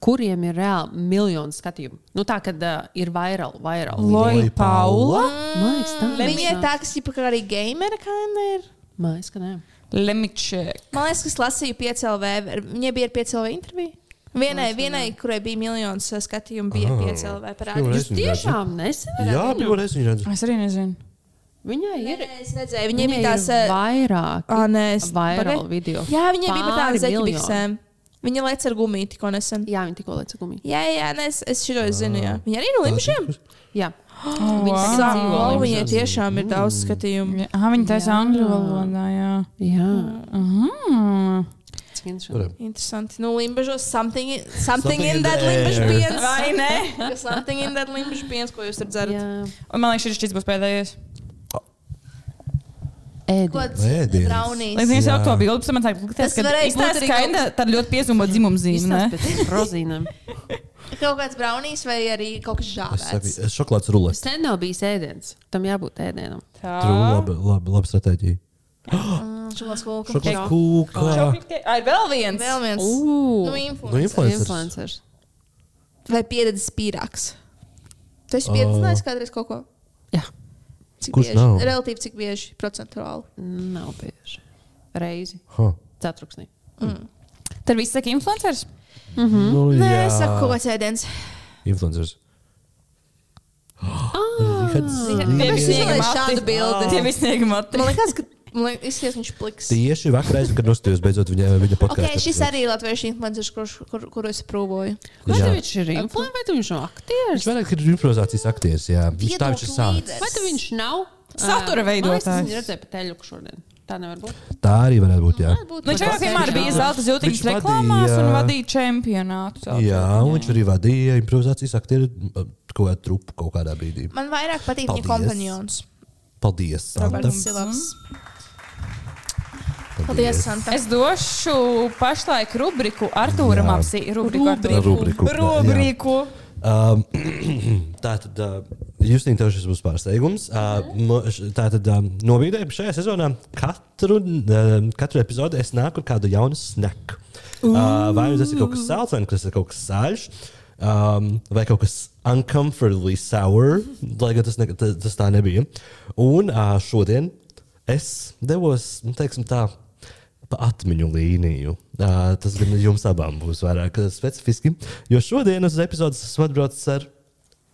Speaker 4: kuriem ir reāli miljonu skatījumu. Nu, tā kad uh, ir viral, viral.
Speaker 2: Loja Paula?
Speaker 4: Man liekas, tā
Speaker 5: Bet viņa Ah, ir tā, kas ir arī gamera kaina. Ir.
Speaker 4: Man liekas, ka nē.
Speaker 3: Lemičēk.
Speaker 5: Man liekas, ka es lasīju 5LV. ar- Viņai bija 5LV intervija. Vienai, vienai kurai bija miljons eh, skatījumu, bija 5LV parādība.
Speaker 4: Jūs tiešām nezināt?
Speaker 2: Jā, pirmā reize viņa redz.
Speaker 3: Es arī [gasps] nezinu.
Speaker 4: Viņai
Speaker 5: Nē,
Speaker 4: ir.
Speaker 5: nē, Es redzēju,
Speaker 4: Viņai
Speaker 5: viņai bija
Speaker 4: ir
Speaker 5: tās eh,
Speaker 4: vairāk.
Speaker 5: Ā, nē, es-
Speaker 4: Viral
Speaker 5: pagaid.
Speaker 4: video.
Speaker 5: Jā, viņai bija par tādām
Speaker 4: Pāri miljonu.
Speaker 5: zeķibiksēm. Viņa lec ar gumiju tikko nesen.
Speaker 4: Jā, viņi tikko lēca gumiju.
Speaker 5: Jā, jā, nē, es, es šito es zinu. Jā. Viņa arī no Limšiem.
Speaker 4: Jā.
Speaker 3: Wow.
Speaker 4: tagad dzīvo
Speaker 5: Wow,
Speaker 4: Limšā.
Speaker 5: viņai tiešām ir daudz skatījumu.
Speaker 3: Jā, ah, viņa taisa angļu valodā. Jā.
Speaker 4: Jā.
Speaker 3: Mm.
Speaker 4: Cik interesanti.
Speaker 5: Interesanti. Nu, Limbažos something,
Speaker 2: [laughs]
Speaker 5: i- something, something in that
Speaker 2: the
Speaker 5: limbažu
Speaker 2: air.
Speaker 5: piens. Vai [laughs] ne? Something in that limbažu piens, ko jūs tur dzerat.
Speaker 4: Jā.
Speaker 3: Un Man liekas, šis- šis būs pēdējais.
Speaker 5: Ko
Speaker 4: Ēdiens.
Speaker 5: tas
Speaker 2: Ēdienas.
Speaker 5: braunīs?
Speaker 3: Līdz ar
Speaker 2: Jā.
Speaker 3: to bildi, pēc tam man tā likās,
Speaker 5: Tas
Speaker 3: ka
Speaker 5: varēja
Speaker 3: izskatās
Speaker 5: būt arī
Speaker 3: skaidra, tad ļoti piezīmot dzimumu zīmi.
Speaker 4: Izstāsti
Speaker 3: ne?
Speaker 4: par
Speaker 5: [laughs]
Speaker 4: tiem Rozīnēm.
Speaker 5: Kaut kāds braunīs vai arī kaut kas
Speaker 2: Es
Speaker 5: žāvēts.
Speaker 2: saku, šokolādes rulē.
Speaker 4: Sen nav bijis ēdiens. Tam jābūt ēdienam.
Speaker 3: Tā.
Speaker 2: Tur labi, labi, labi stratēģija.
Speaker 5: Šokolādes kūka.
Speaker 2: Šokolādes kūka.
Speaker 3: Čokolīte. Ai, ir vēl viens.
Speaker 5: Vēl viens.
Speaker 4: Ugh.
Speaker 5: Nu,
Speaker 2: Nu,
Speaker 5: influencer.
Speaker 2: influenceris.
Speaker 4: Influencers.
Speaker 5: Vai pieredzes pīrāgs? Tu esi pieredzējis kādreiz kaut ko?
Speaker 4: Jā.
Speaker 5: Cik
Speaker 2: Kurš
Speaker 5: bieži?
Speaker 2: nav?
Speaker 5: Relatīvi cik bieži procentuāli.
Speaker 4: Nav bieži. Reizi.
Speaker 2: Ha.
Speaker 4: Ceturksnī.
Speaker 3: Tad viss saka influenceris.
Speaker 2: Nu,
Speaker 5: Mhm. Nē,
Speaker 2: jā.
Speaker 5: es saku, ko ēdienas.
Speaker 2: Influenceris. Redz,
Speaker 5: Kāpēc
Speaker 3: Tie bija
Speaker 5: tu izvēlējies
Speaker 3: mati.
Speaker 5: Nu, šādu bildi? Nu,
Speaker 3: Tie visniegi mati. Nu,
Speaker 5: Man liekas, ka Man liekas, izskatās, viņš pliks.
Speaker 2: Tieši vakar aizvakar nostājos beidzot viņa, viņa podkāstu.
Speaker 5: Okay, šis arī ir latviešu influenceris, kurš- kur, kuru es prūvoju.
Speaker 4: Vai
Speaker 2: Jā.
Speaker 4: tu viņš ir influenceris, vai tu viņš nav aktieris?
Speaker 2: Viņš vairāk ir improvizācijas aktieris, jā. Viņš tā viņš ir
Speaker 5: Viedokļu
Speaker 2: sācis.
Speaker 5: līderis.
Speaker 4: Vai tu viņš nav?
Speaker 3: [laughs] Satura
Speaker 4: Ā, man liekas, es
Speaker 3: veidotājs.
Speaker 4: viņu redzēju pa teļuku šodien. Tā nevar būt.
Speaker 2: Tā arī varētu būt, jā.
Speaker 5: Varbūt
Speaker 3: Nu, viņš jau
Speaker 5: varbūt
Speaker 3: vienmēr
Speaker 5: viņš
Speaker 3: bija
Speaker 5: nav.
Speaker 3: zelta zīmeņš
Speaker 2: Viņš
Speaker 3: reklāmās
Speaker 2: vadīja-
Speaker 3: un vadīja čempionātu. savu.
Speaker 2: Jā, un viņš arī vadīja improvizācijas aktieru m, kaut kādu trupu kaut kādā brīdī.
Speaker 5: Man vairāk patīk
Speaker 2: Paldies.
Speaker 5: viņa
Speaker 2: Mm.
Speaker 5: kompanions.
Speaker 2: Paldies, Santa.
Speaker 5: Roberts Silavs. Paldies, Santa.
Speaker 3: Es došu pašlaik rubriku Arthūram
Speaker 2: Jā.
Speaker 3: apsi. Rubriku. Artūram.
Speaker 2: Rubriku, jā, jā.
Speaker 3: Rubriku.
Speaker 2: Um, Tātad, uh, Justīna, tev šis būs pārsteigums. Uh, mo- š- Tātad, um, nobīdējumi šajā sezonā katru, um, katru epizodi es nāku ar kādu jaunu snaku. Uh, vai nu tas ir kaut kas salds, vai nu tas ir kaut kas sāļš, um, vai kaut kas uncomfortably sour, lai gan tas, ne, tas, tas tā nebija. Un uh, šodien es devos, nu, teiksim tā. Pa atmiņu līniju. Uh, tas gan jums abām būs vairāk uh, specifiski. Jo šodien uz epizodes esmu atbraucis ar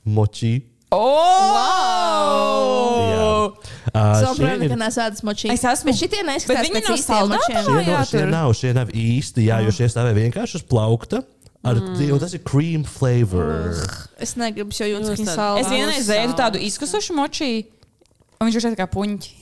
Speaker 2: močiju.
Speaker 3: Oh!
Speaker 5: Es saprotu,
Speaker 2: Šie
Speaker 5: ka neesmu ēdis močīnu.
Speaker 3: Es esmu.
Speaker 5: Bet šitie
Speaker 3: Bet
Speaker 5: neizskatās
Speaker 3: viņi
Speaker 5: pēc
Speaker 3: nav
Speaker 5: īstiem
Speaker 3: saldētāji?
Speaker 5: močiem.
Speaker 3: jā,
Speaker 2: nav, šie
Speaker 3: tur.
Speaker 2: nav, šie nav īsti, jā, jo šie stāvēja vienkārši uz plaukta. Ar, mm. Tas ir cream flavor.
Speaker 5: Es negribu, jo jūtas,
Speaker 4: Jūs
Speaker 5: ka viņi
Speaker 4: tad-
Speaker 5: saldā.
Speaker 3: Es vienreiz dzēru tādu izkusušu močiju, un viņš šeit kā puņķi. [laughs]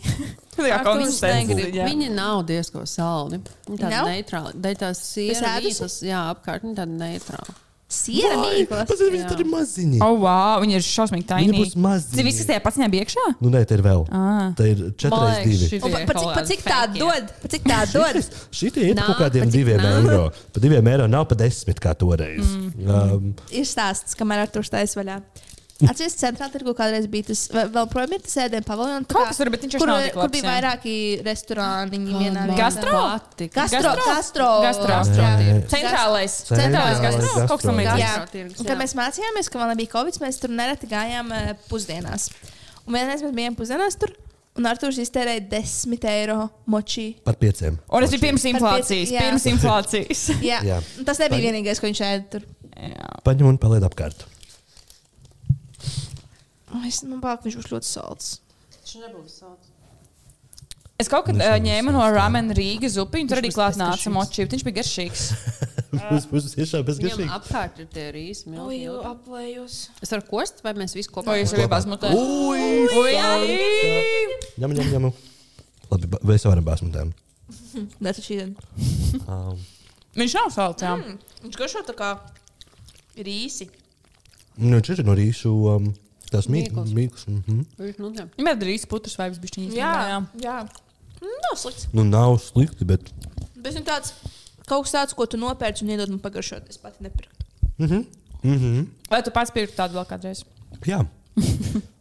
Speaker 3: Tā kā
Speaker 5: Ak, tu
Speaker 3: konsistenci,
Speaker 5: negribi.
Speaker 3: jā.
Speaker 4: Viņi nav diezgan saldi. Viņi tādi
Speaker 5: Nav?
Speaker 4: neitrāli. Daļai tās
Speaker 5: Es
Speaker 4: sienas,
Speaker 5: ēdusi?
Speaker 4: visas, jā, apkārt, viņi tādi neitrāli.
Speaker 5: Siera mīklas.
Speaker 2: Tas ir viņi tādi maziņi.
Speaker 3: Oh, wow, viņi ir šausmīgi
Speaker 2: Viņi
Speaker 3: taini.
Speaker 2: būs maziņi.
Speaker 3: Tas viss, kas tajā pats nebija iekšā?
Speaker 2: Nu, nē, te ir vēl.
Speaker 3: Ah.
Speaker 2: Te ir četras, divi.
Speaker 5: Un pa- pa cik- Pa cik tā dod? Pa cik tā
Speaker 2: [laughs]
Speaker 5: dod?
Speaker 2: Šī tie ir
Speaker 4: Nā,
Speaker 2: pa kaut kādiem
Speaker 4: pa cik
Speaker 2: diviem
Speaker 4: nā?
Speaker 2: eiro. Pa diviem eiro nav pa desmit kā toreiz. Mm. Um,
Speaker 5: ir stāsts, kamēr ar to stājas vaļā. Atcerieties, centrā tirgu kādreiz bija tas, vai- vēl projām ir tas ēdienu paviljonis.
Speaker 3: Kaut kas tur, bet viņš vairs
Speaker 5: kur,
Speaker 3: nav tik
Speaker 5: kur
Speaker 3: labs,
Speaker 5: bija
Speaker 3: jā.
Speaker 5: vairāki restorāni vienā vietā.
Speaker 3: Gastro?
Speaker 4: Patika.
Speaker 5: Gastro, gastro,
Speaker 3: Gastro.
Speaker 5: jā.
Speaker 3: Centrālais.
Speaker 2: Centrālais
Speaker 3: Centrālais gastro.
Speaker 2: gastro.
Speaker 3: Kaut kas tam līdzīgs.
Speaker 5: Jā,
Speaker 4: Tirgus,
Speaker 5: un kad
Speaker 4: jā.
Speaker 5: mēs mācījāmies, ka man bija Covid, mēs tur nereti gājām eh, pusdienās. Un vienreiz mēs bijām pusdienās tur, un Arthurs iztērēja 10 eiro močī.
Speaker 2: par pieciem.
Speaker 3: Un tas bija pirms
Speaker 5: Par
Speaker 3: inflācijas.
Speaker 5: pieci, jā.
Speaker 3: Pirms inflācijas. [laughs]
Speaker 2: Jā.
Speaker 5: Jā. jā. Tas nebija vienīgais, ko viņš ēda tur.
Speaker 3: Jā.
Speaker 2: Paņem un palied apkārt.
Speaker 5: Oh, es domāju, ka viņš būs ļoti salds.
Speaker 4: Šis nebūs salds.
Speaker 3: Es kaut kad uh, ņēmu no ramen Rīgas upiņu, tur arī klāt nāca moči. Viņš bija garšīgs.
Speaker 2: Būs būs tiešām
Speaker 4: Viņam
Speaker 2: bezgaršīgi.
Speaker 4: apkārt ir tie rīsi. milti,
Speaker 5: Oi,
Speaker 4: milti.
Speaker 5: aplējos.
Speaker 4: Es varu kost, vai mēs visi kopā
Speaker 3: Ko jūs jau bijāt mutē?
Speaker 2: Ui! Ņem, ņem, ņem. Labi, ba- mēs varam basmutēm.
Speaker 5: Nē, tas šī diena.
Speaker 2: Um,
Speaker 3: Viņš nav salds. jā.
Speaker 5: Viņš garšo tā kā rīsi.
Speaker 2: Nu, šis ir no rīsu um, tās
Speaker 4: Mīklas.
Speaker 2: mīklas. Mm -hmm.
Speaker 4: Viņš nu tā.
Speaker 3: Viņam ir drīz putas vai bišķiņas.
Speaker 5: Jā, jā. Mm, Nav slikts.
Speaker 2: Nu, nav slikti, bet.
Speaker 5: Bet viņš tāds kaut kas tāds, ko tu nopērci un iedod man pagaršot. Es pati nepirku.
Speaker 2: Mm -hmm. Mm -hmm.
Speaker 3: Vai tu pats pirktu tādu vēl kādreiz?
Speaker 2: Jā.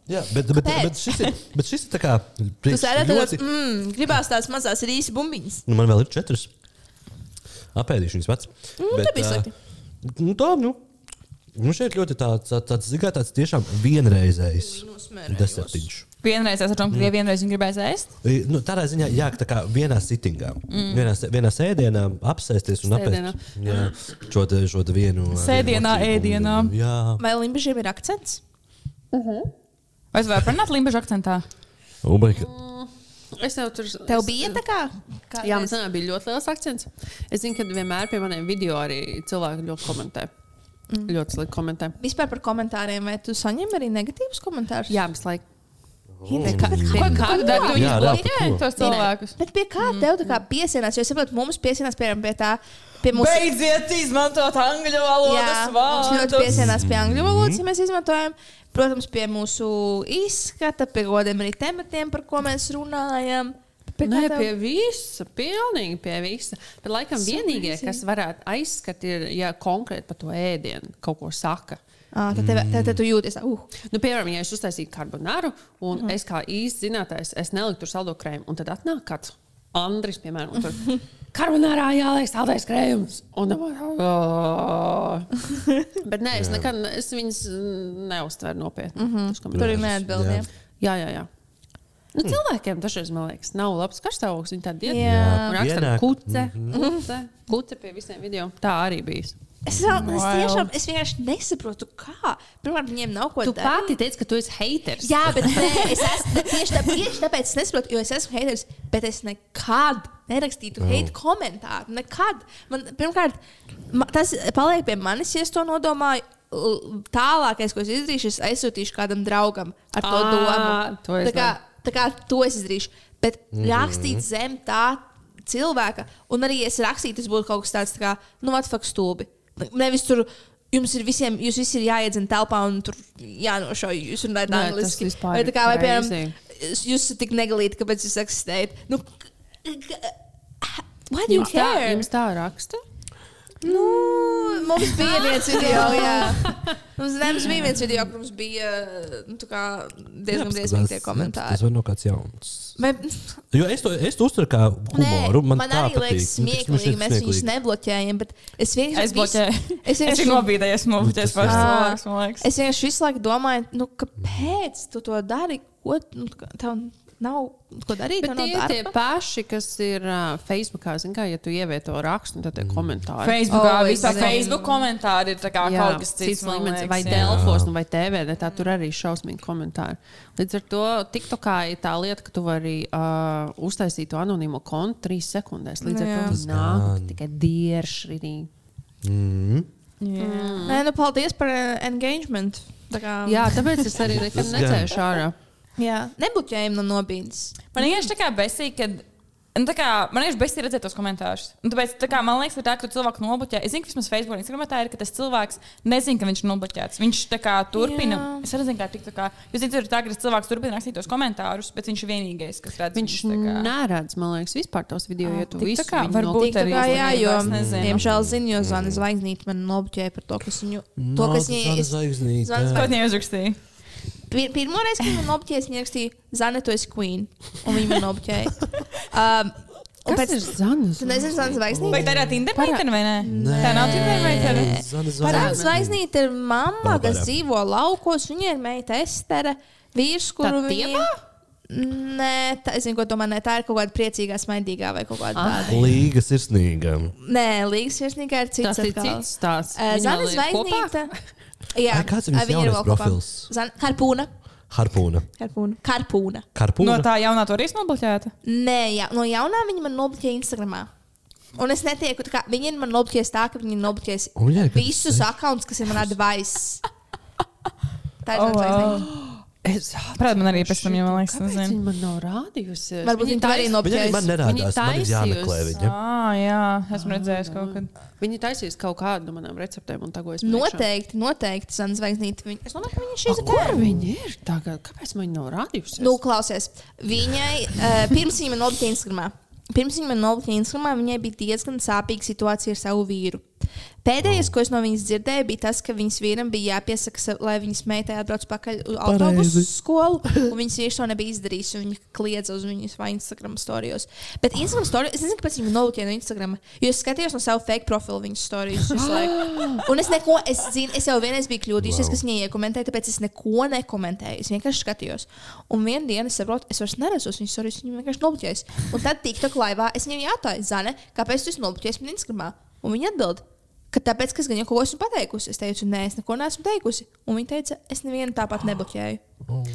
Speaker 2: Jā, bet, bet,
Speaker 5: Kāpēc?
Speaker 2: bet, šis ir, bet šis ir tā kā.
Speaker 5: Tu
Speaker 2: priekš
Speaker 5: sēdi tur,
Speaker 2: ļoti-
Speaker 5: mmm, gribās tās mazās rīsi bumbiņas.
Speaker 2: Nu, man vēl ir četras. Apēdīšu viņas pats.
Speaker 5: Nu,
Speaker 2: Bet,
Speaker 5: nebija
Speaker 2: ā,
Speaker 5: slikti.
Speaker 2: Nu, tā, nu. Nu, šeit ļoti tāds, tā- tāds, zigā, tāds tiešām vienreizējs
Speaker 5: Nosmērējos.
Speaker 2: desertiņš.
Speaker 3: Vienreiz es saprotu, ka ja vienreiz viņa gribēs ēst.
Speaker 2: I, Nu, tādā ziņā, jā, tā kā vienā sitingā, mm. vienā, sē- vienā sēdienā apsēsties un
Speaker 4: Sēdienā.
Speaker 2: apēst jā, šo, te- šo te vienu.
Speaker 3: Sēdienā,
Speaker 2: vienu motīvu.
Speaker 3: ēdienā.
Speaker 2: Jā,
Speaker 5: Vai limbažiem ir akcents?
Speaker 3: Vai tu vari parunāt limbažu akcentā?
Speaker 2: oh my God.
Speaker 4: Es jau tur.
Speaker 5: Tev
Speaker 4: es-
Speaker 5: bija tā kā? kā
Speaker 4: Jā, man zināmā bija ļoti liels akcents. Es zinu, ka vienmēr pie maniem video arī cilvēki ļoti komentē. Mm. Ļoti slikti komentē.
Speaker 5: Vispār par komentāriem, vai tu saņem arī negatīvus komentārus?
Speaker 4: Jā, mums laik.
Speaker 3: Ko kā tu dari? Tu
Speaker 2: Jā,
Speaker 3: viņus
Speaker 2: jā,
Speaker 3: bloķē
Speaker 2: par ko?
Speaker 3: tos cilvēkus.
Speaker 5: Bet pie kā Mhm, tev tā kā piesienās? Jo es saprotu, mums piesienās piemēram pie tā, pie mūsu
Speaker 3: Beidziet izmantot angļu
Speaker 5: Jā, mums ļoti piesienās pie angļu valodas,
Speaker 4: Mhm.
Speaker 5: ja mēs izmantojam. Protams, pie mūsu izskata, pie godiem arī tematiem, par ko mēs runājam. Pie
Speaker 4: Nē,
Speaker 5: kā tev-
Speaker 4: pie visa, pilnīgi pie visa. Bet laikam vienīgie, kas varētu aizskat, ir, ja konkrēti par to ēdienu kaut ko saka.
Speaker 5: Ā, Tad tev, tev, tev tu jūties tā, uh,
Speaker 4: Nu, piemēram, ja es uztaisīju karbonāru, un mm. es kā īsts zinātājs, es neliku tur saldo krējumu, un tad atnāk kāds Andris, piemēram, un tur. Karbonārā jāliek saldais krējums. Un, oh. Bet nē, es nekad ne- es viņas mm, neuztveru nopietni. Mm -hmm.
Speaker 5: tur ir neatbildība.
Speaker 4: Jā, jā, jā. Nu, cilvēkiem dažreiz, man liekas, nav labs karstāvoklis. Viņi tādi
Speaker 5: Hm. Jā.
Speaker 4: diezgan
Speaker 2: Pienāk.
Speaker 4: raksta kuce, kuce, kuce pie visiem video. Tā arī bijis.
Speaker 5: Es, vēl, es
Speaker 3: Wild.
Speaker 5: tiešām es vienkārši nesaprotu, kā. Pirmkārt, viņiem nav ko
Speaker 4: Tu
Speaker 5: darīt.
Speaker 4: pati teici, ka tu esi haters.
Speaker 5: Jā, bet nē,
Speaker 4: [laughs]
Speaker 5: es esmu ne- tieši tā, tieši tāpēc es nesaprotu, jo es esmu haters, bet es nekad nerakstītu hate komentāru. Nekad. Man, pirmkārt, ma, tas paliek pie manis, ja es to nodomāju. L- Tālākais, ko es izdarīšu, es aizsūtīšu kādam draugam ar to
Speaker 4: Ā,
Speaker 5: domu.
Speaker 4: to es
Speaker 5: tā, kā, tā kā to es izdarīšu. Bet rakstīt mm -hmm. zem tā cilvēka, un arī es rakstītu, tas būtu kaut kas tāds, tā kā, nu, atfaks stūbi. Nevis tur. Jums ir visiem, jūs visi ir jāiedzina telpā un tur jānošauj. Jūs runājat
Speaker 4: Nē,
Speaker 5: angliski.
Speaker 4: Nu, tas vispār
Speaker 5: Vai tā kā, vai,
Speaker 4: ir
Speaker 5: piemēram, es- jūs esat tik negalīgi, kāpēc jūs eksistējat? Nu, k- k- why do you
Speaker 4: Jums tā,
Speaker 5: care?
Speaker 4: jums tā raksta?
Speaker 5: Nu, mums bija viens
Speaker 4: [laughs]
Speaker 5: video, jā. Mums, ne, mums bija viens video, kur mums bija nu, tā kā diezgan
Speaker 2: Tas-
Speaker 5: briesmīgi tie
Speaker 2: Tas
Speaker 5: komentāri.
Speaker 2: var no kāds jauns.
Speaker 5: Vai, nu,
Speaker 2: Jo es to, es to uztveru kā humoru. Man,
Speaker 5: man, man
Speaker 2: tā
Speaker 5: arī
Speaker 2: patīk.
Speaker 5: liekas
Speaker 2: Nu, tas- man
Speaker 5: smieklīgi,
Speaker 2: šķiet
Speaker 5: mēs viņus
Speaker 2: smieklīgi.
Speaker 5: nebloķējam, bet es vienkārši
Speaker 3: Es
Speaker 5: visu-
Speaker 3: bloķēju.
Speaker 5: Es
Speaker 3: Es
Speaker 5: vienkārši-
Speaker 3: vienkārši nobīdēju, esmu nobīdējies
Speaker 2: Tas-
Speaker 3: pašs
Speaker 5: Ā.
Speaker 3: cilvēks, man liekas.
Speaker 5: Es vienkārši visu laiku domāju, nu, kāpēc tu to dari? Ko nu, tā kā tev nav ko darīt?
Speaker 4: Bet
Speaker 5: tev nav
Speaker 4: tie ir tie
Speaker 5: darba?
Speaker 4: paši, kas ir uh, Facebookā. Zini, kā ja tu ievieto rakstu, un tad ir komentāri.
Speaker 3: Facebookā
Speaker 5: Oh,
Speaker 3: oh, visā
Speaker 5: zinu.
Speaker 3: Facebook komentāri ir tā kā
Speaker 4: Jā,
Speaker 3: kaut kas cits. man liekas,
Speaker 4: vai
Speaker 3: jā.
Speaker 4: Dēlfos, nu vai TV, ne, tā tur arī ir šausmīgi komentāri. Līdz ar to TikTokā ir tā lieta, ka tu vari uh, uztaisīt to anonīmo kontu trīs sekundēs. Līdz ar
Speaker 3: Jā.
Speaker 4: to nāk tikai dieršrīdī.
Speaker 2: Mm.
Speaker 3: Jā.
Speaker 5: Nē, nu, paldies par uh, engagement. Tā kā,
Speaker 4: Jā, tāpēc es arī nekad
Speaker 2: Tas gan.
Speaker 4: necēšu ārā.
Speaker 5: jā. nebloķējam no nobīdes.
Speaker 3: Man vienkārši tā kā besīk, kad. Nu, tā kā, man ir besti redzēt tos komentārus. Un Tāpēc, tā kā, man liekas, ka tā, ka tu cilvēku nobloķē. Es zinu, ka vismaz Facebook un Instagram tā ir, ka tas cilvēks nezina, ka viņš ir nobloķēts. Viņš tā kā turpina. Jā.
Speaker 5: Jā.
Speaker 3: Es arī zinu, kā tik tā kā. Jūs zināt, ir tā, ka tas cilvēks turpina rakstīt tos komentārus, bet viņš ir vienīgais, kas redz.
Speaker 4: Viņš
Speaker 3: viņus, tā kā.
Speaker 4: neredz, man liekas, vispār tos video, ja tu
Speaker 3: tik tā
Speaker 4: visu
Speaker 3: kā,
Speaker 4: viņu
Speaker 3: varbūt
Speaker 4: nokli-
Speaker 3: Būt
Speaker 5: Tā
Speaker 3: arī
Speaker 5: kā, jā,
Speaker 3: uzmanīgi,
Speaker 5: jo,
Speaker 3: es nezinu.
Speaker 5: diemžēl, zinu, jo Zvaigznes zvaigznīte man nobloķēja par to, kas viņu. To,
Speaker 2: Nu,
Speaker 5: kas viņa
Speaker 2: Zvaigznes
Speaker 5: ir.
Speaker 2: zvaigznīte.
Speaker 5: Zvaigznes
Speaker 3: Kaut neuzrakstīja.
Speaker 5: Pirmā reize, kad man nobloķēja, viņa rakstīja, Zane, tu esi queen. Un viņa man
Speaker 4: [laughs]
Speaker 5: nobloķēja. Um, un
Speaker 4: Kas
Speaker 5: pēc
Speaker 4: ir zanas?
Speaker 5: Tu nezini, Zvaigznes
Speaker 3: Vai
Speaker 5: zvaigznīte?
Speaker 3: tā ir Tinder meitene vai nē?
Speaker 2: Nē.
Speaker 3: Tā nav Tinder meitene.
Speaker 2: Zvaigznes
Speaker 5: Zvaigznes
Speaker 2: zvaigznīte.
Speaker 5: zvaigznīte ir mamma,
Speaker 2: Barbarā.
Speaker 5: kas dzīvo laukos. Viņa ir meita Estere, vīrs, kuru
Speaker 4: Tā
Speaker 5: viņa.
Speaker 4: tievā?
Speaker 5: Nē, tā, es zinu, ko tu man ne, tā ir kaut kāda priecīgā, smaidīgā vai kaut kāda tāda.
Speaker 2: Līga sirsnīga.
Speaker 5: Nē, Līgas virsnīgā ir cits.
Speaker 4: Tas ir
Speaker 5: atkal.
Speaker 4: cits stāsts.
Speaker 5: Eh,
Speaker 4: Viņi
Speaker 5: Zana
Speaker 4: vēl ir kopā?
Speaker 5: Zvaigznīte. [laughs] Jā,
Speaker 2: Ai, kāds ir viņas
Speaker 5: viņa
Speaker 2: jaunais
Speaker 5: vēl kopā.
Speaker 2: profils?
Speaker 5: Zana, harpūna.
Speaker 2: Harpūna.
Speaker 5: Harpūna. Karpūna.
Speaker 3: No
Speaker 2: Karpūna.
Speaker 3: tā jaunā tur arī nobloķēta.
Speaker 5: Nē, jā, no jaunā viņa man nobloķēja Instagram. Un es netieku, tā kā viņi ir man nobloķējuši tā, ka viņi ir
Speaker 2: Un viņai
Speaker 5: nobloķējuši
Speaker 2: gan-
Speaker 5: visus akkauntus, kas ir man advice. Tā ir
Speaker 3: Oh,
Speaker 5: oh, wow.
Speaker 3: wow.
Speaker 4: Es
Speaker 3: Prāt, man arī pēc tam, ja man liekas,
Speaker 4: Kāpēc
Speaker 3: nezinu.
Speaker 4: Viņa man nav rādījusi.
Speaker 5: Varbūt viņi tā arī
Speaker 2: Viņa arī man
Speaker 5: nobloķēja.
Speaker 2: nerādās. Man ir
Speaker 4: taisījusi.
Speaker 2: jāmeklē viņa.
Speaker 3: Ah, jā, esmu redzējis kaut kad.
Speaker 4: Viņa taisīs kaut kādu no manām receptēm, un tagad es
Speaker 5: Noteikti, noteikti, Zana Zvaigznīte. Viņa- Es domāju, ka viņa
Speaker 2: Ah,
Speaker 5: šeit ir.
Speaker 4: Kur viņi ir tagad? Kāpēc man nav rādījusi?
Speaker 5: Nu, klausies, viņai uh, pirms viņa man nobloķēja Instagram. Pirms viņa man nobloķēja Instagram, viņai bija diezgan sāpīga situācija ar savu vīru. Pēdējais, ko es no viņas dzirdēju, bija tas, ka viņas vīram bija jāpiesaka, sa- lai viņas meitai atbrauc pakaļ uz autobusu skolu. un Viņas vīrs to nebija izdarījis, un viņa kliedza uz viņas vai Instagram storijos. Bet Instagram storijos es nezinu, kāpēc viņa nobloķēja no Instagram. Jo es skatījos no sava fake profila viņas storijos visu laiku. Un es neko, es zinu, es jau vienreiz biju kļūdījusies, wow.
Speaker 2: Wow.
Speaker 5: kas viņa iekomentēja, tāpēc es neko nekomentēju. Es vienkārši skatījos. Un vienā dienā es saprotu, es vairs neredzu viņas sorijas, viņa vienkārši nobloķējas. Un tad TikTok laivā es viņai jautāju, Zane, kāpēc tu esi nobloķējies man Instagramā? Un viņa atbild. Ka tāpēc, ka es gan jau kaut ko esmu pateikusi, es teicu, nē, es neko neesmu teikusi. Un viņa teica, es nevienu tāpat nebloķēju.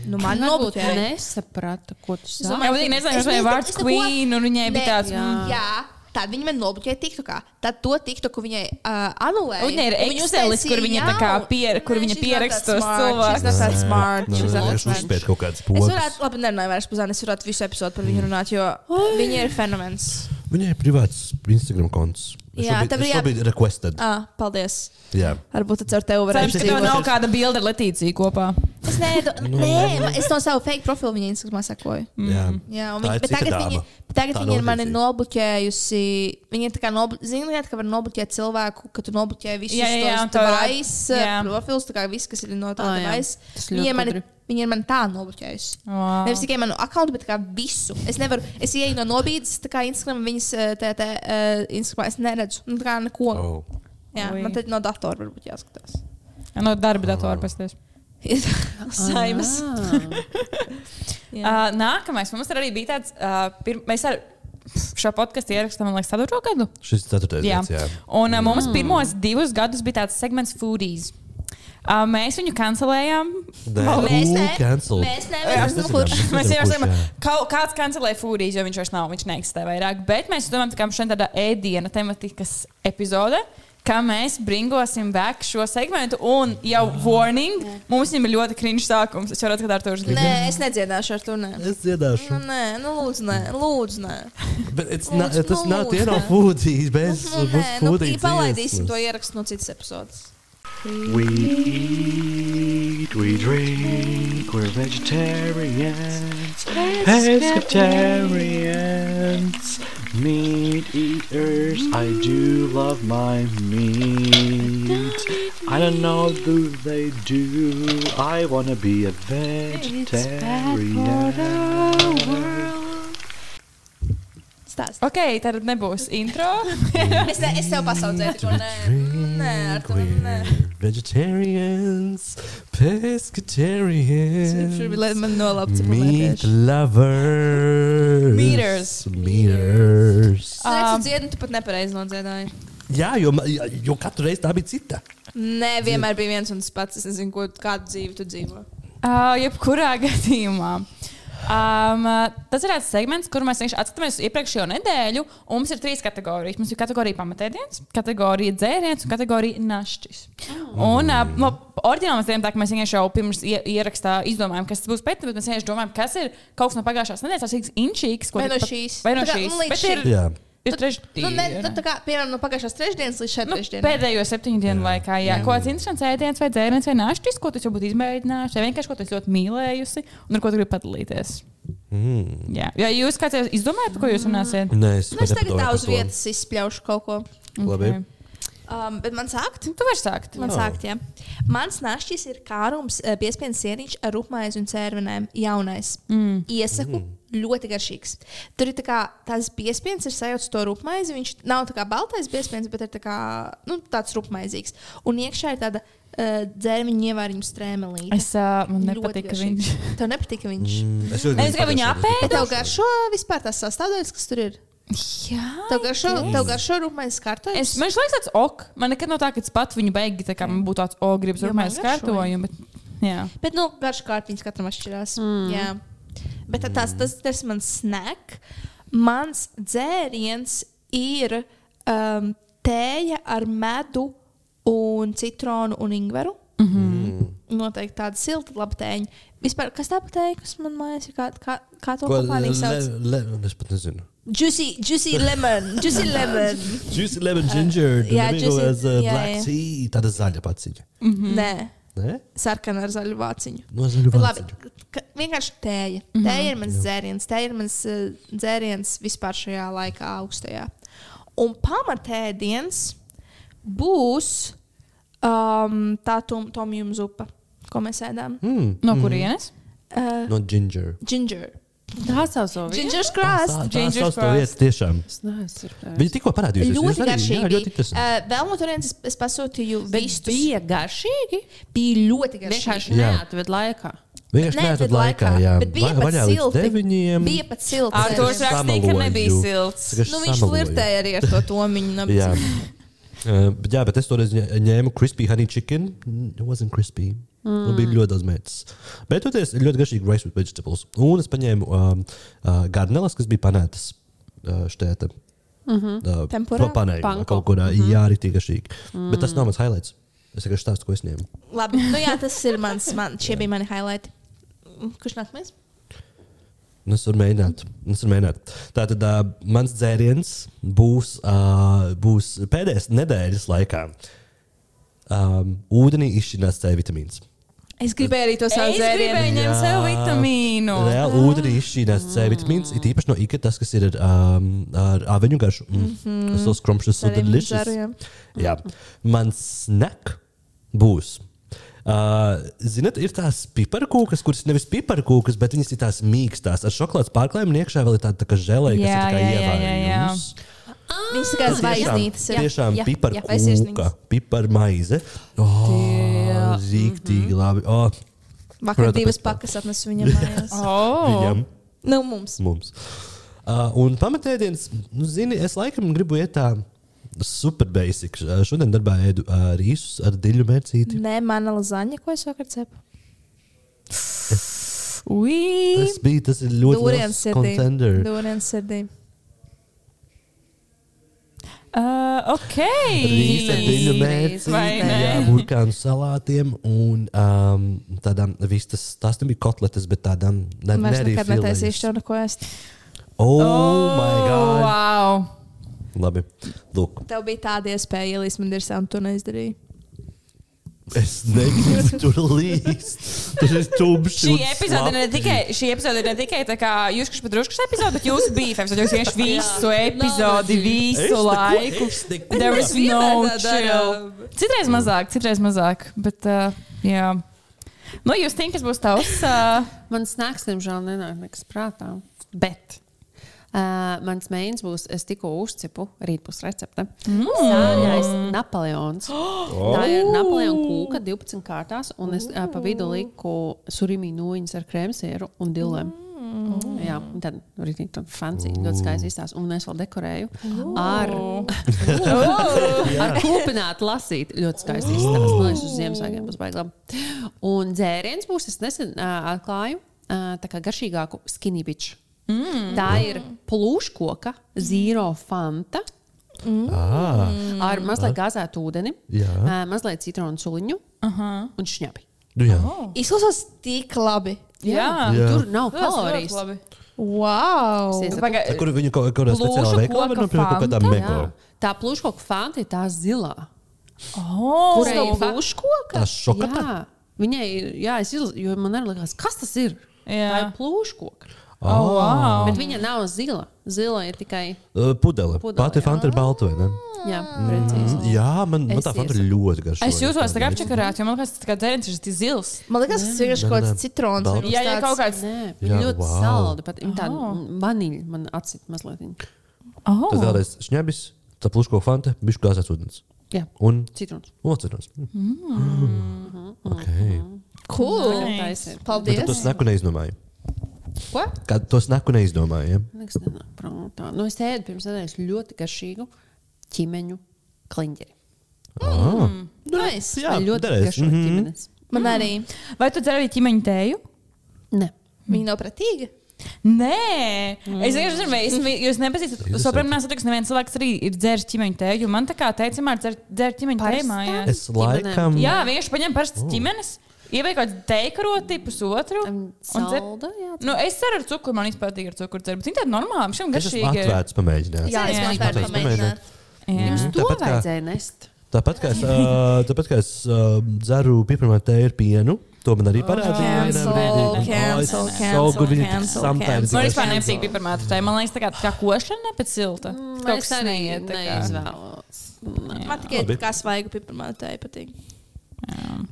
Speaker 5: Nu, man
Speaker 4: Varbūt
Speaker 5: nobloķēja.
Speaker 4: nesaprata, ko tu
Speaker 5: Es
Speaker 4: saki.
Speaker 5: domāju,
Speaker 3: Jā, viņa
Speaker 5: ka-
Speaker 3: nezināja,
Speaker 5: es
Speaker 3: vai
Speaker 5: nezinu,
Speaker 3: vārds
Speaker 5: es neko-
Speaker 3: queen, un viņai bija
Speaker 5: Nē,
Speaker 3: tāds,
Speaker 5: Jā.
Speaker 3: mm.
Speaker 5: jā. Tad viņi man nobloķēja TikTokā. Tad to TikToku viņai uh, anulēja.
Speaker 3: Un viņai ir
Speaker 5: Un viņa
Speaker 3: Excelis,
Speaker 5: uztaisīja
Speaker 3: kur viņa tā kā
Speaker 5: jaunu.
Speaker 3: pier- kur
Speaker 5: Nē,
Speaker 3: viņa
Speaker 5: she's not
Speaker 3: pieraksta
Speaker 5: that
Speaker 3: tos
Speaker 5: smart.
Speaker 3: cilvēkus.
Speaker 5: She's not that smart.
Speaker 2: Nē,
Speaker 5: She's
Speaker 2: nē,
Speaker 5: not that
Speaker 2: vienkārši
Speaker 5: smart.
Speaker 2: uzspēj kaut kādas
Speaker 5: Es
Speaker 2: pogas.
Speaker 5: varētu, labi, nerunāju vairs par Zani. Es varētu visu epizodi par viņu runāt, jo viņa ir fenomens.
Speaker 2: Viņai ir privāts Instagram konts. Es
Speaker 5: Jā,
Speaker 2: šobrīd-
Speaker 5: tev ir
Speaker 2: es
Speaker 5: jā-
Speaker 2: šobrīd requested.
Speaker 5: Ah, paldies.
Speaker 2: Jā.
Speaker 5: Varbūt tad ar tevi
Speaker 3: Cerams,
Speaker 5: varētu
Speaker 3: ka tev nav
Speaker 5: dzīvot.
Speaker 3: kāda bilde ar Letīciju kopā.
Speaker 5: Es, nedo- nē, ma- es no sava fake profila viņa Instagramā sakoju.
Speaker 2: Jā.
Speaker 5: Jā, un
Speaker 2: Tā
Speaker 5: viņa,
Speaker 2: ir
Speaker 5: bet
Speaker 2: cita
Speaker 5: tagad
Speaker 2: dāma.
Speaker 5: viņa, bet tagad
Speaker 2: Tā
Speaker 5: viņa ir
Speaker 2: nav
Speaker 5: mani
Speaker 2: līdzīga.
Speaker 5: nobloķējusi. Viņa ir tā kā nobloķējusi. Ziniet, ka var nobloķēt cilvēku, ka tu nobloķē visus
Speaker 3: Jā, jā, jā, un
Speaker 5: tos
Speaker 3: tev ir-
Speaker 5: devais
Speaker 3: jā.
Speaker 5: profilus, tā kā viss, kas ir no tā
Speaker 4: Ā, jā.
Speaker 5: devais.
Speaker 4: Tas ļoti
Speaker 5: Viņa ir mani-
Speaker 4: gudri.
Speaker 5: viņa ir man tā nobloķējusi.
Speaker 3: Wow.
Speaker 5: Nevis tikai manu akkontu, bet kā visu. Es nevaru, es ieju no nobīdes, tā kā Instagram, viņas eh, tā, tā, eh, Instagramā es neredzu. Nu, tā kā neko.
Speaker 2: Oh.
Speaker 5: Jā,
Speaker 3: Ui.
Speaker 5: man tad no datora varbūt jāskatās. [laughs]
Speaker 3: No darba datora pasties.
Speaker 5: Saimas.
Speaker 4: Ā.
Speaker 5: Jā.
Speaker 4: Ah,
Speaker 3: Uh, nākamais mums arī bija tāds, uh, pir, mēs ar, šo podkāstu ierakstām, man liekas, ceturto gadu.
Speaker 2: Šis ceturtais
Speaker 3: Jā.
Speaker 2: gads, jā.
Speaker 3: Un uh, mums pirmos divus gadus bija tāds segments Foodies. Uh, mēs viņu kancelējām.
Speaker 2: Dēļ.
Speaker 5: Mēs
Speaker 2: Ooh,
Speaker 5: ne.
Speaker 2: cancelled.
Speaker 5: Mēs
Speaker 3: Jā,
Speaker 5: nevaram.
Speaker 2: nezinām,
Speaker 5: Kurš?
Speaker 2: mēs
Speaker 3: [laughs] Mēs
Speaker 2: nezinām,
Speaker 3: jau
Speaker 2: kurš,
Speaker 3: esam.
Speaker 2: jā.
Speaker 3: kaut- Kāds kancelēja Foodies, jo viņš vairs nav, viņš neeksistē vairāk. Bet mēs domājam, ka šodien tāda ēdiena tematikas epizode. Kā mēs bringosim back šo segmentu, un jau warning, mums viņam ir ļoti krīņš sākums. Es jau redzu, ka tā ir tā līnija.
Speaker 5: Nē, es nedziedāšu ar to. Nē.
Speaker 2: Es dziedāšu.
Speaker 5: Nu, nē, nu, lūdzu, nē, lūdzu, nē.
Speaker 2: Bet it's
Speaker 5: Lūdzu,
Speaker 2: not, tas nav
Speaker 5: lūdzu.
Speaker 2: tie no foodies. Bez
Speaker 5: Nu, nē,
Speaker 2: bez
Speaker 5: nu,
Speaker 2: foodies.
Speaker 5: palaidīsim to
Speaker 2: dziesmas.
Speaker 5: ierakstu no citas epizodes.
Speaker 1: We eat, we drink, we're vegetarians, pescatarians, meat eaters. I do love my meat. I don't know do they do. I wanna be a vegetarian.
Speaker 5: Stāst.
Speaker 3: Ok, tad nebūs intro.
Speaker 5: Es, ne, es tev pasaudzēju, tikko, nē. Nē, ar to. Nē.
Speaker 2: We're Vegetarians, pescatarians,
Speaker 5: Gribu, lai man nolapts.
Speaker 2: meat lovers,
Speaker 3: Meters.
Speaker 2: meters.
Speaker 5: Es redzu, dziedinu, tu pat nepareizi nodziedāji.
Speaker 2: Jā, jo, ma- jo katru reizi tā bija cita.
Speaker 5: Nē, vienmēr bija viens un tas pats. Es nezinu, ko, kādu dzīvi tu dzīvo.
Speaker 3: Uh, jebkurā [laughs] gadījumā. Um, tas ir tāds segments, kur mēs vienkārši atskatāmies uz iepriekšējo nedēļu. un Mums ir trīs kategorijas. Mums ir kategorija pamatēdienas, kategorija dzēriens un kategorija našķis.
Speaker 5: Oh.
Speaker 3: Un uh, no, oriģinālā mēs darījām tā, ka mēs vienkārši jau pirms ie- ierakstā izdomājām, kas tas būs pēc tam, bet mēs vienkārši domājam, kas ir kaut kas no pagājušās nedēļas, tas ir inčīgs. ko
Speaker 5: Vai
Speaker 3: tu
Speaker 5: no
Speaker 3: pat-
Speaker 5: šīs.
Speaker 3: Vai no
Speaker 5: Tā kā,
Speaker 3: šīs.
Speaker 5: nu, līdz
Speaker 3: Bet
Speaker 5: šim.
Speaker 3: ir-
Speaker 2: Jā.
Speaker 3: Ir
Speaker 5: Nu, ne,
Speaker 3: trešdiena.
Speaker 5: nu, tā kā, piemēram, no pagājušās trešdienas līdz šai
Speaker 3: Nu,
Speaker 5: trešdienai.
Speaker 3: pēdējo septiņu dienu laikā, jā, kaut kāds interesants ēdiens vai dzēriens vai nāšķis, ko tu jau būtu izmēģinājusi, vai vienkārši ko tu esi ļoti mīlējusi un ar ko tu gribi padalīties.
Speaker 2: Mm.
Speaker 3: Jā, ja jūs kāds jau izdomājat, par ko jūs runāsiet?
Speaker 2: Nē, es,
Speaker 5: Nu, es
Speaker 2: pat
Speaker 5: tagad
Speaker 2: nepadomāju
Speaker 5: tā
Speaker 2: par
Speaker 5: uz
Speaker 2: to.
Speaker 5: vietas izspļaušu kaut ko.
Speaker 2: Labi.
Speaker 3: Ok.
Speaker 5: Um, bet man sākt?
Speaker 3: Tu vari sākt.
Speaker 5: Man
Speaker 2: Jā.
Speaker 5: sākt, jā. Mans našķis ir kārums, eh, piespiedu sēniņš ar rupmaizi un cērvenēm. Jaunais. Mm. Iesaku. Mm. Ļoti garšīgs. Tur ir tā kā tās piespiedas, ir sajūta to rupmaizi. Viņš nav tā kā baltais piespiedis, bet ir tā kā, nu, tāds rupmaizīgs. Un iekšā ir tāda uh, dzērviņa ievāriņu strēmelīte.
Speaker 3: Es uh, man
Speaker 5: Ļoti
Speaker 3: nepatīk, ka
Speaker 5: garšīgs.
Speaker 3: viņš.
Speaker 5: [laughs] Tev nepatīk viņš. Mm.
Speaker 2: Mm, Es, ļoti
Speaker 3: Es
Speaker 2: gribu
Speaker 3: gribu viņu
Speaker 2: pagājušajā
Speaker 5: Bet
Speaker 2: gadā.
Speaker 5: tev garšo vispār tās sastāvdaļas, kas tur ir.
Speaker 3: Jā.
Speaker 5: Tev garšo, tev garšo rupmaizes kārtas.
Speaker 3: Es, man liekas, tas ok. Man nekad nav tā, ka tas pat viņu beigas, tā kā man būtu tāds ok, gribas
Speaker 5: Jo man
Speaker 3: rūpēties
Speaker 5: garšo.
Speaker 3: kārtojumu. Bet, jā.
Speaker 5: Bet, nu, garš kārtiņas katram atšķirās. Mm. Jā. Bet tā- tās, tas, tas ir mans snack. Mans dzēriens ir um, tēja ar medu un citronu un ingveru. Mm -hmm. Noteikti tāda silta labtēņa. Vispār, kas tā patēja, kas man mājās ir? Kā, kā, kā to
Speaker 2: Ko,
Speaker 5: kompāniju sauc?
Speaker 2: le, le, es pat nezinu.
Speaker 5: Juicy, juicy lemon. Juicy lemon.
Speaker 2: Juicy lemon ginger.
Speaker 5: jā,
Speaker 2: Jā,
Speaker 5: juicy-
Speaker 2: juicy, as, uh,
Speaker 5: jā,
Speaker 2: black
Speaker 5: jā.
Speaker 2: tea. Tāda zaļa paciņa.
Speaker 5: Mm -hmm. Nē,
Speaker 2: Nē?
Speaker 5: sarkana ar zaļu vāciņu.
Speaker 2: No zaļu
Speaker 5: Bet Labi,
Speaker 2: paciņa.
Speaker 5: ka- vienkārši tēja. Tēja ir mans dzēriens, tēja ir mans eh, dzēriens vispār šajā laikā, augstajā. Un pamatēdiens būs um, tā tomjuma zupa, ko mēs ēdām.
Speaker 2: Mm,
Speaker 3: No kurienes?
Speaker 5: Uh,
Speaker 2: no ginger.
Speaker 5: ginger.
Speaker 4: Tā sauc to visu.
Speaker 5: Ginger krāsa.
Speaker 2: Tā, tā
Speaker 3: Ginger
Speaker 2: sauc to
Speaker 3: crust.
Speaker 2: vietu tiešām.
Speaker 4: Es neesmu redzējis.
Speaker 2: Viņa tikko parādījusies. jūs
Speaker 5: Ļoti
Speaker 2: arī? Jā, ļoti
Speaker 5: garšīgi.
Speaker 2: interesanti.
Speaker 5: Uh, vēl no turienes es- es pasūtīju
Speaker 4: Bet
Speaker 5: vistus.
Speaker 4: bija garšīgi.
Speaker 5: bija ļoti garšīgi.
Speaker 4: Vienkārši
Speaker 2: Jā.
Speaker 4: neatved laikā.
Speaker 2: Vienkārši
Speaker 5: Nē,
Speaker 2: neesat
Speaker 5: bet
Speaker 2: laikā,
Speaker 5: laikā.
Speaker 2: jā.
Speaker 5: Bet bija
Speaker 2: Va-
Speaker 5: pat
Speaker 2: vaļā līdz
Speaker 5: silti.
Speaker 2: deviņiem.
Speaker 5: Bija pat silta.
Speaker 3: Ar to es
Speaker 5: dzēriens.
Speaker 3: rakstīju, ka
Speaker 2: Samaloju.
Speaker 3: nebija silts.
Speaker 2: Tagad
Speaker 5: Nu, viņš
Speaker 2: samaloju.
Speaker 5: flirtēja arī ar to tomiņu.
Speaker 2: Jā.
Speaker 5: nabadzību.
Speaker 2: [laughs] Uh, bet jā, bet es toreiz ņē- ņēmu crispy honey chicken. Mm, It wasn't crispy. Mm. Nu, bija ļoti daudz mētas. Bet tur bija ļoti garšīgi rice with vegetables. Un es paņēmu um, uh, garneles, kas bija panētas uh, štēta. Mm -hmm.
Speaker 5: Tempurā?
Speaker 2: Panēta
Speaker 4: Panko.
Speaker 2: kaut kurā. Mm -hmm. Jā, arī tik garšīgi. Mm. Bet tas nav mans highlights. Es tikai stāstu, ko es ņēmu.
Speaker 5: Labi, nu jā, tas ir mans. Man, šie bija mani highlighti. Mm, Kurš nākamais?
Speaker 2: Nu, Es varu mēģināt. Es varu mēģināt. Tātad uh, mans dzēriens būs, uh, būs pēdējais nedēļas laikā. Um, ūdenī izšķirnās C vitamīns.
Speaker 5: Es gribēju arī to
Speaker 3: Es
Speaker 5: savu
Speaker 3: gribēju
Speaker 5: dzērienu.
Speaker 3: ņemt sev vitamīnu.
Speaker 2: Reāli ūdenī izšķirnās C vitamīns. Ir īpaši no ikas tas, kas ir ar, um, ar aveņu garšu. Mm. Mm -hmm. Tas skrumšs, so
Speaker 5: Arī man
Speaker 2: delicious.
Speaker 5: dzeru, jā.
Speaker 2: jā. Mans snack būs. Uh, ziniet, ir tās piparkūkas, kuras nevis piparkūkas, bet viņas ir tās mīkstās ar šokolādes pārklājumu. un Iekšā vēl ir tāda tā kā želeja, kas
Speaker 3: Jā,
Speaker 2: ir tā kā
Speaker 3: jā, jā, jā, jā.
Speaker 2: ievārījums.
Speaker 5: Viņas ir kā zvaigznītes.
Speaker 2: Tiešām, tiešām
Speaker 5: jā,
Speaker 2: pipar
Speaker 5: jā, vai
Speaker 2: kūka,
Speaker 5: sirsnīgas.
Speaker 2: pipar maize. Oh, Zīktīgi labi. Oh,
Speaker 5: Vakar
Speaker 2: Protams,
Speaker 5: divas
Speaker 2: tā.
Speaker 5: pakas atnesu viņam mājās.
Speaker 3: Oh.
Speaker 2: viņam,
Speaker 5: Nu, mums.
Speaker 2: mums. Uh, un pamatēdienas, nu, zini, es laikam gribu iet tā super basic. Uh, Šodien darbā ēdu uh, rīsus ar diļu mērcīti.
Speaker 5: Nē, mana lazaņa, ko es vakar cepu.
Speaker 3: Ui!
Speaker 2: Tas bija tas ir ļoti
Speaker 5: Dūriens
Speaker 2: liels
Speaker 5: sirdī.
Speaker 2: contender.
Speaker 5: Dūriens sirdī.
Speaker 3: Uh, ok!
Speaker 2: Rīsa, diļu
Speaker 3: Vai
Speaker 2: mērcīti,
Speaker 3: ne?
Speaker 2: jā, burkānu salātiem un um, tādām vistas, tās nebija kotletes, bet tādām ne,
Speaker 5: Mēs
Speaker 2: ne arī
Speaker 5: nekad
Speaker 2: filējas.
Speaker 5: netaisīšu to neko ēst.
Speaker 2: Oh, my
Speaker 3: Oh,
Speaker 2: god!
Speaker 3: wow!
Speaker 2: Labi, lūk.
Speaker 5: Tev bija tāda iespēja ielīst man dirzā, un tu neizdarīji.
Speaker 2: Es
Speaker 3: [laughs]
Speaker 2: negribu tur līst. Tas ir tumšs.
Speaker 3: Šī
Speaker 2: un
Speaker 3: epizode ir ne
Speaker 2: slapji.
Speaker 3: tikai, šī epizode ir ne tikai tā kā jūs, kas padruškas epizode, bet jūs bija epizode, jūs vienkārši visu
Speaker 4: Jā.
Speaker 3: epizodi,
Speaker 2: Es
Speaker 3: visu
Speaker 2: neko-
Speaker 3: laiku.
Speaker 2: es neko-
Speaker 3: There is no
Speaker 4: vienmēr tā
Speaker 3: chill.
Speaker 4: darām.
Speaker 3: Citreiz mazāk, citreiz mazāk, bet, uh, jā. Nu, jūs tinkas būs tavs. Uh,
Speaker 4: Man snacks, diemžēl, nenāk nekas prātā. Bet. Uh, mans mēģinājums būs, es tikko uzcepu rītpus recepte. Mm. Sāļais Napoleons. [gasps] Oh. Tā ir Napoleona kūka 12 kārtās, un es uh, pa vidu lieku surimīnuiņas ar krēmsieru un dilēm. Mm. Jā, un tad rītīgi tāda fancy, ļoti skaisti izstās, un es vēl dekorēju ar, ar kūpinātu lasīt. Ļoti skaisti izstās, man liekas, uz Ziemassvētkiem būs baiglam. Un dzēriens būs, es nesen uh, atklāju, uh, tā kā garšīgāku skinībiču. Mm. Tā ir plūškoka, zīro fanta
Speaker 2: Ah,
Speaker 3: Mm.
Speaker 4: ar mazliet gāzētu ūdeni,
Speaker 2: Jā.
Speaker 4: ā, mazliet citronu suliņu un šņabi.
Speaker 2: nu jā.
Speaker 3: Oh.
Speaker 5: Izklausās tik labi.
Speaker 3: jā.
Speaker 2: Jā.
Speaker 4: Tur
Speaker 3: Ah.
Speaker 4: nav
Speaker 3: Tas ļoti
Speaker 4: kalorijas.
Speaker 3: labi.
Speaker 5: Wow!
Speaker 4: Es ieceru.
Speaker 3: Paga-
Speaker 2: Kur viņi kaut kādā
Speaker 3: Plūšu
Speaker 2: speciālā veikalā var
Speaker 3: koka
Speaker 2: nopirkt kaut kādā
Speaker 3: fanta?
Speaker 2: meko?
Speaker 4: Jā. Tā plūškoka fanta ir tā zilā.
Speaker 3: Oh,
Speaker 4: Kurai ir plūškoka?
Speaker 2: Tā šokata?
Speaker 4: Jā. Viņai, ir- jā, es izlasu, jo man arī likās, kas tas ir.
Speaker 3: Jā.
Speaker 4: Tā ir plūškoka.
Speaker 2: Ah.
Speaker 3: oh, wow.
Speaker 4: Bet viņa nav zila. Zila ir tikai.
Speaker 2: Uh, Pudele.
Speaker 4: Pudele,
Speaker 2: Pati
Speaker 4: jā.
Speaker 2: fanta ir balta, vai ne? Mm,
Speaker 4: Jā,
Speaker 3: Mm.
Speaker 4: precīzi.
Speaker 2: Jā, man, man
Speaker 4: Es
Speaker 2: tā fanta
Speaker 4: iesaku.
Speaker 2: ir ļoti garša.
Speaker 3: Es jūtos tā kā apčakarāt, jo man liekas, tas kā dzēriens ir tik zils.
Speaker 5: Man liekas, tas ir vienkārši
Speaker 2: Nē,
Speaker 5: kaut
Speaker 2: nē.
Speaker 5: kāds citrons.
Speaker 2: Balts.
Speaker 5: vai
Speaker 3: Jā, jā,
Speaker 5: tāds-
Speaker 3: kaut kāds.
Speaker 4: Nē,
Speaker 2: Jā,
Speaker 4: jā, ļoti
Speaker 2: wow.
Speaker 4: wow. salda. Pat viņa tāda oh. vanīļa man acīt mazliet.
Speaker 3: Oh.
Speaker 2: Tad vēlreiz šņabis, tā pluško fanta, bišu gāzēts ūdens.
Speaker 4: Jā,
Speaker 2: Un
Speaker 4: citrons.
Speaker 2: ocenos. Mm.
Speaker 3: Mm-hmm.
Speaker 2: Ok.
Speaker 5: Cool!
Speaker 4: Jā, tā
Speaker 2: Bet tad
Speaker 4: ir.
Speaker 2: to
Speaker 5: Paldies!
Speaker 2: snaku neizdomāju.
Speaker 4: Ko?
Speaker 2: Kad to snaku neizdomāju, ja?
Speaker 4: Nekas nenāk prātā. Nu, es ēdu pirms nedēļas ļoti garšīgu ķīmeņu kliņģeri.
Speaker 3: Mm.
Speaker 2: Ah.
Speaker 5: Nice.
Speaker 2: Jā, Mhm.
Speaker 4: Man ļoti
Speaker 2: derēs.
Speaker 4: garšīga mm. ķīmenes.
Speaker 5: Man arī.
Speaker 3: Vai tu dzēri arī ķimeņu tēju?
Speaker 4: Nē.
Speaker 5: Viņa nav pretīga.
Speaker 3: Nē,
Speaker 4: Mm.
Speaker 3: es vienkārši zinu, vai es, jūs nepazīstat.
Speaker 2: Interesanti.
Speaker 3: Saprotam, mēs satiksim, neviens cilvēks arī ir dzēris ķimeņu tēju. Man tā kā teica, man dzēr ķimeņu tēju
Speaker 4: Parastā?
Speaker 3: mājās.
Speaker 2: Es Oh. laikam.
Speaker 3: Jā, vienkārši paņem parastas ķimenes, ievēk kaut kādu teikaroti, pusotru.
Speaker 4: Mm,
Speaker 3: un dzer-
Speaker 4: Salda, jā.
Speaker 3: Nu, es ceru ar cukuru, man īstenībā patīk ar cukuru dzert. bet Viņi tādi normāli, šiem
Speaker 2: Es esmu
Speaker 3: garšīgi. ir.
Speaker 2: atvērts Mm. pamēģināt.
Speaker 5: Jā, es
Speaker 3: Jā,
Speaker 5: vienkārši
Speaker 3: jā.
Speaker 5: tādu pamēģināju.
Speaker 3: Jā.
Speaker 4: Jums to
Speaker 2: Nu, Tāpat kā-
Speaker 4: vajadzēja nest.
Speaker 2: Tāpat kā es, uh, tāpat kā es uh, dzeru pieprasīju tēju ar pienu, to man arī parādīja.
Speaker 5: cancel, cancel, cancel, cancel, cancel.
Speaker 3: Man vispār nepatīk piparmēta tēja. Man liekas, tā kā, tā kā košana, ne pēc silta. Kaut
Speaker 4: Mm, Es
Speaker 3: kas
Speaker 4: arī
Speaker 3: neiet. tā kā.
Speaker 4: neizvēlos.
Speaker 5: Man tikai
Speaker 2: Labi.
Speaker 5: tā kā svaigu piparmātei patīk.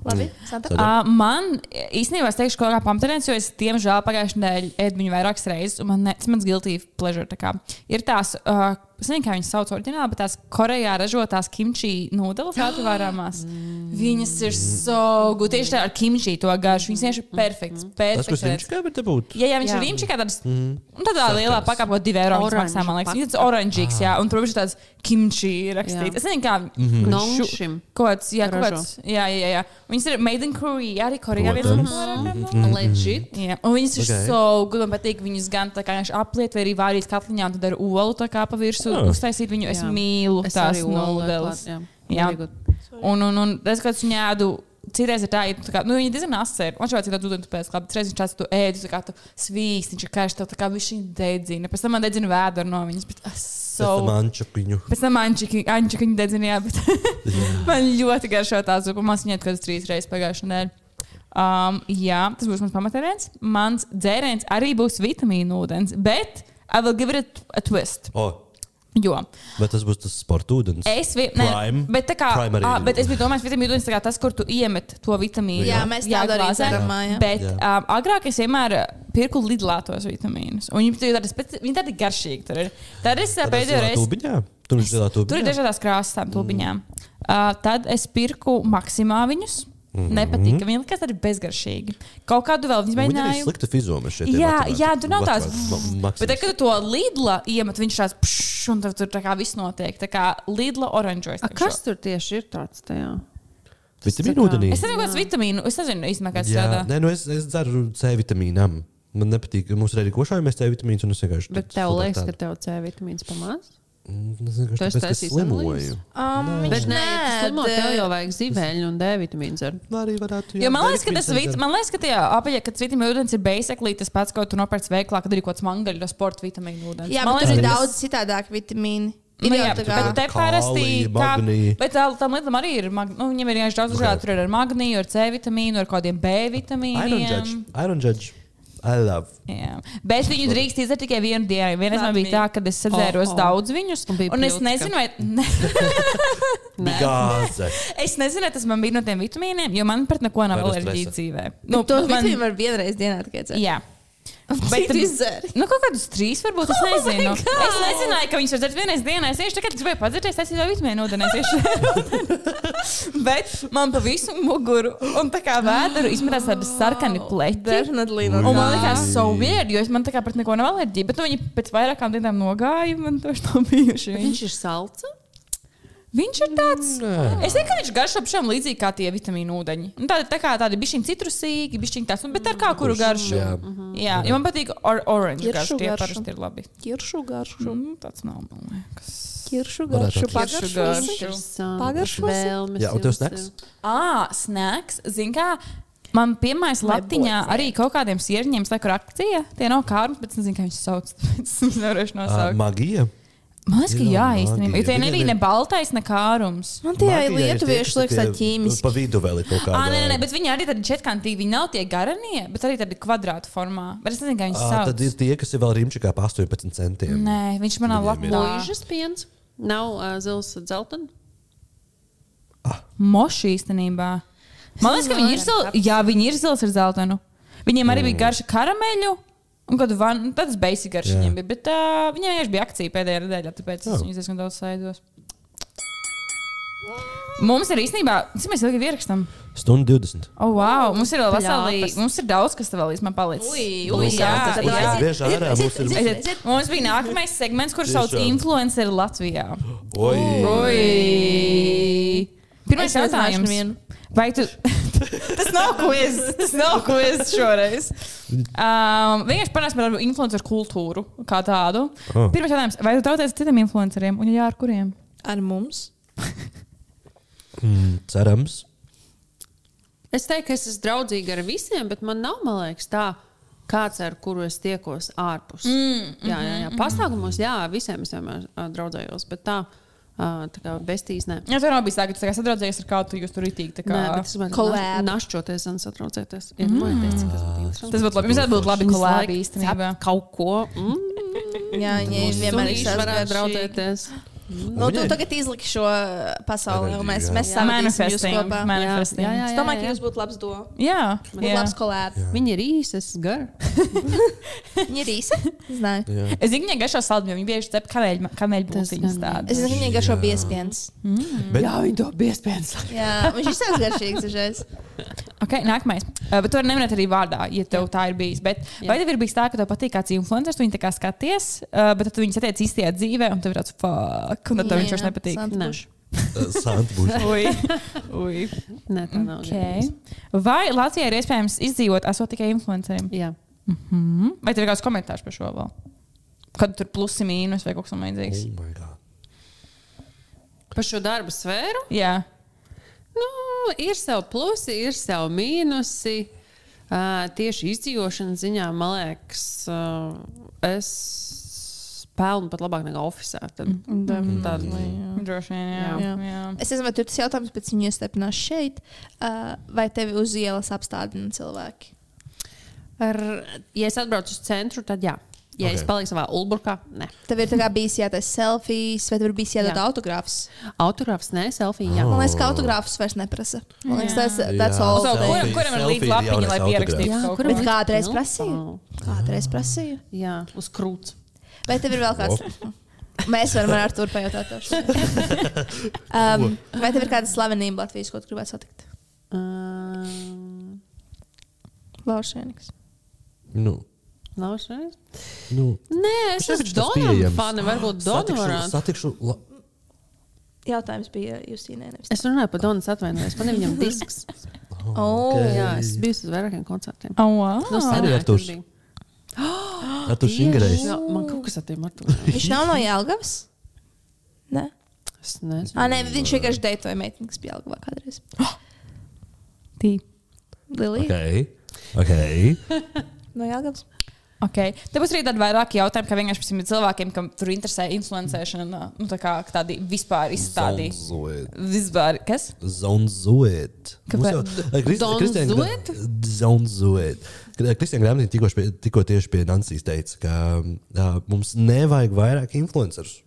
Speaker 5: Labi, Santa.
Speaker 2: Tad-
Speaker 3: Uh, man īstenībā es teikšu, ka kaut kā pamatdienas, jo es diemžēl pagājušajā nedēļā ēdu viņu vairākas reizes, un man ne, tas mans guilty pleasure. tā kā. Ir tās, uh, es nezinu, kā viņas sauc oriģināli, bet tās Korejā ražotās kimči nūdeles [gasps] atvarāmās. Viņas ir so good. Tieši tā ar kimči to garšu. Viņas vienkārši ir perfekts.
Speaker 2: Tas, kas viņš
Speaker 3: perfekts.
Speaker 2: kā var te būt?
Speaker 3: Ja, ja viņš
Speaker 4: Mm. Jā.
Speaker 3: jā. ir rīčs, tad mm. tādā lielā pakāpē, ko divi eiro viņš
Speaker 4: Oranžu
Speaker 3: maksā, man liekas,
Speaker 4: pakāpe.
Speaker 3: viņš ir oranžīgs, jā, un tur viņš ir tāds kimči rakstīts.
Speaker 4: Jā.
Speaker 3: Es nezinu, kā
Speaker 2: Mhm. Mm.
Speaker 4: Nongšim.
Speaker 3: Kaut kāds, jā, kaut
Speaker 4: Ražo.
Speaker 3: kāds, jā, jā, jā. Viņas ir made in Korea, arī Korejā viens
Speaker 2: Protams.
Speaker 3: no
Speaker 4: Mm.
Speaker 3: vairākiem.
Speaker 4: Legit.
Speaker 3: Jā, un viņas ir
Speaker 2: Mm-hmm. Ok.
Speaker 3: so gudri. Man patīk, viņas gan tā kā vienkārši apliet, vai arī vārīt katliņā, un tad ar olu tā kā pa virsmu
Speaker 2: Ah.
Speaker 3: uztaisīt viņu. Es
Speaker 4: Jā.
Speaker 3: mīlu
Speaker 4: Es
Speaker 3: tās
Speaker 4: arī olu lieku
Speaker 3: nodeles.
Speaker 4: Nu, klāt, jā.
Speaker 3: Jā.
Speaker 4: Very good.
Speaker 3: Un, un, un es kāds viņu ēdu. Citreiz ir tā, ir tā ka nu, viņa diezgan asa ir. Man šāds ir tāds ūdens pēc, labi, citreiz viņš tāds tu ēdu, tā kā tu svīst, viņš ir karš, tev tā kā viņš viņu dedzina. Pēc tam man dedzina vēdru no viņas, bet ah, so.
Speaker 2: Tas mančakiņu.
Speaker 3: Pēc tam ančiņa viņa dedzina, jā, bet [laughs] man ļoti garšo tā zupa. Man viņa atkal trīs reizes pagājušajā nedēļā. Um, jā, tas būs mans pamatdienas. Mans dzēriens arī būs vitamīna ūdens, bet I will give it a twist.
Speaker 2: O,
Speaker 3: Jo
Speaker 2: vai tas būs tas sporta ūdens?
Speaker 3: es
Speaker 2: Prime?
Speaker 3: vienkārši. Bet, tā kā,
Speaker 2: Prime arī
Speaker 3: ā,
Speaker 2: ir.
Speaker 3: bet es biju domājis, ka vitamīna ūdens ir tas, kur tu iemet to vitamīnu.
Speaker 5: Jā, mēs tādu arī
Speaker 3: glāzē.
Speaker 5: darām mājā.
Speaker 3: Bet
Speaker 2: Jā.
Speaker 3: um, agrāk es vienmēr ā, pirku lidlātos vitamīnus. Un Viņi tur ir tādi speci- viņi tādi garšīgi. Tur ir. Tad es ā, pēdējo reizi.
Speaker 2: Tūbiņā? Tur viņš zilā
Speaker 3: Tur ir
Speaker 2: tūbiņā.
Speaker 3: dažādas krāsas, tām tubiņām. Mm. Uh, tad es pirku maksimāliņus.
Speaker 2: Mm-hmm.
Speaker 3: Nepatīkami. Viņam liekas, tas ir bezgaršīgi. Kaut kādu vēl viņi
Speaker 2: Viņam ir
Speaker 3: mēģināja.
Speaker 2: slikta fizoma šeit.
Speaker 3: Jā, jā, tur nav tās. Bet, tad, kad tu to lidla iemet, viņš tāds pšš, un tad tur tā kā viss notiek. Tā kā lidla oranžojas.
Speaker 4: A, kas tur tieši ir tāds tajā?
Speaker 2: Vitamīna ūdenī.
Speaker 3: Es nezinu, kāds vitamīnu. Es nezinu, īstenībā, kas
Speaker 2: Jā,
Speaker 3: tas ir.
Speaker 2: nē, nu es, es dzeru C vitamīnam. Man nepatīk, ka mums ir arī košājamies C vitamīns, un es vienkārši.
Speaker 4: Bet tev liekas, ka tev C vitamīns pamāca?
Speaker 2: Mm, Es vienkārši
Speaker 4: Tu esi
Speaker 2: tāpēc, ka
Speaker 4: taisījis analīzes?
Speaker 2: slimoju.
Speaker 5: Um,
Speaker 4: Bet nē, ja tu slimo,
Speaker 5: de-
Speaker 4: tev jau vajag zīmeļu un D vitamīns. Ar...
Speaker 2: Arī varētu.
Speaker 3: Jo man liekas, ka tas vit, man liekas, ka tie apaļie, ka tas vitamīnu ūdens ir basically tas pats, ko tu nopērci veiklā, kad ir kaut kāds mangaļu no sporta vitamīnu ūdens.
Speaker 5: Jā,
Speaker 3: Man
Speaker 5: bet tur
Speaker 3: liekas, ka
Speaker 5: ir
Speaker 3: tas-
Speaker 5: daudz citādāk vitamīnu. Ir
Speaker 3: Nu,
Speaker 5: jau
Speaker 3: jā,
Speaker 5: tā
Speaker 3: bet
Speaker 5: kā
Speaker 3: te
Speaker 2: Kalija,
Speaker 3: parasti kā-
Speaker 2: magnija.
Speaker 3: Bet tā- tam lidam arī ir. mag- Nu, viņam ir vienkārši daudz dažādu. Tur ir ar magniju, ar C vitamīnu, ar kādiem B
Speaker 2: I don't judge.
Speaker 3: vitamīniem.
Speaker 2: I don't judge. I love.
Speaker 3: Jā. Bet viņi drīkst izdarīt tikai vienu dienu. Vienreiz man bija tā, ka es sadzēros
Speaker 4: Oh,
Speaker 3: oh,
Speaker 4: oh.
Speaker 3: oh. daudz viņus.
Speaker 4: Un bija
Speaker 3: Un es
Speaker 4: pļūcka.
Speaker 3: nezinu, vai. Ne, [laughs]
Speaker 2: Gāze.
Speaker 3: es nezinu, vai tas man bija no tiem vitamīniem, jo man pret neko nav
Speaker 2: Vai no
Speaker 3: alerģija
Speaker 2: stresa?
Speaker 3: dzīvē.
Speaker 5: Nu, to vitamīnu var vienreiz dienā tikai dzert.
Speaker 3: Jā.
Speaker 5: Bet tu izdzēri.
Speaker 3: Nu, kaut kādus trīs, varbūt. Es
Speaker 5: Oh my
Speaker 3: nezinu.
Speaker 5: God!
Speaker 3: es nezināju, ka viņš var dzert vienā dienā. Es vienkārši tagad gribēju padzerties, es jau vitamīnu ūdeni iešu. [laughs] Bet man pa visu muguru un tā kā vēdru izmetās tādi sarkani pleķi.
Speaker 5: Definitely
Speaker 3: Un
Speaker 5: not.
Speaker 3: man liekas, so weird, jo es man tā kā pret neko nav alerģija. Bet nu, viņi pēc vairākām dienām nogāja, man to šķiet bijuši. Viņš,
Speaker 4: Viņš ir salds.
Speaker 3: viņš ir tāds. Es domāju, ka viņš garšo pašam līdzīgi kā tie vitamīnu ūdeņi. Nu, tādi, tā kā tādi bišķiņi citrusīgi, bišķiņi tāds, nu, bet ar kā kuru garšu.
Speaker 2: Jā.
Speaker 3: Jā, jo man patīk or oranžu garšu.
Speaker 5: Ķiršu
Speaker 3: Tie
Speaker 5: garšu.
Speaker 3: parasti ir labi.
Speaker 5: Kiršu garšu.
Speaker 3: Mm, tāds nav, man liekas.
Speaker 5: Kiršu
Speaker 2: Varētu
Speaker 5: garšu.
Speaker 2: atlikt.
Speaker 3: Kiršu
Speaker 5: Pagaršu.
Speaker 3: garšu.
Speaker 5: Pagaršosim?
Speaker 4: Vēlmes.
Speaker 2: Jā, un tev
Speaker 4: jums ir.
Speaker 2: snacks?
Speaker 3: Ah, snacks. Zini, kā man piemērais
Speaker 5: Vai
Speaker 3: latiņā
Speaker 5: bocē?
Speaker 3: arī kaut kādiem siežņiem slēdz akcija. Tie nav kārtas, bet es nezinu, kā viņas sauc. [laughs] Tāpēc Es nevarēšu
Speaker 2: Ā,
Speaker 3: nosaukt.
Speaker 2: Magija.
Speaker 3: Man liekas, ka jā,
Speaker 2: Jā,
Speaker 3: īstenībā. Jo tie
Speaker 2: Magija.
Speaker 3: nebija ne baltais, ne kārums.
Speaker 5: Man tie
Speaker 2: Magija ir
Speaker 5: lietuvieši
Speaker 2: tie, kas
Speaker 5: liekas
Speaker 2: ir
Speaker 5: tā
Speaker 2: tie
Speaker 5: ķīmiski.
Speaker 2: Pa vidu vēl ir kaut kāda.
Speaker 3: Ah, nē, nē, nē, bet viņi arī tādi četrkantīgi. Viņi nav tie garanie, bet arī tādi kvadrātu formā. Bet es nezinu, kā viņas
Speaker 2: Ā,
Speaker 3: sauc.
Speaker 2: Tad ir tie, kas ir vēl rīmčikā pa 18 centiem.
Speaker 3: Nē, viņš manā
Speaker 2: Viņiem ir.
Speaker 3: lapā ir.
Speaker 4: Lūžas piens. Nav uh, zils dzeltens.
Speaker 3: Moši īstenībā. Man liekas, ka viņi ir zils. Jā, viņi ir zils ar zeltainu. Viņiem arī bija garša karameļu. Un nu, kādu vanu, tādas beigas garšas
Speaker 2: Jā. Oh.
Speaker 3: viņiem bija. Bet uh, viņiem vienkārši bija akcija pēdējā nedēļā, tāpēc
Speaker 2: Jā.
Speaker 3: es viņus diezgan daudz saidos. Mums ir īstenībā, cik mēs ilgi ierakstām?
Speaker 2: Stundu 20.
Speaker 3: Oh, wow, mums ir vēl veseli,
Speaker 4: Pļāpas.
Speaker 3: mums ir daudz, kas tev vēl īstenībā palicis.
Speaker 5: Ui,
Speaker 2: ui,
Speaker 3: jā,
Speaker 2: jā,
Speaker 3: jā, jā.
Speaker 2: aiziet, bieži ārā mums ir-
Speaker 5: aiziet, aiziet.
Speaker 3: Mums bija nākamais segments, kurš sauc
Speaker 2: Tiešām.
Speaker 3: influenceri Latvijā.
Speaker 2: Oi.
Speaker 3: Oh. Oi! Pirmais
Speaker 5: Es nezināšu nu,
Speaker 3: jautājums.
Speaker 5: nevienu.
Speaker 3: Vai tu. [laughs] tas nav quiz. Tas nav quiz šoreiz. Um, vienkārši parunāsim par influenceru kultūru kā tādu.
Speaker 2: Oh.
Speaker 3: Oh. Pirmais jautājums. Vai tu tauties citiem influenceriem? Un, ja jā, ar kuriem?
Speaker 5: Ar mums.
Speaker 2: Mm, Cerams.
Speaker 4: Es teiktu, ka es esmu draudzīga ar visiem, bet man nav, man liekas, tā, kāds ar kuru es tiekos ārpus. Mm, mhm. jā, jā, jā. Pasākumos, jā, visiem es vienmēr ā, draudzējos, bet tā, ā, tā kā bestīs, nē.
Speaker 3: Jā, tev nav bijis tā, ka tu tā kā sadraudzies ar kādu, jūs tur itīgi. tā
Speaker 4: Nē,
Speaker 3: kā- Mhm.
Speaker 4: bet es varu
Speaker 5: Collab.
Speaker 4: našķoties un satraucēties. Iedomājieties, cik tas būtu interesanti.
Speaker 3: Tas būtu labi. Mums varētu būt labi
Speaker 4: Viņas
Speaker 3: kolēbi
Speaker 4: laik
Speaker 3: īstenībā.
Speaker 4: cep Kaut ko. Mm,
Speaker 5: Jā, viņi vienmēr ir
Speaker 4: sunīši varētu
Speaker 5: sasprādzīgi.
Speaker 4: draudzēties.
Speaker 5: Nu, tu tagad izliki šo uh, pasauli, un mēs, mēs samanāsim jūs
Speaker 3: Manifesting.
Speaker 5: kopā.
Speaker 3: Manifesting.
Speaker 4: Jā, jā,
Speaker 5: Es domāju, ka jūs būtu labs do.
Speaker 3: Jā,
Speaker 5: Būtu labs kolēbs.
Speaker 4: Viņi ir īsi, es esmu gara.
Speaker 5: Viņa ir īsa. Es Zinu,
Speaker 2: Jā.
Speaker 3: Es zinu, ka garšā saldumiem viņi bieži cep kameļbūtiņas
Speaker 4: gan-
Speaker 5: es
Speaker 3: tādas.
Speaker 5: zinu, ka viņai garšo biespiens.
Speaker 2: Bet-
Speaker 4: Jā, viņi to piespiež.
Speaker 2: [laughs]
Speaker 5: Jā, viņš ir tāds garšīgs. dažreiz.
Speaker 3: Okay, nākamais. Uh, bet tu vari neminēt arī vārdā, ja tev tā ir bijis. Bet,
Speaker 4: Jā.
Speaker 3: vai tev ir bijis tā, ka tev patīk kāds influenceris, tu viņu tā kā skaties, uh, bet tad tu viņu satiec īstajā dzīvē, un tev ir tāds fuck, un tad tev
Speaker 5: Jā,
Speaker 3: viņš vairs nepatīk?
Speaker 5: sant
Speaker 4: Nē.
Speaker 5: puš.
Speaker 2: Ā, Uh, Santi
Speaker 3: [laughs]
Speaker 2: būs.
Speaker 3: Ui, ui.
Speaker 4: Nē, tā nav.
Speaker 3: Okay. Vai Latvijā ir iespējams izdzīvot, esot tikai influencerim?
Speaker 4: Jā.
Speaker 3: Mhm. Vai tev ir kāds komentārs par šo vēl? Kad tur plusi mīnus vai kaut kas tamlīdzīgs?
Speaker 2: Oh my God.
Speaker 4: Par šo darbu sfēru?
Speaker 3: Jā,
Speaker 4: Nu, ir savi plusi, ir savi mīnusi. Uh, tieši izdzīvošanas ziņā, man liekas, uh, es pelnu pat labāk nekā oficiālā. Tad
Speaker 3: Mm.
Speaker 5: Jā.
Speaker 3: droši vien. Jā.
Speaker 5: Jā.
Speaker 3: Jā. Jā.
Speaker 5: Es nezinu, vai tur tas jautājums, bet viņi iestepinās šeit, uh, vai tevi uz ielas apstādina cilvēki.
Speaker 4: ar, ja es atbraucu uz centru, tad jā. Ja okay. es
Speaker 2: Ok.
Speaker 4: palieku savā ulburkā, nē.
Speaker 5: Tev ir tā kā bijis jātais selfijas, vai tev ir bijis jādod
Speaker 4: Jā.
Speaker 5: autogrāfs.
Speaker 4: Autogrāfs, nē, selfija. Jā.
Speaker 2: Oh.
Speaker 5: Man liekas, ka autogrāfus vairs neprasa. Man liekas, tas
Speaker 2: Jā.
Speaker 5: that's all
Speaker 3: So,
Speaker 2: Selfie-
Speaker 3: kuram,
Speaker 5: day.
Speaker 3: kuram ir
Speaker 2: selfie
Speaker 3: līdz
Speaker 2: ir
Speaker 3: lapiņa, lai
Speaker 2: jaunais
Speaker 3: pierakstītu?
Speaker 2: autogrāfs.
Speaker 4: Jā,
Speaker 3: kaut
Speaker 4: kuram
Speaker 3: ko?
Speaker 5: Bet kādreiz
Speaker 4: Pilnu
Speaker 5: prasīju?
Speaker 4: palu.
Speaker 5: Kādreiz prasīju?
Speaker 4: jā, uz krūts.
Speaker 5: Vai tev ir vēl kāds? Mēs varam ar to pajautāt. tev šodien. Um, vai tev ir kāda slavenība Latvijas, ko tu gribētu satikt?
Speaker 4: Uh,
Speaker 5: Laušēniks.
Speaker 2: Nu,
Speaker 4: Laušanas?
Speaker 2: nu,
Speaker 4: Nē, es
Speaker 2: Šis
Speaker 4: esmu
Speaker 2: taču tas
Speaker 4: Donoram
Speaker 2: pieejams.
Speaker 4: fani, varbūt
Speaker 2: satikšu,
Speaker 4: Donoram.
Speaker 2: satikšu la...
Speaker 5: Jautājums bija Justīnai. nevis-
Speaker 4: Es runāju par Donas atvainojos, man ir viņam disks.
Speaker 3: Oh,
Speaker 2: okay.
Speaker 4: Jā, es biju uz vairākiem koncertiem.
Speaker 3: Oh, wow.
Speaker 4: Nu,
Speaker 2: Arī
Speaker 4: senāk,
Speaker 2: Arturs.
Speaker 4: kad bija.
Speaker 2: Ar to šingrēs.
Speaker 4: Jā, man kaut kas ar tiem Arturiem.
Speaker 5: Viņš nav no Jālgavas? Nē.
Speaker 4: Es nezinu.
Speaker 5: Ah, nē, viņš vienkārši deitoja meiteni, kas bija Jālgavā kādreiz.
Speaker 3: Tī.
Speaker 5: Lilija
Speaker 2: Ok.
Speaker 5: okay.
Speaker 2: Ok.
Speaker 5: no Jālgavas.
Speaker 3: Okay. Te būs arī tādi vairāki jautājumi, kā vienkārši par tiem cilvēkiem, kam tur interesē influencēšana, nu, tā kā tādi vispār izstādi.
Speaker 2: Zonzoid.
Speaker 3: Vispār, kas?
Speaker 2: Zonzoid.
Speaker 3: Kāpēc?
Speaker 4: Donzoid?
Speaker 2: Zonzoid. Kristiāna Grāmatiņa tikko špie- tikko tieši pie Nancijas teica, ka uh, mums nevajag vairāk influencerus.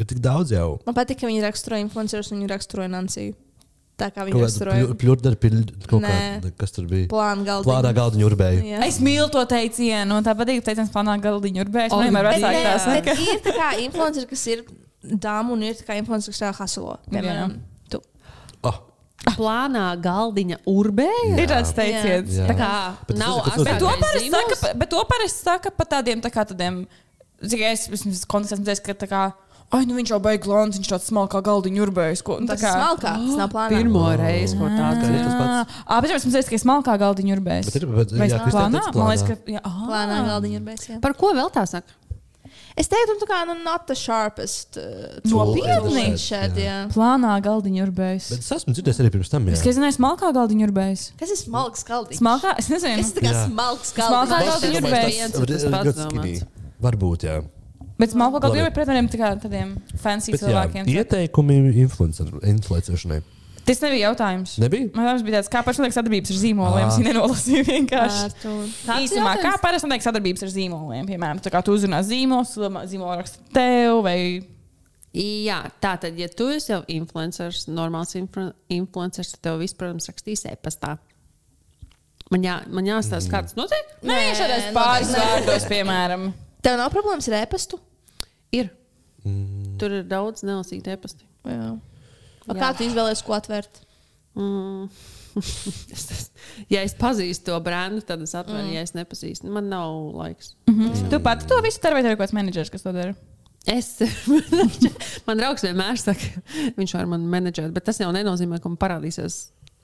Speaker 2: Ir tik daudz jau.
Speaker 5: Man patīk, ka viņi raksturoja influencerus, viņi raksturoja Nanciju. Tā kā viņi
Speaker 2: Kaut kāda
Speaker 5: raksturoja
Speaker 2: pļurda, kaut
Speaker 5: Nē.
Speaker 2: kāda, kas tur bija.
Speaker 5: plānu
Speaker 2: Plānā
Speaker 5: galdu.
Speaker 2: galda ņurbēja.
Speaker 5: Jā.
Speaker 3: Jā. Es mīlu to teicienu, un tā patīk, ka teiciens panāk galdiņu urbēs.
Speaker 4: O,
Speaker 3: Man vienmēr
Speaker 5: Oh, Bet
Speaker 3: vecāk
Speaker 5: nē,
Speaker 3: tās
Speaker 5: bet
Speaker 3: nekā.
Speaker 5: Ir tā kā influenceri, kas ir dāmas, un ir tā kā influenceri, kas ir haslo. Piemēram, tu.
Speaker 2: Oh,
Speaker 4: Plānā galdiņa urbēja.
Speaker 3: Ir tāds teiciens.
Speaker 2: Jā.
Speaker 4: Tā kā
Speaker 2: Bet tas
Speaker 4: nav
Speaker 2: ir, kas notiek?
Speaker 3: Bet to
Speaker 4: asākais
Speaker 3: parasti
Speaker 4: zīmols.
Speaker 3: saka, pa- bet to parasti saka par tādiem, tā kā tādiem, cik es vismaz kontekstā dzirdēju, ka tā kā, ai, nu viņš jau baigs glāns, viņš tāds smalkā galdiņu urbējas. Ko, nu, tā
Speaker 5: Tas
Speaker 3: kā.
Speaker 5: ir smalkā, tas
Speaker 3: [gasps]
Speaker 5: nav plānots.
Speaker 4: Pirmo reizi, ko tāds
Speaker 2: Kā ir tas pats?
Speaker 3: Abi mēs dzirdējām, ka ir smalkā galdiņu urbējas.
Speaker 2: Bet ir, bet,
Speaker 3: Vai
Speaker 2: jā,
Speaker 3: es-
Speaker 2: Kristē
Speaker 3: plānā?
Speaker 2: teica
Speaker 3: Man
Speaker 2: plānā.
Speaker 3: liekas, ka. jā, ā.
Speaker 5: Plānā galdiņa ir beigta.
Speaker 4: Par ko vēl tā saka?
Speaker 5: Es teiktu, nu, tā kā, nu, not the sharpest. uh,
Speaker 3: Nopietni?
Speaker 5: Šeit, jā.
Speaker 3: Plānā galdiņu urbējas.
Speaker 2: Bet es esmu dzirdējis arī pirms tam. jā.
Speaker 3: Es tikai zināju, smalkā galdiņu urbējas.
Speaker 5: Kas ir smalks galdiņš?
Speaker 3: Smalkā, es nezinu.
Speaker 5: Es tā kā
Speaker 2: Jā.
Speaker 5: smalks
Speaker 3: Smalkā
Speaker 5: galdiņš.
Speaker 2: Es
Speaker 3: galdiņa
Speaker 2: domāju,
Speaker 3: urbējas.
Speaker 2: tas
Speaker 4: Tas
Speaker 2: ir
Speaker 4: pats
Speaker 2: ļoti
Speaker 4: domāts.
Speaker 2: skinny. Varbūt, jā.
Speaker 3: Bet smalkā
Speaker 2: Labi.
Speaker 3: galdiņu urbējas pret tādiem, tā kā, tādiem fancy
Speaker 2: Bet, jā
Speaker 3: cilvēkiem.
Speaker 2: ieteikumi influencer- influenceršanai.
Speaker 3: Tas nebija jautājums.
Speaker 2: Nebija?
Speaker 3: Man liekas, bija tāds, kā parasti notiek sadarbības ar zīmoliem.
Speaker 2: Ah.
Speaker 3: Es viņu nenolasīju vienkārši. Īsumā, kā parasti notiek sadarbības ar zīmoliem? Piemēram, tā kā tu uzrunā zīmols, zīmola raksta tev vai.
Speaker 4: Jā, tā tad, ja tu esi jau influenceris, normāls influ- influenceris, tad tev vispār, protams, rakstīs e-pastā. Man, jā, man jāstāsta, kā tas notiek.
Speaker 3: Nē, šādās
Speaker 5: nu,
Speaker 3: pāris vārdos, piemēram.
Speaker 5: Tev nav problēmas ar ēpastu?
Speaker 4: Ir. Tur ir daudz nelasītu e-pasta.
Speaker 5: Jā. Vai Kā tu izvēlējies, ko atvērt?
Speaker 4: Mm. [laughs] Es tas- ja es pazīstu to brānu, tad es atveru, mm. ja es nepazīstu. Man nav laiks.
Speaker 5: Mhm.
Speaker 3: Tu pati to visu dari, vai tev ir kaut kāds menedžers, kas to dara?
Speaker 4: Es, [laughs] man draugs vienmēr saka, viņš var mani menedžēt, bet tas jau nenozīmē, ka man parādīsies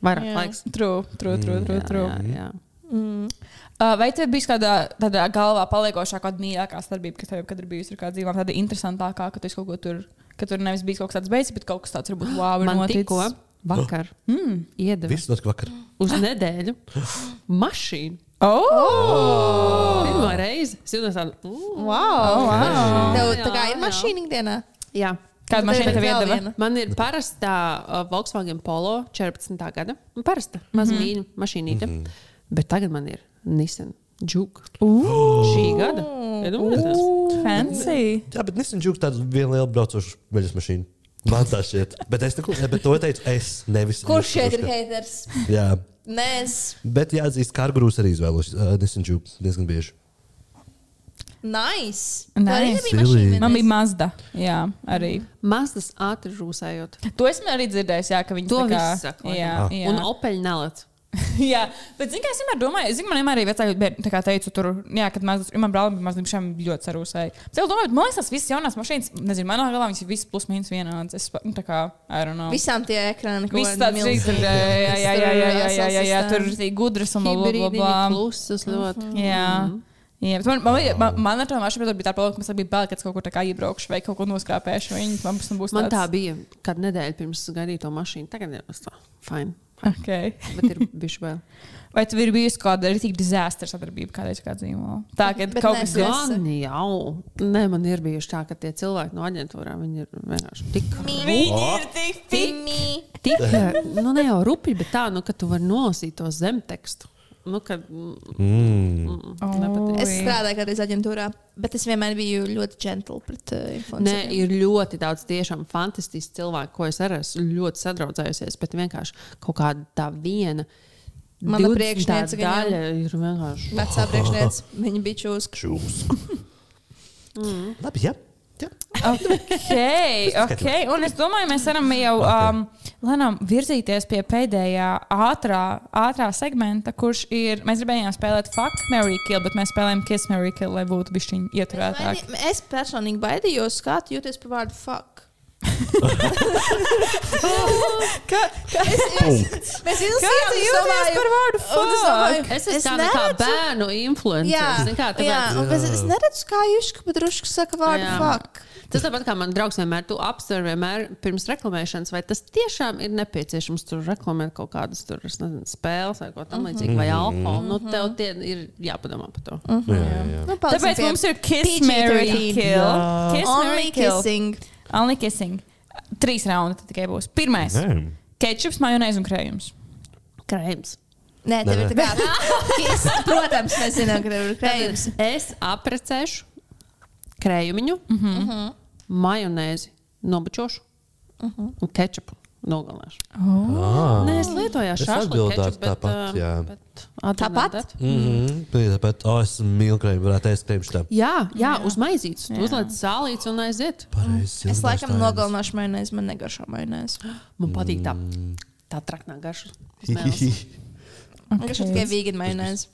Speaker 4: vairāk
Speaker 5: Jā.
Speaker 4: jā. laiks.
Speaker 3: True, true, true, true.
Speaker 4: Jā,
Speaker 3: true.
Speaker 4: jā, jā.
Speaker 3: Uh, vai tev bija kāda tādā galvā paliekošā, kāda mīļākā starpība, kas tev jebkad ir bijusi ar kādu dzīvām, tāda interesantākā, ka tu esi kaut ko tur, ka tur nevis bija kaut kas tāds beidzis, bet kaut kas tāds varbūt wow, ir
Speaker 4: Man
Speaker 3: noticis.
Speaker 4: tikko [gasps] vakar mm. iedeva
Speaker 2: Viss notika vakar.
Speaker 4: uz nedēļu [gasps] mašīnu.
Speaker 3: Oh!
Speaker 4: Pirmā [gasps] reize, kad es tādu mm.
Speaker 5: Wow!
Speaker 3: wow.
Speaker 5: Tev
Speaker 4: Jā,
Speaker 5: tā kā ir
Speaker 4: jā.
Speaker 5: mašīna ikdienā?
Speaker 4: Jā.
Speaker 3: Kāda mašīna
Speaker 5: Bet
Speaker 3: tev
Speaker 5: vēl
Speaker 3: iedeva?
Speaker 5: viena.
Speaker 4: Man ir parasta uh, Volkswagen Polo 14. gada. Parasta mazā mm -hmm. mīļa mašīnīte. Mm -hmm. Bet tagad man ir Nissan Juke. Šī gada. nu, Iedomājieties?
Speaker 3: Fancy!
Speaker 2: Jā, bet nesen jūtas tāda viena liela braucoša veļas mašīna. Man tā šķiet. Bet es neko, bet to teicu es, nevis.
Speaker 5: Kurš
Speaker 2: jūs,
Speaker 5: šeit ir
Speaker 2: ka-
Speaker 5: haters?
Speaker 2: Jā,
Speaker 5: Nē, es.
Speaker 2: bet jāatzīst, ka kargrūs arī izvēlos. Uh, nesen jūtas diezgan bieži.
Speaker 5: Nice!
Speaker 3: Nice.
Speaker 5: Tev arī nebija
Speaker 2: Silly.
Speaker 5: mašīna,
Speaker 3: Man
Speaker 5: Inês?
Speaker 3: bija mazda. Jā, arī.
Speaker 4: Mazas ātri rūsējot.
Speaker 3: To esmu arī dzirdējis, jā, ka viņi
Speaker 4: To
Speaker 3: tā kā-
Speaker 4: viss saka,
Speaker 3: Jā,
Speaker 4: laikam.
Speaker 3: jā.
Speaker 4: Un opeļi nelec.
Speaker 3: [laughs] jā. bet zini, kā es vienmēr domāju, es zinu, man vienmēr arī vecāki bērni, tā kā teicu, tur, jā, kad mazs, man brālim bija mazliet šiem ļoti sarūsēji. Bet es domāju, man liekas, tās visas jaunās mašīnas, nezinu, manā galā viņas ir visas plus mīnus vienādas. Es, pa- nu, tā kā, I don't know.
Speaker 5: Visām tie ekrāni, ko
Speaker 3: Viss tāds izturēja, jā, jā, jā, jā, jā, jā, jā, jā, tur ir gudras un
Speaker 4: Hibrīdiņi
Speaker 3: blablabla.
Speaker 4: klusas ļoti.
Speaker 3: Jā. Jā, bet man, man, bija- man, man ar to mašīnu bija tā problēma, ka man bija bail, ka es kaut kur tā kā iebraukšu vai kaut ko noskrāpēšu. vai Viņi man pēc tam būs
Speaker 4: Man tā
Speaker 3: tāds.
Speaker 4: bija, kad nedēļa pirms gaidīju to mašīnu. Tagad jau tas tā, fine.
Speaker 3: Okay.
Speaker 4: Bet ir bijuši vēl.
Speaker 3: Vai tev ir bijusi kāda arī tik disastra sadarbība kādreiz kā dzīvo? Tā, ka
Speaker 5: Bet
Speaker 3: kaut
Speaker 5: nē,
Speaker 3: kas ir.
Speaker 5: Tiesa.
Speaker 4: Gan jau. Nē, man ir bijuši tā, ka tie cilvēki no aģentūrām viņi ir vienkārši tik.
Speaker 5: Viņi
Speaker 2: Oh.
Speaker 5: ir tik fini.
Speaker 4: Tik, nu, ne jau rupi, bet tā, nu, ka tu vari nolasīt to zemtekstu. Nu, ka, mm,
Speaker 2: Mm.
Speaker 3: Oh,
Speaker 4: nepatīk.
Speaker 5: Es strādāju kādreiz aģentūrā, bet es vienmēr biju ļoti gentle pret uh,
Speaker 4: Nē,
Speaker 5: informāciju.
Speaker 4: ir ļoti daudz tiešām fantastisku cilvēku, ko es arī esmu ļoti sadraudzējusies, bet vienkārši kaut kāda tā viena.
Speaker 5: Mana
Speaker 4: 20.
Speaker 5: priekšniece gan jau.
Speaker 4: daļa ir vienkārši.
Speaker 3: [laughs]
Speaker 5: Vecā priekšniece, viņa bija čūska.
Speaker 2: Čūs. Labi, jā.
Speaker 3: Okay, okay. Un es domāju, mēs varam jau um, lēnām virzīties pie pēdējā ātrā, ātrā segmenta, kurš ir. Mēs gribējām spēlēt Fuck, Mary Kill, bet mēs spēlējām Kiss, Mary Kill, lai būtu bijusi ieturētāka.
Speaker 5: Baidi- Es personīgi baidījos, kā tu jūties par vārdu
Speaker 3: [laughs]
Speaker 5: fuck.
Speaker 2: Punkts.
Speaker 5: Mēs
Speaker 3: Kā tu jūties par vārdu
Speaker 5: Un es domāju,
Speaker 3: Fuck?
Speaker 4: Es esmu
Speaker 5: Es
Speaker 4: tāda kā
Speaker 5: neredzu.
Speaker 4: bērnu influenceris. zini kā,
Speaker 5: jā.
Speaker 4: tāpēc-
Speaker 5: un pēc- Es neredzu, kā Juška pat drusku saka vārdu
Speaker 4: Jā.
Speaker 5: fuck.
Speaker 4: Tas tāpat kā man draugs vienmēr, tu apsver vienmēr pirms reklamēšanas, vai tas tiešām ir nepieciešams tur reklamēt kaut kādas tur, es nezinu, spēles vai ko tamlīdzīgu, vai
Speaker 2: Mhm.
Speaker 4: alkoholu. Nu, tev tie ir jāpadomā par to.
Speaker 2: Jā, jā, jā.
Speaker 5: Nu, paliksim
Speaker 3: Tāpēc
Speaker 5: pie
Speaker 3: mums ir Kiss,
Speaker 5: PG-13.
Speaker 3: Mary Kill. Kiss, Mary
Speaker 5: Only
Speaker 3: Kill.
Speaker 5: kissing.
Speaker 3: Only kissing. Trīs raundi tad tikai būs. Pirmais
Speaker 2: Nē.
Speaker 3: - ketčups, majonēze un krējums.
Speaker 4: Krējums.
Speaker 5: Nē, tev
Speaker 2: Nē,
Speaker 5: ir tā kā. [laughs] Kiss, Protams, mēs zinām, ka tev ir krējums.
Speaker 4: Es aprecēšu krējumiņu, mm -hmm. majonēzi nobučošu un kečupu. Nogalināšu.
Speaker 2: Ā.
Speaker 4: Nē, es lietoju
Speaker 2: Es
Speaker 4: šādu
Speaker 2: atbildētu tāpat, jā.
Speaker 5: Tāpat?
Speaker 2: Mhm. Bija Tāpat, oh, es mīlu krējumu, varētu ēst krējumu štābu.
Speaker 4: Jā, jā, uz maizītes. Tu uzliec sālītes un aiziet.
Speaker 2: Pareizi.
Speaker 5: Es
Speaker 2: ilgmēs tā
Speaker 5: laikam
Speaker 2: [laughs] ēdas.
Speaker 5: nogalināšu majonēzi, man negaršo majonēzi.
Speaker 4: Man patīk tā,
Speaker 2: Mm.
Speaker 4: tā traknā garša.
Speaker 2: [laughs]
Speaker 5: Man garšo tikai vegan majonēzi.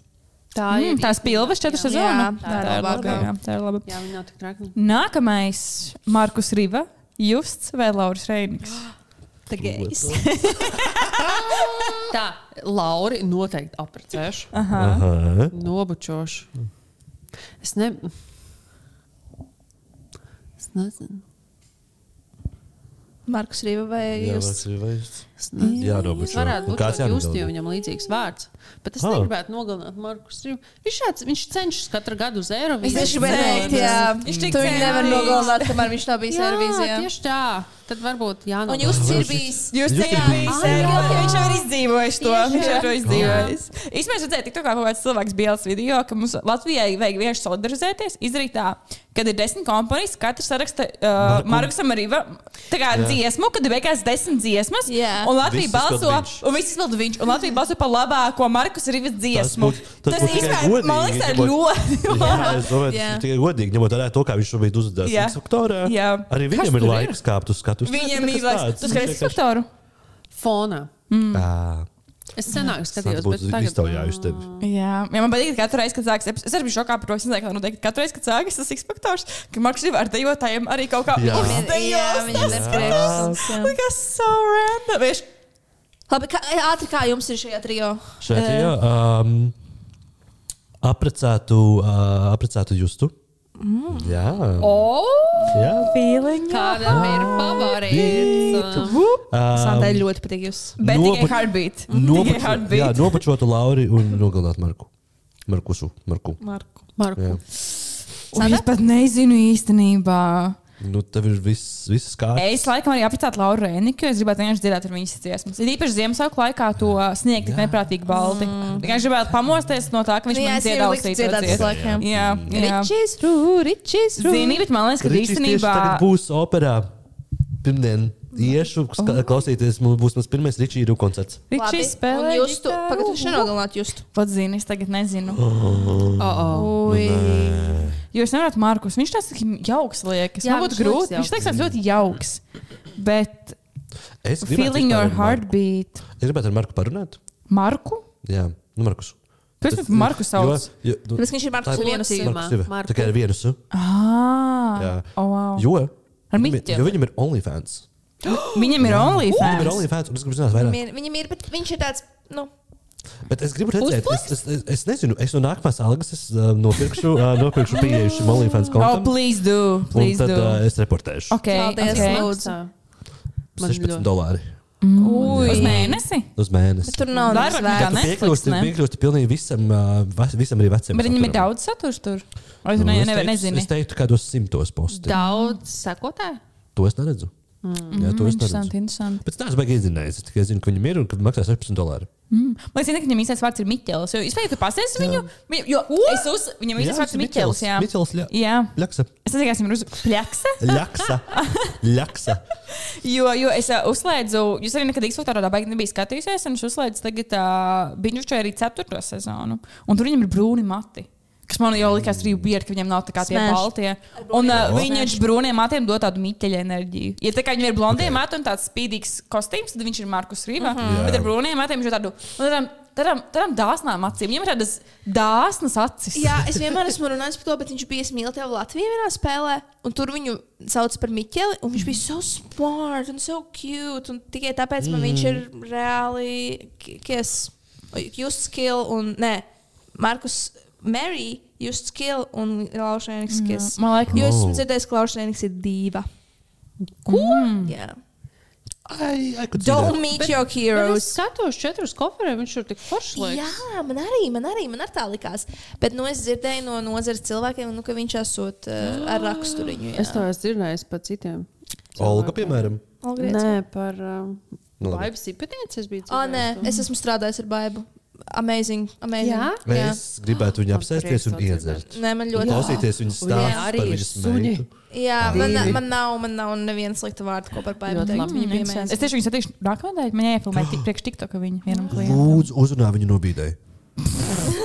Speaker 4: Tā
Speaker 3: Mm, tās pilvas četras
Speaker 5: Jā,
Speaker 3: sezonas.
Speaker 5: tā ir labākā.
Speaker 3: Tā ir laba.
Speaker 4: Jā, viņa nav tik traki.
Speaker 3: Nākamais - Markus Riva, Justs vai Lauris Reinigs.
Speaker 5: Tā gejs.
Speaker 4: Tā, Laura, noteikti aprecēšu,
Speaker 2: Aha.
Speaker 4: Ah. nobučošu. Es, ne... es nezinu.
Speaker 5: Markus Rīva vai
Speaker 2: Jā,
Speaker 5: jūs?
Speaker 2: varbūt vajag.
Speaker 4: Es nezinu.
Speaker 2: Jā, nobučo.
Speaker 4: Viņš varētu
Speaker 2: Un
Speaker 4: būt tāds
Speaker 2: jānogalina?
Speaker 4: jūtas, jo viņam līdzīgs vārds. Bet es
Speaker 2: Ah.
Speaker 4: negribētu nogalināt Marku Strīvu. Viņš, šāds- viņš cenšas katru gadu uz Eiropas.
Speaker 5: Es tieši gribēju teikt, jā.
Speaker 3: Viņš tik
Speaker 5: Tu viņu nevar
Speaker 3: cenīgs.
Speaker 5: nogalināt, kamēr viņš nav bijis
Speaker 4: Jā,
Speaker 5: Eirovīzijā.
Speaker 4: tieši tā. Tad varbūt jānogalina.
Speaker 5: Un jūs ir
Speaker 2: Varbūt
Speaker 5: bijis.
Speaker 3: Jūs
Speaker 2: Jūs
Speaker 3: tajā
Speaker 2: esat
Speaker 3: bijāt. Viņš jau ir izdzīvojis to.
Speaker 4: Tieši,
Speaker 3: Viņš jau
Speaker 4: jā.
Speaker 3: ir izdzīvojis. Īsmēr redzēju, tik tā kā kaut kāds cilvēks bijās video, ka mums Latvijai vajag vienkārši solidarizēties. Izdarīt tā, kad ir desmit komponijas, katrs saraksta uh, Markusam arī va- tā kā dziesmu, kad ir beigās desmit dziesmas.
Speaker 5: Jā.
Speaker 3: Un Latvija
Speaker 2: Viss izpild
Speaker 3: balso,
Speaker 2: viņš.
Speaker 3: un viss izpildu viņš. Un Latvija balso par labāko Markus Rivas dziesmu.
Speaker 2: būtu- tas būtu tikai
Speaker 3: īstenībā,
Speaker 2: godīgi,
Speaker 3: man liekas, tā ir
Speaker 2: ja
Speaker 3: ļoti
Speaker 2: Jā,
Speaker 3: [laughs] labi.
Speaker 2: es domāju,
Speaker 5: Jā.
Speaker 2: tas ir tikai godīgi, ņemot vērā to, kā viņš šobrīd uzvedās.
Speaker 3: Jā.
Speaker 2: Viņš aktorē.
Speaker 3: Jā.
Speaker 2: Arī viņam ir laiks kāpt uz skatuves.
Speaker 3: Viņiem
Speaker 2: Tas
Speaker 3: ir
Speaker 2: tāds.
Speaker 3: laiks. Mm. Tu skaties instruktoru?
Speaker 4: fonā.
Speaker 2: Ā,
Speaker 4: Es senāk
Speaker 2: Tas
Speaker 4: skatījos, bet
Speaker 2: būtu
Speaker 4: tagad
Speaker 2: iztaujājuši tevi.
Speaker 3: Jā, ja man patīk, ka katru reizi, kad sākas, es arī biju šokā par to, es nezinu, kā noteikti, ka katru reizi, kad sākas tas X-faktors, ka Marks jau ar dejotājiem arī kaut kā
Speaker 2: Jā.
Speaker 5: Jā,
Speaker 3: uzdejos.
Speaker 5: viņam ir priekšstats. jā.
Speaker 3: Likās so random. Viņš
Speaker 5: Labi, kā, eh, ātri kā jums ir šajā trijā?
Speaker 2: Šeit ir um, aprecētu, uh, aprecētu justu. Mm. Jā. Jā.
Speaker 3: pīliņš.
Speaker 4: Kādam ir favorīts?
Speaker 5: Santa
Speaker 2: Um,
Speaker 5: ļoti patīk jūs.
Speaker 3: Bet tikai
Speaker 2: Nopu- [laughs]
Speaker 3: heartbeat. Tikai
Speaker 2: Nopačo, jā,
Speaker 3: heartbeat.
Speaker 2: nopačotu Lauri un nogalināt Marku. Markusu. Marku.
Speaker 5: Marku.
Speaker 4: Marku.
Speaker 3: Un Es pat nezinu īstenībā.
Speaker 2: Nu, tev ir viss, viss kārtībā.
Speaker 3: Es laikam arī apcēlu Lauru Rēniku, jo es gribētu vienkārši dzirdēt ar viņas dziesmas. Ir īpaši Ziemassvētku laikā to sniegt tik neprātīgi balti. Tikai gribētu pamosties no tā, ka viņš
Speaker 5: Mm. Nu Jā,
Speaker 3: man
Speaker 5: es jau
Speaker 3: dziedās
Speaker 5: liktu dziedāt uz laikiem.
Speaker 3: Jā, jā.
Speaker 5: Ričis, rū, ričis, rū.
Speaker 3: Zini, bet man liekas, ka
Speaker 2: Ričijs tieši
Speaker 3: īstenībā
Speaker 2: tagad būs operā. Pirmdien iešu,
Speaker 3: Oh.
Speaker 2: ska- klausīties, mums būs mans pirmais Ričīdu koncerts.
Speaker 5: Labi.
Speaker 3: Ričijs spēlē.
Speaker 5: Un jūs tu,
Speaker 3: ģitāru.
Speaker 5: pagad, tu nenogalināt jūs.
Speaker 3: Pats zini, es tagad nezinu.
Speaker 2: Oh.
Speaker 5: Ui.
Speaker 3: Jo es nevaru Markus. Viņš tāds tik jauks liekas.
Speaker 4: Jā,
Speaker 3: Jā, būtu
Speaker 4: viņš liekas
Speaker 3: grūti. Viņš teiks, tāds ļoti jauks. Bet
Speaker 2: Es gribētu vispār
Speaker 3: feeling your
Speaker 2: ar Marku-
Speaker 3: heartbeat.
Speaker 2: Es gribētu ar Marku parunāt.
Speaker 3: Marku?
Speaker 2: Jā, nu, Markus.
Speaker 3: Kas
Speaker 2: Tas-
Speaker 3: tu Marku sauc?
Speaker 2: Jo, jo, nu,
Speaker 5: Tāpēc, ka viņš ir Markus
Speaker 2: tā-
Speaker 5: vienus.
Speaker 4: Locība.
Speaker 2: Markus ir
Speaker 4: Marku.
Speaker 2: tikai ar vienu. su.
Speaker 3: Ah,
Speaker 2: Jā.
Speaker 3: oh, wow.
Speaker 2: Jo,
Speaker 3: Oh. Ar
Speaker 2: viņam-
Speaker 3: Miķeli.
Speaker 2: jo viņam ir OnlyFans.
Speaker 3: Viņam ir
Speaker 2: Viņam ir
Speaker 3: OnlyFans.
Speaker 2: OnlyFans, un es gribu zināt vairāk.
Speaker 5: Viņam ir- Viņam ir, bet viņš ir tāds, nu,
Speaker 2: Bet es gribu redzēt, es, es, es, es nezinu, es no nākamās algas es, uh, nopirkšu, uh, nopirkšu pieeju šim OnlyFans
Speaker 3: Oh,
Speaker 2: kontam.
Speaker 3: please do.
Speaker 2: un
Speaker 3: Please
Speaker 2: tad
Speaker 3: do.
Speaker 2: uh, es reportēšu.
Speaker 3: Ok,
Speaker 5: Paldies,
Speaker 3: ok.
Speaker 5: Lūdzu.
Speaker 4: Man
Speaker 2: 16
Speaker 4: ļoti-
Speaker 2: dolāri
Speaker 3: Uz mēnesi?
Speaker 2: uz mēnesi.
Speaker 5: tur nav
Speaker 3: Vairāk
Speaker 5: nekas
Speaker 3: nekā
Speaker 5: vērts.
Speaker 3: ne? Netflix,
Speaker 2: Piekļūst, piekļūst pilnīgi visam, uh, vas- visam arī vecam.
Speaker 3: Bet viņam ir daudz nu, saturs tur. Vai es ne,
Speaker 2: Nu, es,
Speaker 3: nevar,
Speaker 2: teiktu,
Speaker 3: nezinu.
Speaker 2: es teiktu, kādos simtos postiem.
Speaker 4: Daudz sekotāju.
Speaker 2: To es neredzu. Mm. Jā, to es
Speaker 3: Interesanti,
Speaker 2: neredzu.
Speaker 3: interesanti.
Speaker 2: Bet es neesmu baigi izzinājis. Es tikai zinu, ka viņam ir un ka maksā 16 dolāri.
Speaker 3: Man liekas, ka viņam īstais vārds ir Miķels. Jo, es domāju, ka pasies viņu. viņu- Jo, es uz, viņam īstais vārds ir Nu, Miķels. Jā.
Speaker 2: Miķels, jā.
Speaker 3: jā.
Speaker 2: Ļaksa.
Speaker 3: Es nezinu, kas viņam ir uz plaksa.
Speaker 2: Ļaksa.
Speaker 3: [laughs]
Speaker 2: Ļaksa.
Speaker 3: Jo, jo es ā, uzslēdzu, jūs arī nekad īstenībā tādā veidā nebijāt eh, skatījusies, un es uzslēdzu tagad uh, Biņušķai arī ceturto sezonu. Un tur viņam ir brūni mati. Ka Kas man jau likās arī weird, ka viņam nav tā kā tie
Speaker 6: Smash.
Speaker 3: balti. Un uh,
Speaker 2: O.
Speaker 3: viņa ar brūniem matiem dod tādu mīteļu enerģiju. Ja tā kā viņam ir blondie okay. mati un tāds spīdīgs kostīms, tad viņš ir Markus Rīva. Mm -hmm.
Speaker 2: Jā.
Speaker 3: Bet ar brūniem matiem viņš ir tādu. un Tādām, tādām, tādām dāsnām acīm. Viņam ir tādas dāsnas acis.
Speaker 5: Jā, es vienmēr esmu runājis par to, bet viņš bija smilts jau Latvijā vienā spēlē, un tur viņu sauc par Miķeli. un Viņš bija so smart un so cute, un tikai tāpēc man viņš ir reāli ki- kies. Jūs skill un nē, Markus, Mary, jūs skill un Laušēniks kies.
Speaker 3: Man liekas,
Speaker 5: Jo es esmu
Speaker 2: Oh.
Speaker 5: dzirdējis, ka Laušēniks ir dīva.
Speaker 3: ko? Mm.
Speaker 5: Yeah.
Speaker 2: Ai, ai, kur
Speaker 5: Don't meet your
Speaker 4: Bet Es
Speaker 5: heroes.
Speaker 4: skatos četrus koferus, viņš tur tik foršs.
Speaker 5: Jā,
Speaker 4: liekas.
Speaker 5: man arī, man arī, man arī tā likās. Bet nu, es dzirdēju no nozares cilvēkiem, nu, ka viņš esot uh, ar raksturiņu. jā.
Speaker 4: Es to esmu dzirdējis par citiem.
Speaker 2: Olga,
Speaker 4: cilvēkiem.
Speaker 2: piemēram.
Speaker 5: Olgrieca.
Speaker 4: Nē, par um,
Speaker 2: Nu, labi.
Speaker 4: Latvijas Banka. Es biju
Speaker 5: Ah, nē, es esmu strādājis ar baidu. Amazing. amazing.
Speaker 4: Jā?
Speaker 5: jā.
Speaker 2: Es gribētu viņu apsēsties un iedzert.
Speaker 5: Nē, man ļoti
Speaker 2: Klausīties viņas
Speaker 4: Un viņai
Speaker 2: stāstus
Speaker 4: arī
Speaker 2: par
Speaker 4: ir
Speaker 2: viņas
Speaker 4: suņi.
Speaker 2: meitu.
Speaker 5: Jā, man,
Speaker 2: Divi.
Speaker 5: man nav, man nav neviena slikta vārda, ko par baidu
Speaker 4: Ļoti
Speaker 5: teikt.
Speaker 4: labi.
Speaker 5: Viņa bija
Speaker 3: Es
Speaker 5: amazing.
Speaker 3: tieši viņu satikšu nākamajā nedēļā. Viņai iefilmēja tik priekš TikToka viņu vienam
Speaker 2: [gasps]
Speaker 3: klientam.
Speaker 2: Lūdzu, uzrunā viņu nobīdēji.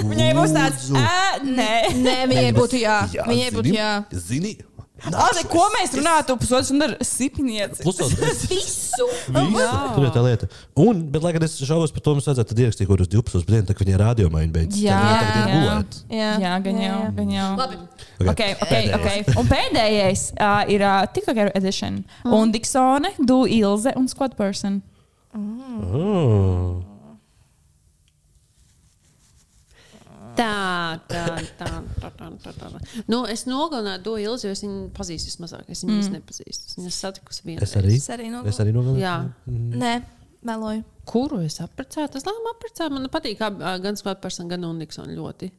Speaker 3: Viņai būs tāds, "Ā, nē.
Speaker 5: Nē, viņai būtu jā. Viņai būtu jā.
Speaker 2: Zini?
Speaker 3: Ātri, ko mēs runātu pusotru stundu ar sipnieci?
Speaker 2: Klusot.
Speaker 5: Visu!
Speaker 2: Tur jau tā lieta. Un, bet, lai gan es šaubos par to, mums vajadzētu tad ierakstīt kaut kādus 12 dienas, kad viņa rādījumā viņa beidzas.
Speaker 3: Jā. Jā.
Speaker 2: gulēt.
Speaker 5: Jā,
Speaker 3: Jā, gan jau, gan jau.
Speaker 5: Labi.
Speaker 3: Okay, okay, okay. Un pēdējais uh, ir uh, TikToker edition. Mm. Un Diksone, Du Ilze un Squad Person.
Speaker 2: Oh.
Speaker 4: Tā, tā, tā, tā, tā, tā, tā. tā. Nu, es nogalināju to ilzi, jo es viņu pazīstu vismazāk. Es viņu mm. nepazīstu. Es viņu satikusi vienā.
Speaker 2: Es arī.
Speaker 5: Es arī nogalināju.
Speaker 2: Es arī nogalināju.
Speaker 4: Jā.
Speaker 5: Nē, meloju.
Speaker 4: Kuru es apprecēju? Es laikam apprecēju. Man patīk ab, ā, gan Squad Person, gan Uniksona ļoti.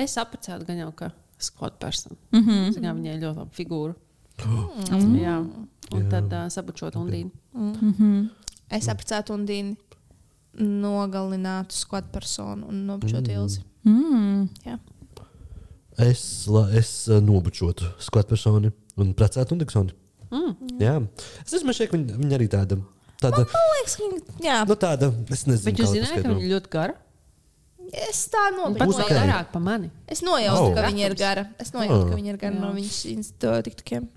Speaker 4: Es apprecēju gan jau kā Squad Person. Mm -hmm. Zinām, viņai ļoti laba figūra. Mm. Jā. Un jā. tad uh, sabučot un dīnu.
Speaker 5: Es apcētu un dīni nogalinātu squad personu un nopčotu ilzi.
Speaker 3: Mm.
Speaker 5: Jā.
Speaker 2: Es, la, es ā, nobučotu skatu personi un precētu Uniksoni. Mm. Jā. Es esmu šeit, ka viņa, viņa arī tāda. Tāda,
Speaker 5: Man liekas, ka jā,
Speaker 2: nu tāda, es nezinu.
Speaker 4: Bet
Speaker 2: kā
Speaker 4: jūs
Speaker 2: lai
Speaker 4: zināt, ka
Speaker 2: paskaidro.
Speaker 4: viņa ļoti gara.
Speaker 5: es tā
Speaker 4: Un pat
Speaker 5: nopietni.
Speaker 2: Būs
Speaker 4: vēl
Speaker 2: ok.
Speaker 4: garāk par mani.
Speaker 5: Es nojautu,
Speaker 2: Oh.
Speaker 5: oh. ka viņa ir gara. Es nojautu,
Speaker 2: Oh.
Speaker 5: ka viņa ir gara no viņas insta- tiktukiem.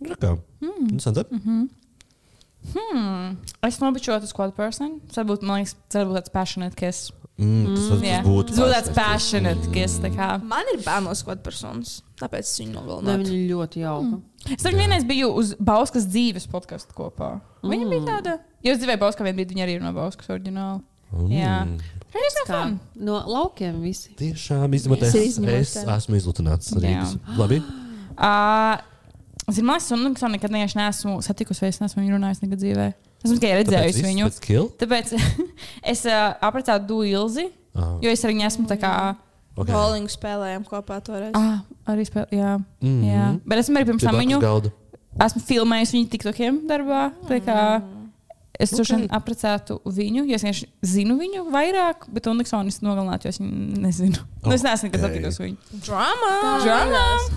Speaker 2: Rakā. Interesanti.
Speaker 3: Hmm. Es nobičotu Squad Person. Tas būtu, man liekas, tas būtu tāds passionate kiss.
Speaker 2: Mm, tas, tas
Speaker 3: Jā.
Speaker 2: būtu.
Speaker 3: Tas būtu tāds passionate kiss. tā kā.
Speaker 5: Man ir bail no squad personas, tāpēc es viņu
Speaker 4: Nē,
Speaker 5: nogalināju.
Speaker 4: viņa ir ļoti jauka. Mm.
Speaker 3: Es tam vienreiz biju uz Bauskas dzīves podkāstu kopā. Viņa bija tāda. Jo es dzīvēju Bauskā, vienbrīd viņa arī ir no Bauskas oriģināla. Jā.
Speaker 2: Mm.
Speaker 3: Reiz no
Speaker 4: Kā
Speaker 3: fun.
Speaker 4: no laukiem visi.
Speaker 2: Tiešām izņemot, es,
Speaker 5: Es
Speaker 2: es,
Speaker 5: izņemot
Speaker 2: es
Speaker 5: tevi.
Speaker 2: esmu izlutināts.
Speaker 3: Jā.
Speaker 2: Rīgas. Labi.
Speaker 3: Ā, Zinu, es un Niksonu nekad neiešu, neesmu satikusi, vai es neesmu viņu runājusi nekad dzīvē. Esmu tikai redzējusi viņu.
Speaker 2: Pēc kill.
Speaker 3: Tāpēc [laughs] es uh, apprecēju Duilzi,
Speaker 2: Ah,
Speaker 3: jo es ar viņu esmu tā kā.
Speaker 5: Okay.
Speaker 2: okay.
Speaker 5: Bowling spēlējām kopā toreiz. Ah.
Speaker 3: Ah, arī spēlēju, jā, mm
Speaker 2: Mhm.
Speaker 3: -hmm. jā. Bet esmu arī pirms
Speaker 2: Pie
Speaker 3: tam
Speaker 2: blakus
Speaker 3: viņu,
Speaker 2: Galda.
Speaker 3: esmu filmējusi viņu tiktokiem darbā. tā kā Es tur šodien apprecētu viņu, jo es vienkārši zinu viņu vairāk, bet Uniksonu es nogalinātu, jo es viņu nezinu. Oh, nu, es neesmu nekad
Speaker 2: Ok.
Speaker 3: satikusi viņu.
Speaker 5: Drama!
Speaker 3: Žanā!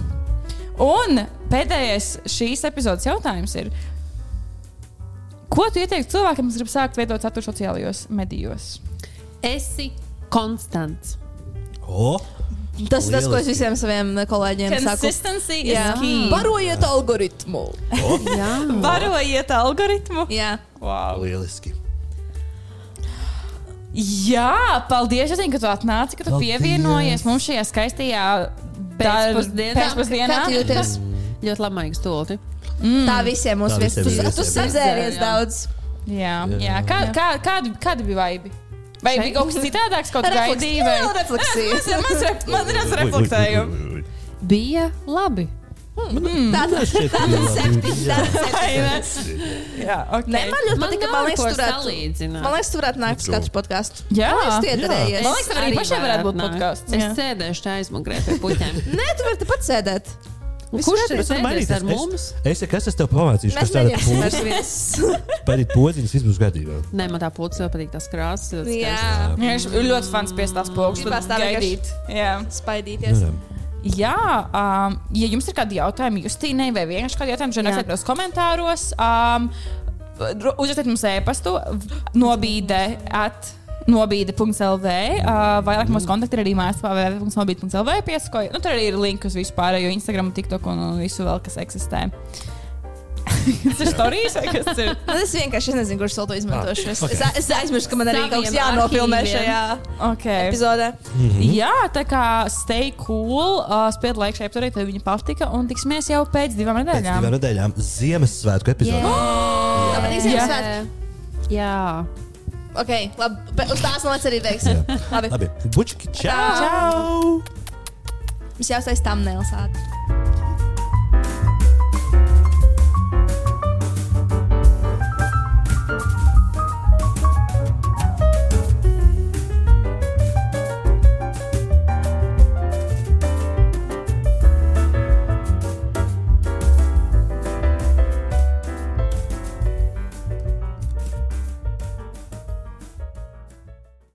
Speaker 3: Un pēdējais šīs epizodes jautājums ir, ko tu ieteiktu cilvēkiem, kas grib sākt veidot saturu sociālajos medijos?
Speaker 4: Esi konstants.
Speaker 2: O,
Speaker 5: Tas ir tas, ko es
Speaker 2: Lieliski.
Speaker 5: visiem saviem kolēģiem saku.
Speaker 3: Consistency is
Speaker 5: Jā.
Speaker 3: key.
Speaker 5: Barojiet algoritmu!
Speaker 4: Jā.
Speaker 3: Barojiet algoritmu.
Speaker 5: Jā,
Speaker 3: Wow.
Speaker 2: lieliski.
Speaker 3: Jā, paldies, Jāsien, ka tu atnāci, ka tu
Speaker 2: Paldies.
Speaker 3: pievienojies mums šajā skaistajā dar-
Speaker 4: Pēcpusdienā.
Speaker 3: pēcpusdienā.
Speaker 5: kā tu jūties?
Speaker 4: Ļoti labmaigs stulti.
Speaker 5: Mm. Tā visiem mums
Speaker 2: Tā
Speaker 5: visiem.
Speaker 2: visiem
Speaker 5: Tu,
Speaker 2: ir
Speaker 5: tu
Speaker 2: visiem.
Speaker 5: sadzēries
Speaker 4: Jā.
Speaker 5: daudz.
Speaker 3: Jā, jā. Kā, kā, kādi, kādi bija vaibi? Vai bija kaut kas citādāks, kaut kā
Speaker 5: Refleks-
Speaker 3: gaidīja?
Speaker 5: jā,
Speaker 3: vai-
Speaker 5: Refleksijas.
Speaker 3: Man ir ref- Man ir reflektējums.
Speaker 4: Bija labi.
Speaker 2: Mm.
Speaker 3: Mm.
Speaker 5: Tāda
Speaker 3: Vai ne? Jā, ok.
Speaker 5: Nē, man ļoti
Speaker 4: Man
Speaker 5: patīk, ka
Speaker 4: nav
Speaker 5: man liekas,
Speaker 4: ko
Speaker 5: tu varētu.
Speaker 4: salīdzināt.
Speaker 5: Man liekas, tu varētu nākt uz katru podkāstu.
Speaker 3: Ah, Jā.
Speaker 5: Man liekas, tu
Speaker 2: Jā.
Speaker 5: iedarējies.
Speaker 3: Man liekas, tev arī pašai varētu būt
Speaker 4: nākt.
Speaker 3: podcasts,
Speaker 4: Es
Speaker 3: jā.
Speaker 4: sēdēšu te aizmugurē pie puķiem.
Speaker 5: Nē, tu vari te pats sēdēt.
Speaker 4: Kurš ir
Speaker 2: Es varu
Speaker 4: sēdējis
Speaker 2: mainīties.
Speaker 4: ar mums?
Speaker 2: Es, es, ja kas es tev pamācīšu,
Speaker 5: Mēs
Speaker 2: kas tāda
Speaker 5: neņemsim vairs vietas.
Speaker 2: pēdīt poziņas, viss būs gadījumā.
Speaker 4: Nē, man tā pūlis ļoti patīk. Tās krāsas ļoti skaistas.
Speaker 5: Jā,
Speaker 3: Viņš ir ļoti fans pie tās pogas.
Speaker 5: Gribas tā
Speaker 3: gaidīt. Jā,
Speaker 5: spaidīties.
Speaker 2: Nevaram.
Speaker 3: Jā um, ja jums ir kādi jautājumi Justīnai vai vienkārši kādi jautājumi,
Speaker 4: Jā.
Speaker 3: žēl rakstiet komentāros. Um, ro- Uzrakstiet mums e-pastu, nobīde at Nobīde.lv. Uh, vairāk mūsu kontakti ir arī mājaslapā www.nobīde.lv. Piesakoju. Nu, tur arī ir link uz visu pārējo Instagram, TikTok un un visu vēl, kas eksistē. [laughs] Tas ir stāstījis, vai kas tas
Speaker 5: [laughs]
Speaker 3: ir?
Speaker 5: Nu, es vienkārši es nezinu, kurš to izmantošu. Es,
Speaker 2: Ah, ok.
Speaker 5: okay. es, es aizmirsu, ka man arī kaut kas
Speaker 4: Saviem
Speaker 5: jānopilnē
Speaker 4: arhīviem.
Speaker 5: šajā
Speaker 3: Okay.
Speaker 5: epizodē.
Speaker 2: Mm-hmm.
Speaker 3: Jā, tā kā stay cool, uh, spēļ laiku šai apturēt, tad viņa patika. Un tiksimies jau pēc divām
Speaker 2: Pēc divām
Speaker 3: nedēļām.
Speaker 2: nedēļām Ziemassvētku epizodē.
Speaker 5: Tāpat
Speaker 3: Jā.
Speaker 5: īstenībā.
Speaker 4: Jā.
Speaker 5: Ok, labi. bet Uz tās nāc arī veiksim.
Speaker 2: Jā.
Speaker 5: Labi.
Speaker 2: Labi, bučki, čau!
Speaker 5: Tā.
Speaker 3: Čau!
Speaker 5: Mums jāuztais tam nelsāt.